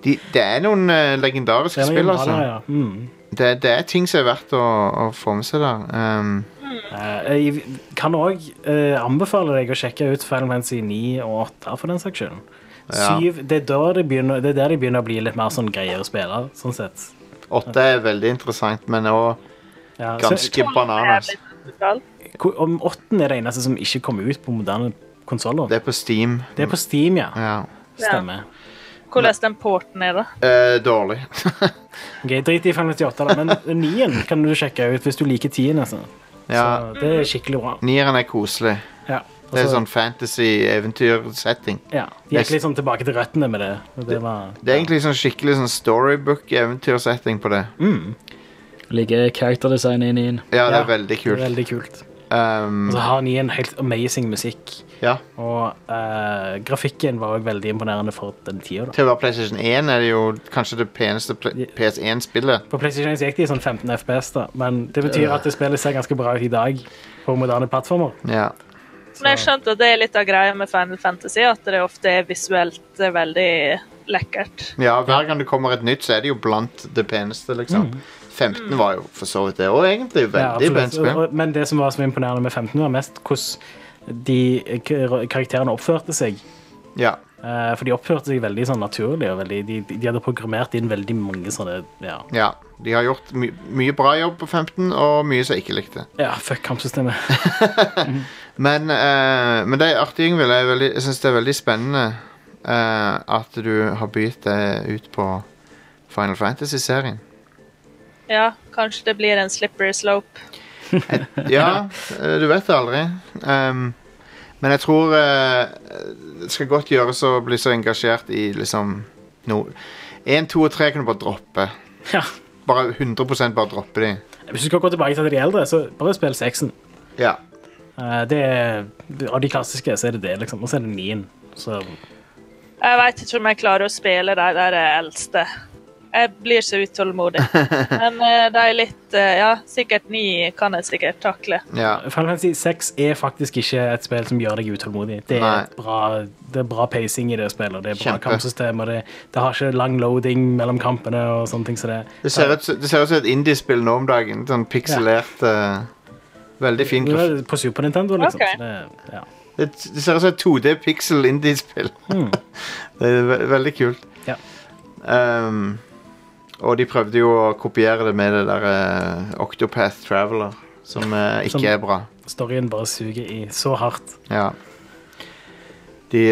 D: De, det er noen eh, legendariske
E: Det er noen
D: spill, altså.
E: japanere, ja. Mm.
D: Det, det er ting som er verdt å, å få med seg der. Ehm,
E: Eh, Jeg kan òg anbefale deg å sjekke ut Final Fantasy 9 og 8 for den saks skyld.
D: Ja.
E: Syv, det, er da det, begynner, det er der det begynner å bli litt mer sånn greier å spille. sånn sett.
D: åtte er veldig interessant, men òg
E: Ja, så-
D: ganske bananas.
E: ko- om åtten er det eneste som ikke kommer ut på moderne konsoller.
D: Det er på Steam.
E: Det er på Steam, ja.
D: Ja.
E: Stemmer.
G: Hvordan den porten er, da.
D: Eh, dårlig. [laughs]
E: Ok, Drit i Final Fantasy 8, da, men 9 kan du sjekke ut hvis du liker 10. Altså.
D: ja.
E: Så det er skikkelig bra.
D: Nieren er koselig.
E: Ja.
D: Det er
E: Altså,
D: sånn fantasy-eventyr-setting.
E: ja, de gikk litt sånn tilbake til røttene med det. Og det var,
D: Det er egentlig sånn skikkelig sånn storybook-eventyrsetting på det.
E: Mm.
F: Ligger characterdesignet inn i den.
D: Ja, det
E: Ja,
D: er veldig kult.
E: veldig Altså- kult.
D: Um,
E: Og så har 9 helt amazing musikk.
D: ja.
E: Og eh, grafikken var òg veldig imponerende for den tida. da.
D: Til å være PlayStation 1 er det jo kanskje det peneste pl- PS1-spillet.
E: På PlayStation 1 så gikk de i sånn 15 FPS, da, men det betyr at det spillet ser ganske bra ut i dag på moderne plattformer.
D: Ja.
G: Men jeg skjønte at det er litt av greia med Final Fantasy, at det ofte er visuelt eh, veldig lekkert.
D: ja, hver gang det kommer et nytt, så er det jo blant det peneste, liksom. 15 var jo for så vidt det òg, egentlig.
E: Mm. Ja,
D: Veldig pent
E: absolutt.
D: spill.
E: Og- Men det som var så imponerende med 15, var mest hvordan de kar- karakterene oppførte seg.
D: Ja.
E: Eh, For de oppførte seg veldig sånn naturlig, og veldig, de, de hadde programmert inn veldig mange sånne Ja,
D: ja. De har gjort my mye bra jobb på 15, og mye som jeg ikke likte.
E: ja fuck kampsystemet.
D: Men, eh, men det er artig, Ingvild. Jeg, er veldig- jeg syns det er veldig spennende eh, at du har begynt deg ut på Final Fantasy-serien.
G: Ja, kanskje det blir en slippery slope.
D: Ja, eh, du vet det aldri. Um, Men jeg tror eh, det skal godt gjøres å bli så engasjert i liksom no, 1, 2 og 3 kan du bare droppe.
E: Ja.
D: Bare 100 bare droppe de.
E: Hvis du skal gå tilbake til de eldre, så bare spill seksen.
D: Ja.
E: Eh, Det er, av de klassiske så er det det, liksom. Og så er det nien. Så
G: Jeg veit ikke om jeg klarer å spille de der eh, eldste. Jeg blir så utålmodig. Men eh, de er litt eh, Ja, sikkert ni kan jeg sikkert takle.
E: Final Fantasy 6 er faktisk ikke et spill som gjør deg utålmodig. Det
D: Nei.
E: er, et bra, det er bra pacing i det spillet. Det er bra
D: Kjempe.
E: kampsystem, og det, det har ikke lang loading mellom kampene. og sånne ting. Så det,
D: Det ser ut, det ser ut som et indiespill nå om dagen. Sånn pikselert eh, Veldig fin
E: Det
D: graf.
E: er På Super Nintendo, liksom.
G: Ok.
E: Så det, ja.
D: Det, det ser ut som et 2D-piksel-indiespill.
E: Hmm.
D: Det er ve veldig kult.
E: Ja.
D: Ehm, og de prøvde jo å kopiere det med det der eh, Octopath Traveler, som eh, ikke
E: Som-
D: er bra.
E: Storyen bare suger i så hardt.
D: Ja. De,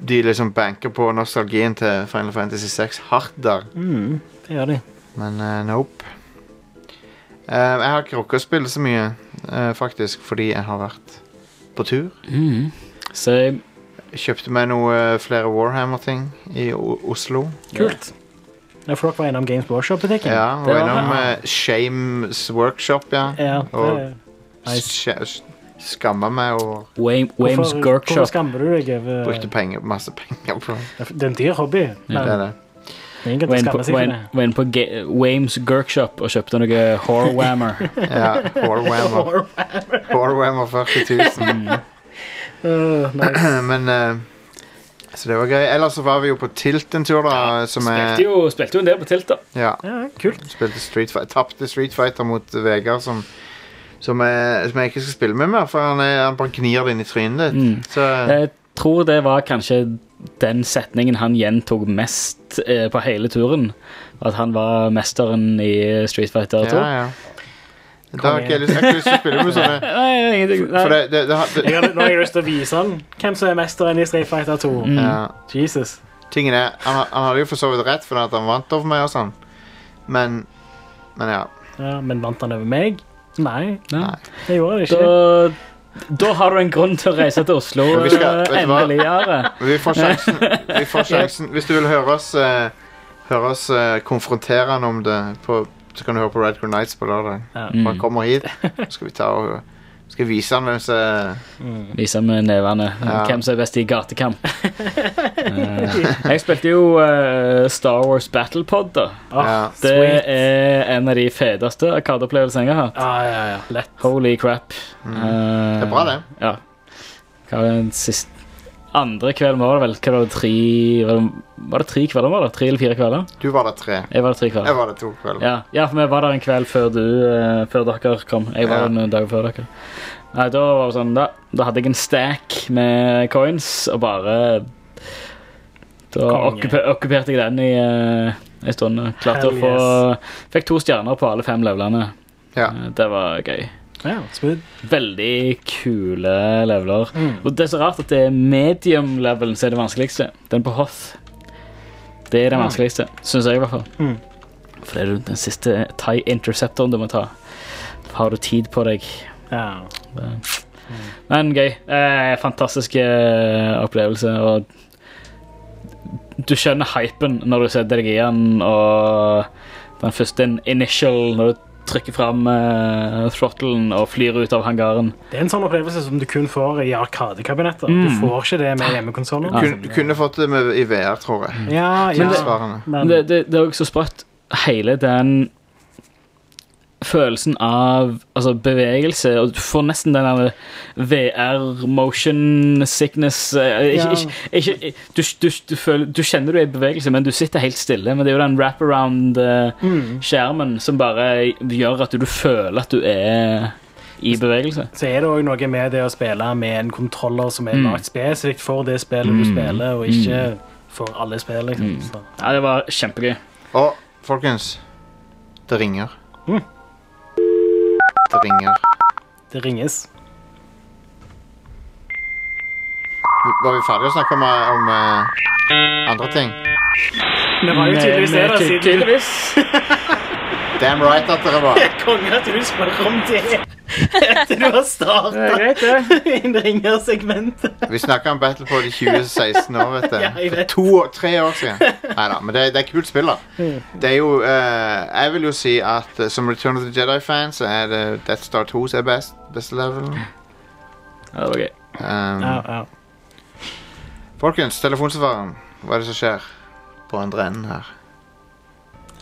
D: de liksom banker på nostalgien til Final Fantasy 6 hardt der,
E: Mm, det gjør de.
D: men eh, nope. Eh, jeg har ikke rukket å spille så mye, eh, faktisk, fordi jeg har vært på tur.
F: Mm. Same.
D: Jeg kjøpte meg noe eh, flere Warhammer-ting i o Oslo.
E: Kult. Ja, for dere var innom Games Workshop-butikken.
D: Ja, og
E: Det var-
D: innom eh, Shames Workshop, ja.
E: Ja,
D: og
E: det, nice.
D: sk- sk- skamma meg og
F: Wame- Wames
E: hvorfor, hvorfor
F: Gorkshop.
E: skammer du deg over
D: brukte penger, masse penger på det.
E: Det er en dyr hobby.
D: Det
E: Men
D: er det.
E: det er ingen grunn til
F: Var
E: å
F: inne på,
E: skamme seg
F: var
E: for
F: inne- var inne på Ga- Wames Gorkshop og kjøpte noe Horwhammer.
D: Ja,
F: [laughs]
D: Warhammer.
E: det.
D: Warhammer 40 000.
E: Øh,
D: [clears throat]
E: nice.
D: Men eh, Så det var gøy. Ellers så var vi jo på Tilt en tur, da. Som
F: Spilte
D: er
F: jo, spilte jo en del på tilt, da.
D: Ja.
E: Ja,
D: [laughs]
E: kult.
D: Spilte Street Fighter. Tapte Street Fighter mot Vegard, som som, er, som jeg ikke skal spille med mer, for han, er, han bare gnir det inn i trynet ditt. Så
F: Mm. Jeg tror det var kanskje den setningen han gjentok mest eh, på hele turen. At han var mesteren i Street Fighter 2.
D: ja, ja. Da har ikke jeg lyst, jeg har ikke lyst til å spille med sånne.
F: Nei, det er ingenting. [laughs] Nei.
D: For det, det, det, har-
E: Jeg
D: det,
E: har, nå har jeg lyst til å vise han hvem som er mesteren i Street Fighter 2.
D: ja.
F: Mm.
E: Jesus.
D: Tingen er, han, har- han hadde jo for så vidt rett, fordi at han vant over meg og sånn, men Men ja.
E: Ja, men vant han over meg? Nei,
F: Nei.
E: det gjorde han ikke.
F: Da, da har du en grunn til å reise til Oslo
D: Men vi skal-
F: eh,
D: vet du hva?
F: endelig, Are.
D: Vi får sjansen. Vi får sjansen. Hvis du vil høre oss, eh, høre oss eh, konfrontere han om det, på, så kan du høre på Red Crew Nights på lørdag.
E: Ja.
F: Mm.
D: Når Han kommer hit, så skal vi ta og skal vise han eh, hvem som er-
F: Vise med nevene
D: Ja.
F: hvem som er best i
D: [laughs]
F: gatekamp. Eh, jeg spilte jo eh, Star Wars Battlepod, da.
E: Åh,
D: ja.
F: Det
E: sweet.
F: er en av de fedeste arkadeopplevelsene jeg har hatt.
E: Ah, ja, ja, lett.
F: Holy crap. Eh,
D: Mm. Det er bra, det.
F: Ja. Hva var den siste Andre kvelden var det vel hva var det, tre var det, var det tre kvelder? var det? Tre eller fire kvelder?
D: Du var der tre.
F: Jeg var der tre kvelder.
D: Jeg var der to kvelder.
F: Ja, ja, for vi var der en kveld før, du, eh, før dere kom. Jeg var
D: Ja.
F: der en eh, dag før dere. Nei, da var det sånn, da, da hadde jeg en stack med coins, og bare Da
E: Konge.
F: okkupe- okkuperte jeg den i eh, en stund. og Klarte å
E: Hell
F: få Fikk to stjerner på alle fem levelene.
D: Ja.
F: Eh, Det var gøy.
E: Ja, smooth.
F: Veldig kule leveler.
E: Mm.
F: Og det er så rart at det er medium-levelen som er det vanskeligste. Den på Hoth. Det er det vanskeligste, syns jeg i hvert fall.
E: Mm.
F: For det er jo den siste Thai Interceptoren du må ta. Har du tid på deg?
E: Ja.
F: Men gøy. Eh, fantastisk eh, opplevelse. Og du skjønner hypen når du setter deg i den, og den første initial når du trykker fram eh, throttlen og flyr ut av hangaren.
E: Det er en sånn opplevelse som du kun får i arkadekabinetter. Du får ikke det med hjemmekonsoller.
D: Kun, du kunne fått det med i VR, tror jeg.
E: Ja, ja.
D: Tilsvarende.
E: Men,
F: Men det, det, det er også sprøtt hele den følelsen av altså, bevegelse, og du får nesten den der VR motion sickness eh, ikke, ikke, ikke, du, du, du, føler, du kjenner du er i bevegelse, men du sitter helt stille. Men det er jo den
E: Mm.
F: wraparound-skjermen som bare gjør at du, føler at du er i bevegelse.
E: så er det òg noe med det å spille med en kontroller som er lagd spesifikt for det spillet du spiller, og ikke for alle spill, liksom. Så.
F: Ja, det var kjempegøy.
D: Og folkens, det ringer. Det ringer.
E: Det ringes.
D: Var vi ferdige å snakke om, eh, om eh, andre ting?
E: Det var jo tydeligvis det, da,
F: Men, eh,
E: siden
F: tydeligvis.
D: Damn right at dere var.
E: kongen at du spør om det.
L: Etter du har starta
E: Det er greit,
L: det. innringersegmentet.
D: Vi snakka om Battlefield i 2016 år, vet du.
L: [laughs] Ja, jeg
D: For
L: vet.
D: to, år- tre år siden. Nei da, men det, det er kult spill, da.
L: Mm.
D: Det er jo eh, Jeg vil jo si at eh, som Return of the Jedi-fan så er det Death Star 2 som er best. Best level.
F: Ja, det var gøy.
D: Um, Folkens, telefonsvareren. Hva er det som skjer på andre enden her?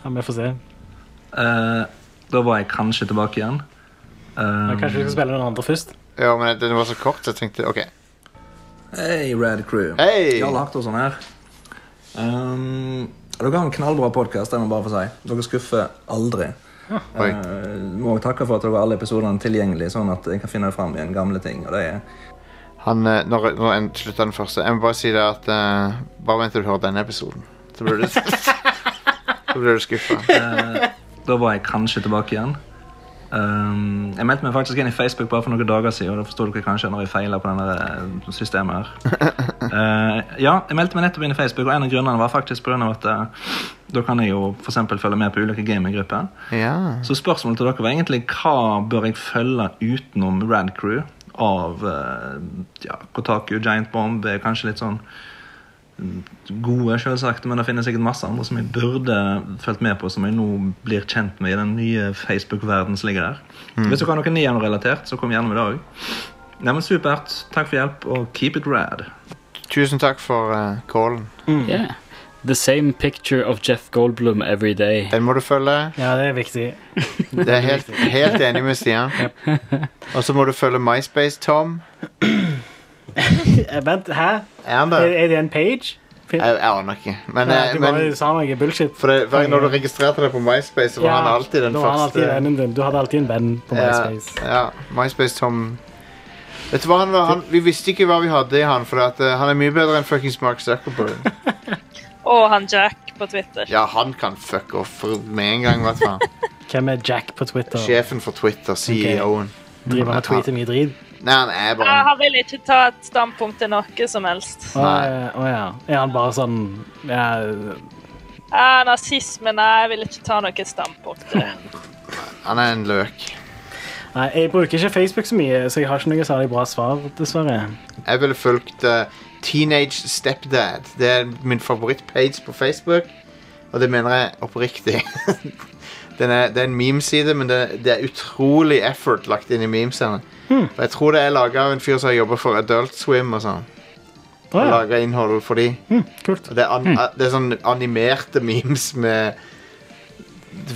E: Ja, vi får se.
M: Eh, da var jeg kanskje tilbake igjen. Eh,
E: Men kanskje vi skal spille den andre først?
D: Ja, men den var så kort, så jeg tenkte OK.
M: Hei, Rad Crew.
D: Hei!
M: Jarl Haktorson sånn her. Um, dere har en knallbra podkast, det må jeg bare få si. Dere skuffer aldri.
D: Ja.
M: Eh, må jeg takke for at dere har alle episodene tilgjengelig, sånn at jeg kan finne fram igjen gamle ting. Og det er
D: Han, eh, når når en slutta den første Jeg må bare si det at eh, Bare vent til du hører denne episoden. Så blir du,
E: [laughs]
D: så blir du skuffa.
M: Eh, Da var jeg kanskje tilbake igjen. Um, jeg meldte meg faktisk inn i Facebook bare for noen dager siden, og da forstår dere kanskje når jeg feiler på denne eh, systemet her. Eh, ja, jeg meldte meg nettopp inn i Facebook, og en av grunnene var faktisk på grunn av at eh, da kan jeg jo for eksempel følge med på ulike gaminggrupper.
D: Ja.
M: Så spørsmålet til dere var egentlig hva bør jeg følge utenom Rad Crew av eh, ja, Kotaku, Giant Bomb, er kanskje litt sånn mm, gode, selvsagt, men det finnes sikkert masse andre som jeg burde fulgt med på, som jeg nå blir kjent med i den nye Facebook-verden som ligger der.
N: Mm.
M: Hvis dere har noe Neon-relatert, så kom gjerne med det òg. Neimen, supert. Takk for hjelp, og keep it rad.
D: Tusen takk for eh, callen.
F: Yeah. The same picture of Jeff Goldblum every day.
D: Den må du følge.
E: Ja, det er viktig.
D: Det er helt, helt enig med Stian. Og så må du følge MySpace-Tom.
E: Eh, Vent, hæ?
D: Er han
E: Er,
D: der?
E: er det en page?
D: Jeg jeg aner ikke. Men,
E: Ja,
D: eh,
E: du
D: men
E: bare sa noe bullshit.
D: for det, hver gang når du registrerte deg på MySpace, så var han alltid den
E: da var han
D: første.
E: alltid vennen din. Du hadde alltid en venn på MySpace.
D: Ja, ja. MySpace-Tom Vet du hva han var? Han, vi visste ikke hva vi hadde i han, for at, eh, han er mye bedre enn fuckings Mark Zuckerberg.
G: Og han Jack på Twitter.
D: Ja, han kan fuck off for- med en gang, vet du hva.
E: Hvem er Jack på Twitter?
D: Sjefen for Twitter, CEO-en.
E: Driver han og tweeter mye drit?
D: Nei, han er
G: Ja,
D: bare
G: han vil ikke ta et standpunkt til noe som helst.
E: Å eh, å ja. Er han bare sånn ja,
G: Ja, nazisme, nei, jeg vil ikke ta noe standpunkt. til det.
D: Han er en løk.
E: Nei, jeg bruker ikke Facebook så mye, så jeg har ikke noe særlig bra svar, dessverre.
D: Jeg ville fulgt eh, Teenage Stepdad. Det er min favorittpage på Facebook, og det mener jeg oppriktig. [laughs] Den er, det er en memeside, men det, det er utrolig effort lagt inn i memesene. For jeg tror det er laga av en fyr som har jobba for Adult Swim og sånn.
E: Å,
D: Og
E: ja. Mm,
D: laga innhold for de.
E: Kult.
D: Og det er, an, a- det er sånn animerte memes med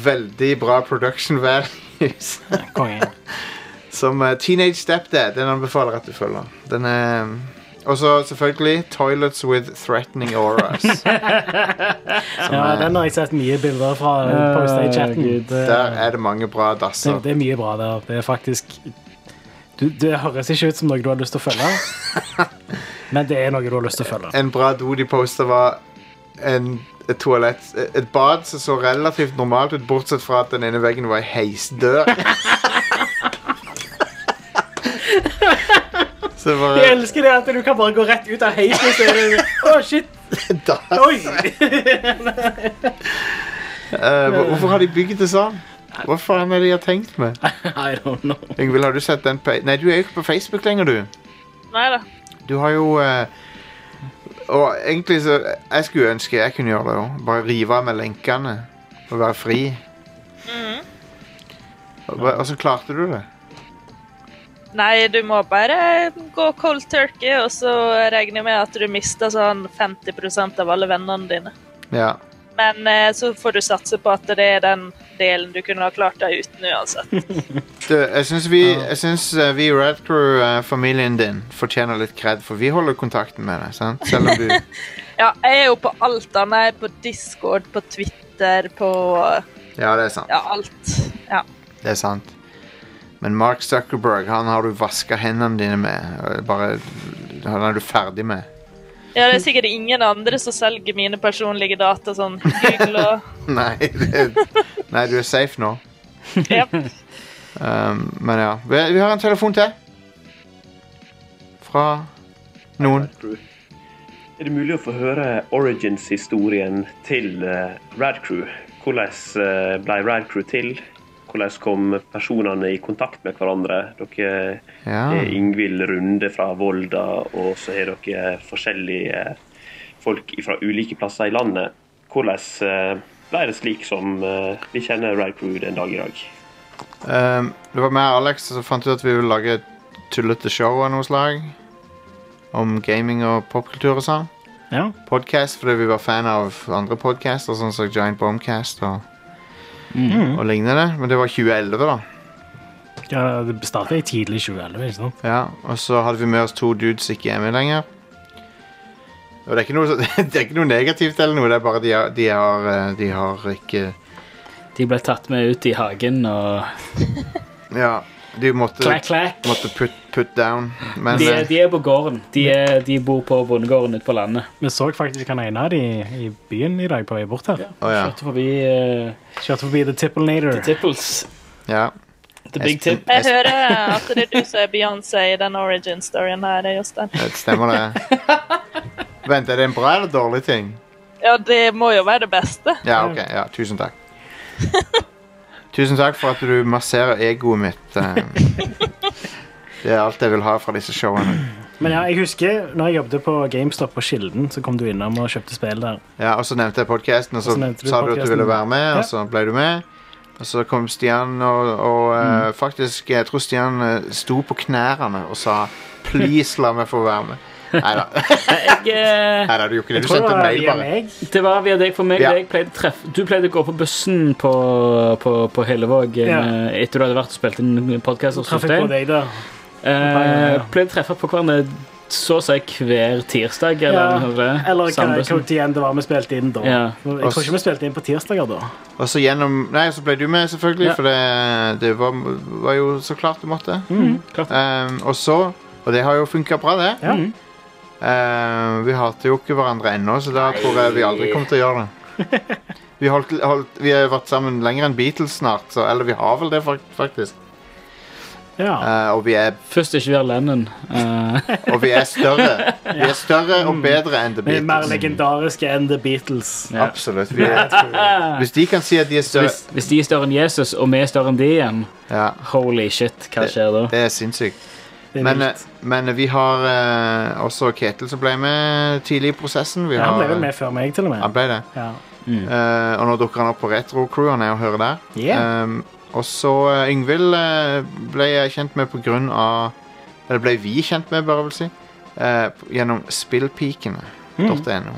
D: veldig bra production values. [laughs] Som eh, Teenage Stepdad. Den anbefaler jeg at du følger. Den er Og så selvfølgelig Toilets with Threatening Auras.
E: [laughs] Ja, den har jeg sett mye bilder fra.
D: Ja,
E: postet i chatten.
D: Gud.
E: Det,
D: Der er det mange bra
E: det,
D: dasser.
E: det er mye bra der. Det er faktisk du, Det høres ikke ut som noe du har lyst til å følge, [laughs] men det er noe du har lyst til å følge.
D: En bra do de posta, var en, et toalett Et bad som så relativt normalt ut, bortsett fra at den ene veggen var ei heisdør. så det var
E: Jeg elsker det at du kan bare gå rett ut av heisen og så er det Å, shit! Oi!
D: eh, hvor- Hvorfor har de bygd det sånn? Hva faen er det de har tenkt med?
E: I don't know.
D: Yngvild, har du sett den pa Nei, du er jo ikke på Facebook lenger, du.
G: Nei da.
D: Du har jo eh, Og egentlig så Jeg skulle ønske jeg kunne gjøre det òg. Bare rive av meg lenkene og være fri. Og hva- Og så klarte du det.
G: Nei, du må bare gå cold turkey, og så regner jeg med at du mister sånn 50 av alle vennene dine.
D: Ja.
G: Men eh, så får du satse på at det er den delen du kunne ha klart deg uten uansett.
D: Du, jeg syns vi, jeg synes, eh, vi i Red Crew-familien din fortjener litt kred, for vi holder kontakten med deg. sant? Selv om du
G: Ja, jeg er jo på alt annet. Jeg er på Discord, på Twitter, på
D: Ja, det er sant.
G: ja, alt. Ja.
D: Det er sant. Men Mark Zuckerberg, han har du vaska hendene dine med. og Bare, Han er du ferdig med. [laughs]
G: ja, det er sikkert ingen andre som selger mine personlige data sånn Google og
D: Nei, det, nei du er safe nå. Um, men ja. Vi, vi har en telefon til. Fra noen.
O: Er det mulig å få høre origins-historien til eh, Rad Crew? Hvordan eh, ble Rad Crew til? hvordan kom personene i kontakt med hverandre? Dere
D: Ja.
O: er Ingvild Runde fra Volda, og så har dere forskjellige folk fra ulike plasser i landet. Hvordan eh, ble det slik som eh, vi kjenner Rad Crew den dag i dag?
D: Ehm, det var meg og Alex som fant ut at vi ville lage et tullete show av noe slag. Om gaming og popkultur og sånn.
E: Ja.
D: Podcast, fordi vi var fan av andre podcaster, sånn som Giant Bombcast og,
F: Mm.
D: og lignende. Men det var 2011, da.
E: Ja, det startet i tidlig 2011, ikke sant?
D: Ja, og så hadde vi med oss to dudes som ikke er med lenger. Og det er ikke noe, så- [laughs] det er ikke noe negativt eller noe, det er bare de har, de har, eh, de har ikke
F: De ble tatt med ut i hagen og
D: Ja, de måtte,
F: Klakk, klakk.
D: måtte put, put down. Men
F: de,
D: eh,
F: er- de er på gården. De, er, de bor på bondegården ute på landet.
E: Vi så faktisk han ene av de i byen i dag på vei bort her.
D: Å, ja.
F: Kjørte forbi eh,
E: Kjørte forbi The Tipplenator.
F: The Tipples.
D: ja.
F: The Big Tip.
G: Jeg hører at det er du som er Beyoncé i den origin-storyen her, Jostein.
D: Det Eh, stemmer, det. Vent, er det en bra eller dårlig ting?
G: Ja, det må jo være det beste.
D: Ja, ok. Ja, tusen takk. Tusen takk for at du masserer egoet mitt. eh. Det er alt jeg vil ha fra disse showene.
E: Men ja, jeg husker når jeg jobbet på GameStop på Kilden, så kom du innom og kjøpte spill der.
D: Ja, og så nevnte jeg podcasten, og så,
E: Og så nevnte du
D: sa du at du ville
E: podcasten.
D: være med,
E: Ja.
D: og så ble du med. Og så kom Stian, og, og eh,
E: Mm.
D: faktisk, jeg tror Stian eh, sto på knærne og sa Please, la meg få være med. Nei da. Nei da, du gjorde ikke det. Du sendte en mail, bare.
F: Det var via deg for meg.
D: Ja.
F: det Jeg pleide å treffe. Du pleide å gå på bussen på, på, på Hellevåg eh,
E: Ja.
F: etter du hadde vært og spilt inn podkast.
E: Så traff jeg på deg der.
F: Eh, pleide å treffe på hverandre så å si hver tirsdag. Eller, noe sånt der.
E: Eller hva
F: Samme bussen.
E: hvor igjen det var vi spilte inn da.
F: Ja.
E: Jeg tror ikke vi spilte inn på tirsdager da.
D: Og så gjennom Nei, så ble du med, selvfølgelig,
E: Ja.
D: for det, det var, var jo så klart du måtte. Ehm, og så Og det har jo funka bra, det.
E: Ja.
D: Ehm, vi hater jo ikke hverandre ennå, så da tror jeg vi aldri kommer til å gjøre det. Vi, holdt, holdt, vi har vært sammen lenger enn Beatles snart, så, eller vi har vel det, fak- faktisk. Eh, og vi er
F: Først ikke vi har Lennon. Eh,
D: [laughs] Og vi er større. Vi er større og bedre enn The
E: Vi er mer
D: Beatles.
E: legendariske enn The Beatles.
D: Absolutt. Vi er, hvis de kan si at de er større
F: Hvis, hvis de er større enn Jesus, og vi er større enn de igjen, holy shit, hva skjer da?
D: Det er sinnssykt. Men, eh, men vi har eh, også Ketil som ble med tidlig i prosessen. Vi
E: Ja, han
D: har,
E: ble vel med før meg til og med.
D: Han ble det.
E: Ja.
D: Eh, og nå dukker han opp på Retro Crew. Han er å høre der.
E: Yeah.
D: Um, og så eh, Yngvild eh, ble jeg kjent med på grunn av Eller ble vi kjent med, bare vil si. eh, gjennom
E: Mm.
D: spillpikene.no.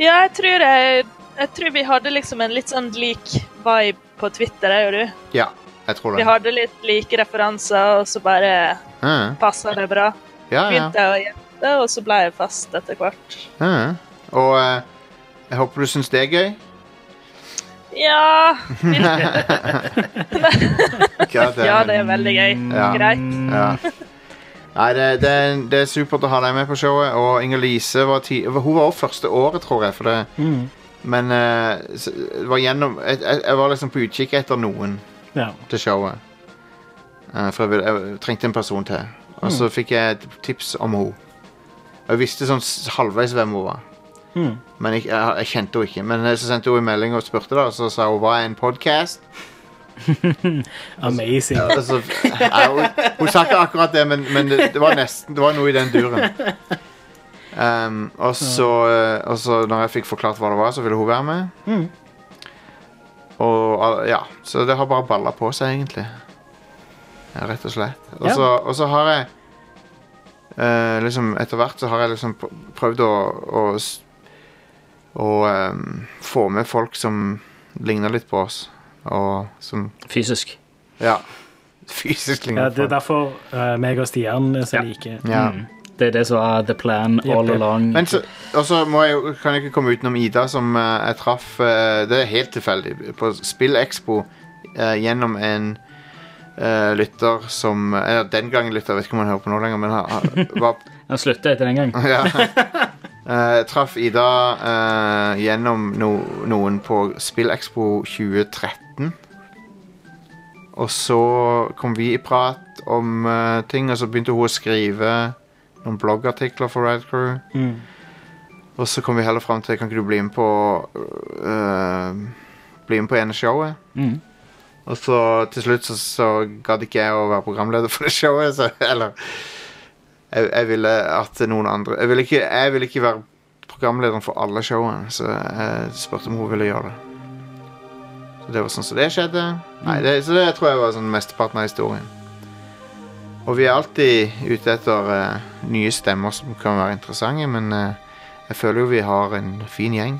G: Ja, jeg tror, jeg, jeg tror vi hadde liksom en litt sånn lik vibe på Twitter, jeg og du.
D: Ja, jeg tror det.
G: Vi hadde litt like referanser, og så bare
D: Ja.
G: passa det bra.
D: Ja, ja.
G: Begynte jeg å gjette, og så ble jeg fast etter hvert.
D: Ja. Og eh, jeg håper du syns det er gøy.
G: [laughs] Ja
D: God damn
G: Ja,
D: it.
G: det er veldig gøy.
D: Ja.
G: Greit.
D: Mm, Ja. Nei, det, det, er, det er supert å ha deg med på showet. Og Inger-Lise var ti Hun var også første året, tror jeg. For det, Men eh, s- det var gjennom jeg, jeg, jeg var liksom på utkikk etter noen
E: Ja.
D: til showet. Eh, for jeg, ville- jeg trengte en person til. Og så fikk jeg et tips om henne. Og jeg visste sånn s- halvveis hvem hun var.
E: Mm.
D: Men jeg, jeg, jeg kjente henne ikke. Men eh, så sendte hun en melding og spurte, da, og så sa hun hva er en podkast?
E: Amazing.
D: Altså, nei, hun, hun sa ikke akkurat det, men, men det, det var nesten Det var noe i den duren. Um, og, så, eh, og så, når jeg fikk forklart hva det var, så ville hun være med.
E: Mm.
D: Og al- ja, Så det har bare balla på seg, egentlig. Ja, rett og slett. Og
E: Ja.
D: så, og så har jeg eh, liksom Etter hvert så har jeg liksom pr- prøvd å, å, s- å eh, få med folk som ligner litt på oss. Og som
F: Fysisk.
D: Ja. [laughs] Fysisk ligner
E: Ja,
D: på
E: det er derfor eh, meg og Stian er så like.
D: Ja.
E: Mm.
F: Det er det som var the plan all
E: Jepp, jepp.
F: along.
D: Men så, og så må jeg, jo- kan jeg ikke komme utenom Ida, som eh, jeg traff eh, Det er helt tilfeldig. På SpillExpo eh, gjennom en eh, lytter som Eller den gangen lytter, jeg vet ikke om han hører på nå lenger, men han, han var
F: Han slutta etter den gang.
D: ja. Eh, Jeg traff Ida eh, gjennom no, noen på SpillExpo 2013. Og så kom vi i prat om eh, ting, og så begynte hun å skrive noen bloggartikler for Rad Crew.
E: Mm.
D: Og så kom vi heller fram til Kan ikke du bli med på eh, Bli med på ene showet?
F: Mm.
D: Og så til slutt så, så gadd ikke jeg å være programleder for det showet, så Eller jeg, jeg ville at noen andre Jeg ville ikke, jeg ville ikke være programlederen for alle showene, så jeg spurte om hun ville gjøre det. Så det var sånn som det skjedde. Nei, det, så det tror jeg var sånn mesteparten av historien. Og vi er alltid ute etter eh, nye stemmer som kan være interessante, men eh, jeg føler jo vi har en fin gjeng.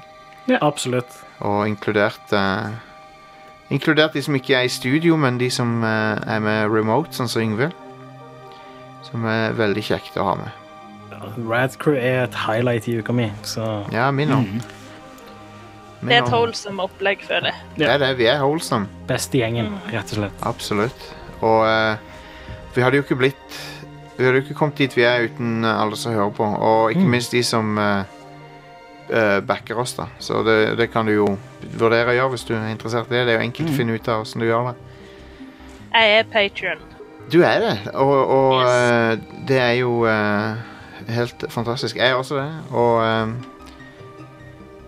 E: Ja, absolutt.
D: Og inkludert eh, Inkludert de som ikke er i studio, men de som eh, er med remote, sånn som Yngve. Som er veldig kjekt å ha med.
E: Radcrew er et highlight i uka mi, så
D: Ja, min òg.
G: Det er et holdsome opplegg, føler jeg.
D: Det er det. Vi er wholesome.
E: Beste gjengen, rett og slett.
D: Absolutt. Og eh, vi hadde jo ikke blitt Vi hadde jo ikke kommet dit vi er uten eh, alle som hører på, og ikke minst de som eh, eh, backer oss, da. Så det, det kan du jo vurdere å gjøre hvis du er interessert i det. Det er jo enkelt å finne ut av åssen du gjør det.
G: Jeg er patron.
D: Du er det, og, og eh, det er jo eh, helt fantastisk. Jeg er også det, og eh,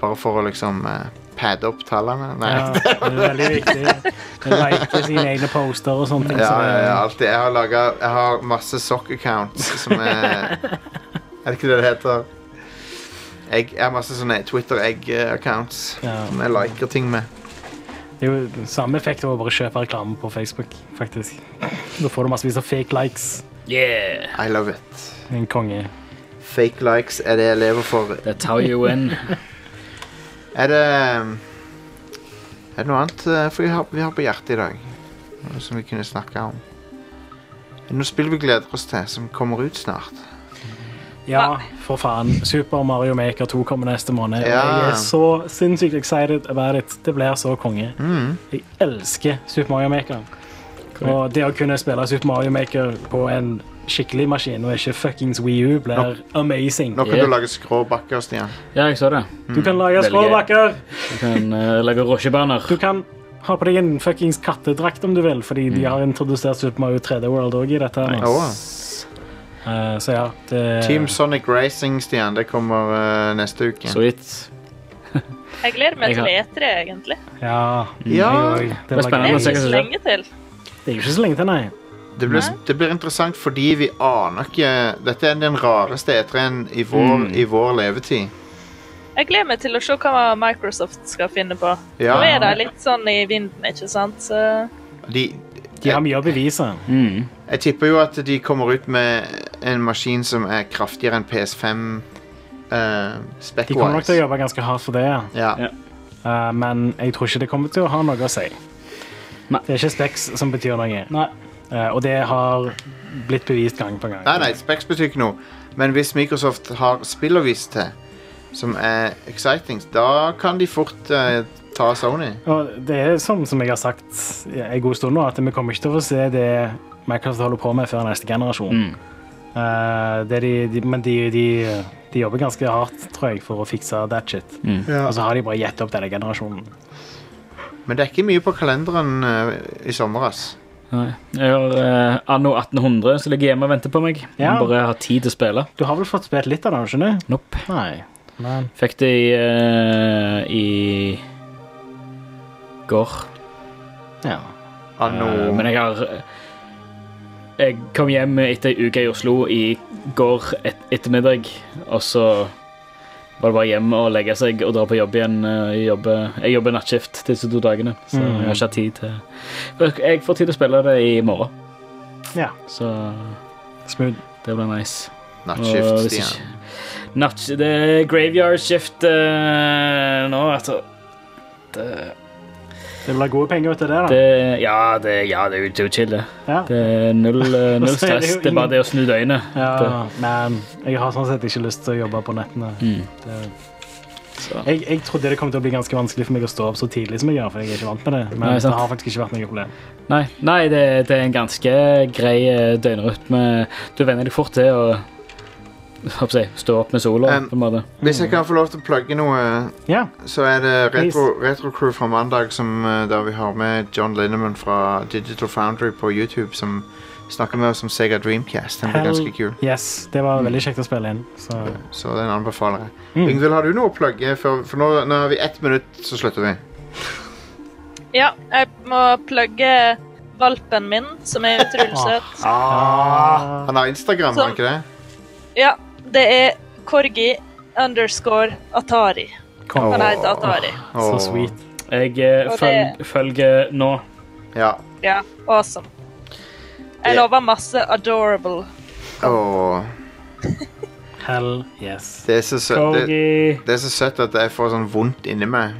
D: bare for å liksom eh, padde opp tallene Nei.
E: Ja, det er veldig viktig. De liker sine egne poster og sånne ting.
D: Ja,
E: så det-
D: ja, ja, alltid. Jeg har laget, Jeg har masse sock accounts som
E: [laughs]
D: er Er det ikke det det heter? Egg, jeg har masse sånne Twitter-egg-accounts
E: Ja.
D: som jeg liker ting med.
E: Det er jo samme effekt av å bare kjøpe reklame på Facebook, faktisk. Da får du massevis av fake likes.
F: Yeah!
D: I love it.
E: En konge.
D: Fake likes er det jeg lever for.
F: That's how you
E: [laughs]
F: win.
D: er det um, Er det noe annet eh, for vi har, vi har på hjertet i dag? Noe som vi kunne snakke om? Er det noe spill vi gleder oss til, som kommer ut snart?
E: Ja, for faen. Super Mario Maker 2 kommer neste måned. og
D: Ja.
E: Jeg er så sinnssykt excited about it. Det blir så konge.
D: Mm.
E: Jeg elsker Super Mario Maker. Og det å kunne spille Super Mario Maker på en skikkelig maskin og ikke fuckings Wii U blir
D: Nå-
E: amazing.
D: Nå kan du lage skrå bakker, Stian.
F: Ja, jeg så det.
E: Du
D: Mm.
E: kan lage
F: Veldig gøy.
E: skråbakker.
F: Du kan eh, lage rosjebaner.
E: Du kan ha på deg en fuckings kattedrakt om du vil, fordi
D: Mm.
E: de har introdusert Super Mario 3D World òg i dette. her nå.
D: Nice. Oh,
E: Eh, så ja, det
D: Team Sonic Racing, Stian, det kommer eh, neste uke.
F: Så vidt.
G: Jeg gleder
D: Jeg
G: meg til
D: har-
G: E3, egentlig.
E: Ja.
D: Ja.
E: jeg òg.
D: Det er
G: Det
D: spennende
G: er
D: å se hva
G: ikke
D: som
G: så
D: skjer.
G: lenge til.
E: Det er jo ikke så lenge til, nei.
D: Det blir, det blir interessant fordi vi aner ikke Dette er den rareste E3-en i, vår-
E: Mm.
D: i vår levetid.
G: Jeg gleder meg til å se hva Microsoft skal finne på.
D: Ja.
G: Nå er de litt sånn i vinden, ikke sant? Så
D: De,
E: De har mye å bevise.
D: Jeg tipper jo at de kommer ut med en maskin som er kraftigere enn PS5 eh,
E: De kommer nok
D: spec-wise.
E: til å jobbe ganske hardt for det,
D: Ja.
E: Eh, men jeg tror ikke det kommer til å ha noe å si. Det er ikke Specs som betyr noe. Eh, og det har blitt bevist gang på gang.
D: Nei, nei, specs betyr ikke noe. Men hvis Microsoft har spill å vise til, som er exciting, da kan de fort eh, ta Sony.
E: Og det er sånn som, som jeg har sagt en god stund nå, at vi kommer ikke til å få se det Microsoft holder på med før neste generasjon.
D: Mm.
E: Eh, det de, de, men de, de, de jobber ganske hardt, tror jeg, for å fikse that shit.
D: Mm. Ja.
E: Og så har de bare gitt opp denne generasjonen.
D: Men det er ikke mye på kalenderen eh, i sommer, ass.
F: Nei. Jeg har eh, anno 1800 som ligger hjemme og venter på meg.
E: Ja.
F: Må Bare ha tid til å spille.
E: Du har vel fått spilt litt av det, har du ikke det?
F: Nope.
E: Nei. Men
F: Fikk det i, eh, i går.
E: Ja.
D: Anno-
F: Eh, men jeg har Jeg kom hjem etter ei uke i Oslo i går et, ettermiddag, og så var det bare hjem og legge seg og dra på jobb igjen. eh, Jeg jobber, jeg jobber nattskift disse to dagene, så
E: Mm.
F: jeg har ikke hatt tid til Jeg får tid til å spille det i morgen,
E: ja.
F: så
E: Smooth.
F: det blir nice.
D: Nattskift,
F: Og hvis
D: Stian.
F: ikke- Nattsk det er graveyard shift eh, nå, altså. Det,
E: Det blir gode penger ut av det, da.
F: det, ja, det, ja, det er jo- det er jo chill, det.
E: Ja.
F: Det er [laughs] null, eh,
E: Og
F: null
E: så er det
F: stress.
E: jo
F: Det er bare
E: ingen-
F: det å snu døgnet.
E: Ja,
F: Det-
E: men jeg har sånn sett ikke lyst til å jobbe på nettene.
F: Mm.
E: Det, jeg, jeg trodde det kom til å bli ganske vanskelig for meg å stå opp så tidlig som jeg gjør, for jeg er ikke vant med det. Men
F: Nei, sant.
E: det har faktisk ikke vært noe problem.
F: Nei, nei det, det er en ganske grei eh, døgnrytme. Du venner deg fort til å hva skal jeg si, stå opp med sola,
D: Um,
F: på en måte.
D: Hvis jeg kan få lov til å plugge noe,
E: Ja.
D: så er det
E: Please.
D: retro, retro Crew fra mandag, som, eh, der vi har med John Linneman fra Digital Foundry på YouTube, som snakker med oss om Sega Dreamcast. Den blir ganske kul.
E: Yes, det
F: Mm.
E: var veldig kjekt å spille inn. Så.
D: Så den anbefaler jeg. Yngvild, har du noe å plugge? For, for nå, nå har vi ett minutt, så slutter vi.
G: Ja, jeg må plugge valpen min, som er utrolig søt.
D: Ah, han har Instagram, har han ikke det?
G: Ja, det er Korgi underscore Atari.
F: Kom.
G: Han heter Atari.
E: Ah,
F: Så sweet. Jeg eh,
G: Og det-
F: følg, følger nå.
D: Ja.
G: Ja, awesome. Jeg lover masse adorable.
D: Åh,
E: Hell yes.
D: det, er så søtt, det, det er så søtt at jeg får sånn vondt inni meg.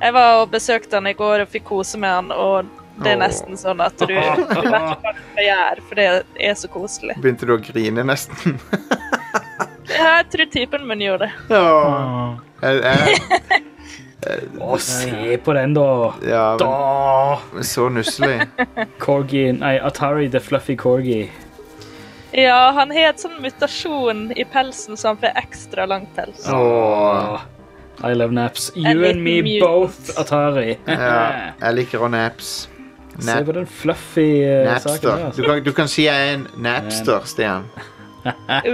G: Jeg var og besøkte han i går og fikk kose med han, og det er
D: Åh.
G: nesten sånn at du, du vet ikke hva du skal gjøre, for det er så koselig.
D: Begynte du å grine nesten? [laughs]
G: Jeg tror typen min gjorde det.
E: Ah,
D: Åh. Jeg, jeg,
F: Å, se på den, da.
D: ja, men,
F: Da!
D: men så nusselig.
F: Corgi Nei, Atari the Fluffy Corgi.
G: Ja, han har et sånn mutasjon i pelsen, så han får ekstra lang pels.
F: Åh. Ah, I love naps. You and
G: liten
F: me
G: mutant.
F: both, Atari.
D: Ja, jeg liker å naps.
F: [laughs] Se på den fluffy eh, saken
D: Napster.
F: der.
D: Du kan, du kan si jeg er en napster, Stian.
F: altså.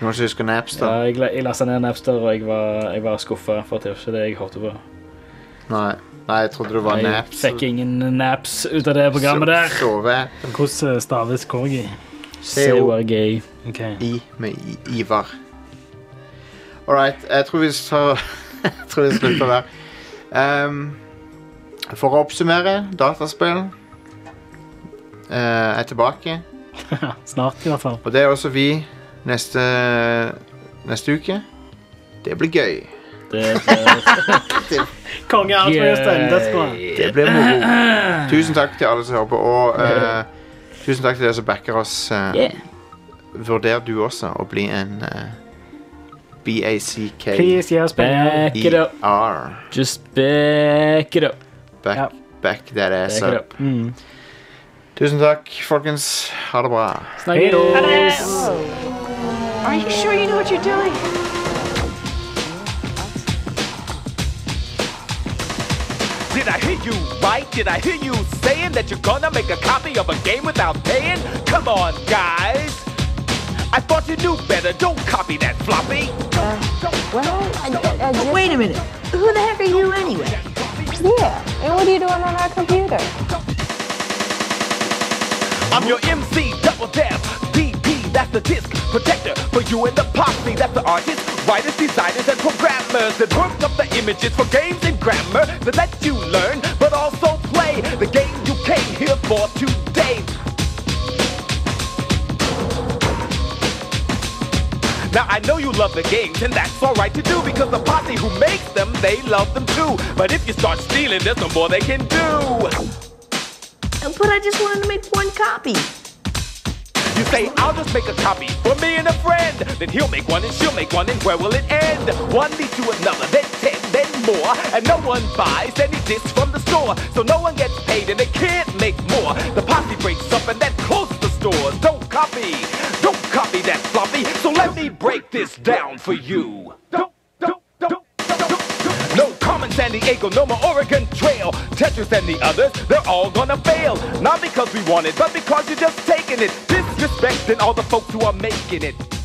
D: Du må ikke huske
F: Ja,
D: napster.
F: jeg, la- jeg lasta ned Napster, og jeg var, jeg var skuffa for at det var ikke det jeg håpte på.
D: Nei, Nei jeg trodde du var
F: Jeg
D: naps.
F: fikk ingen naps ut av det programmet der.
D: So- Sove.
E: Hvordan staves corgi?
F: C-O-R-G.
E: Ok.
D: I med I- Ivar. All right, jeg tror vi så [laughs] Jeg tror vi slutter der. Ehm, for å oppsummere, dataspill eh, er tilbake.
E: Snart, i hvert fall.
D: Og det er også vi neste, neste uke. Det blir gøy.
F: Det blir
E: Konge alt med Jostein. That's bra.
D: Det blir moro.
F: [clears throat]
D: Tusen takk til alle som hører på, og eh, tusen takk til dere som backer oss. eh.
F: Yeah.
D: Vurder du også å bli en eh, BACK
E: Please, gi oss penger.
F: Back it up.
D: ER.
F: Just back it up.
D: Back,
E: Ja.
D: back that ass
F: Back it
D: up. Tusen takk, folkens. Ha det bra.
F: Snakkes.
J: Are you sure you know what you're doing?
N: Did I hear you right? Did I hear you saying that you're gonna make a copy of a game without paying? Come on, guys! I thought you knew better. Don't copy that floppy.
J: Wait a minute. Who the heck are you anyway? Yeah, and what are you doing on our computer?
N: I'm your MC, double dab, DP, that's the disc protector for you and the posse. That's the artists, writers, designers, and programmers that work up the images for games and grammar that let you learn, but also play the game you came here for today. Now I know you love the games, and that's alright to do because the posse who makes them, they love them too. But if you start stealing, there's no more they can do.
J: But I just wanted to make one copy.
N: You say, I'll just make a copy for me and a friend. Then he'll make one and she'll make one, and where will it end? One leads to another, then ten, then more. And no one buys any discs from the store. So no one gets paid and they can't make more. The posse breaks up and that closes the stores. Don't copy, don't copy that floppy. So let me break this down for you. Don't, don't, don't. No common San Diego, no more Oregon Trail. Tetris and the others, they're all gonna fail. Not because we want it, but because you're just taking it. Disrespecting all the folks who are making it.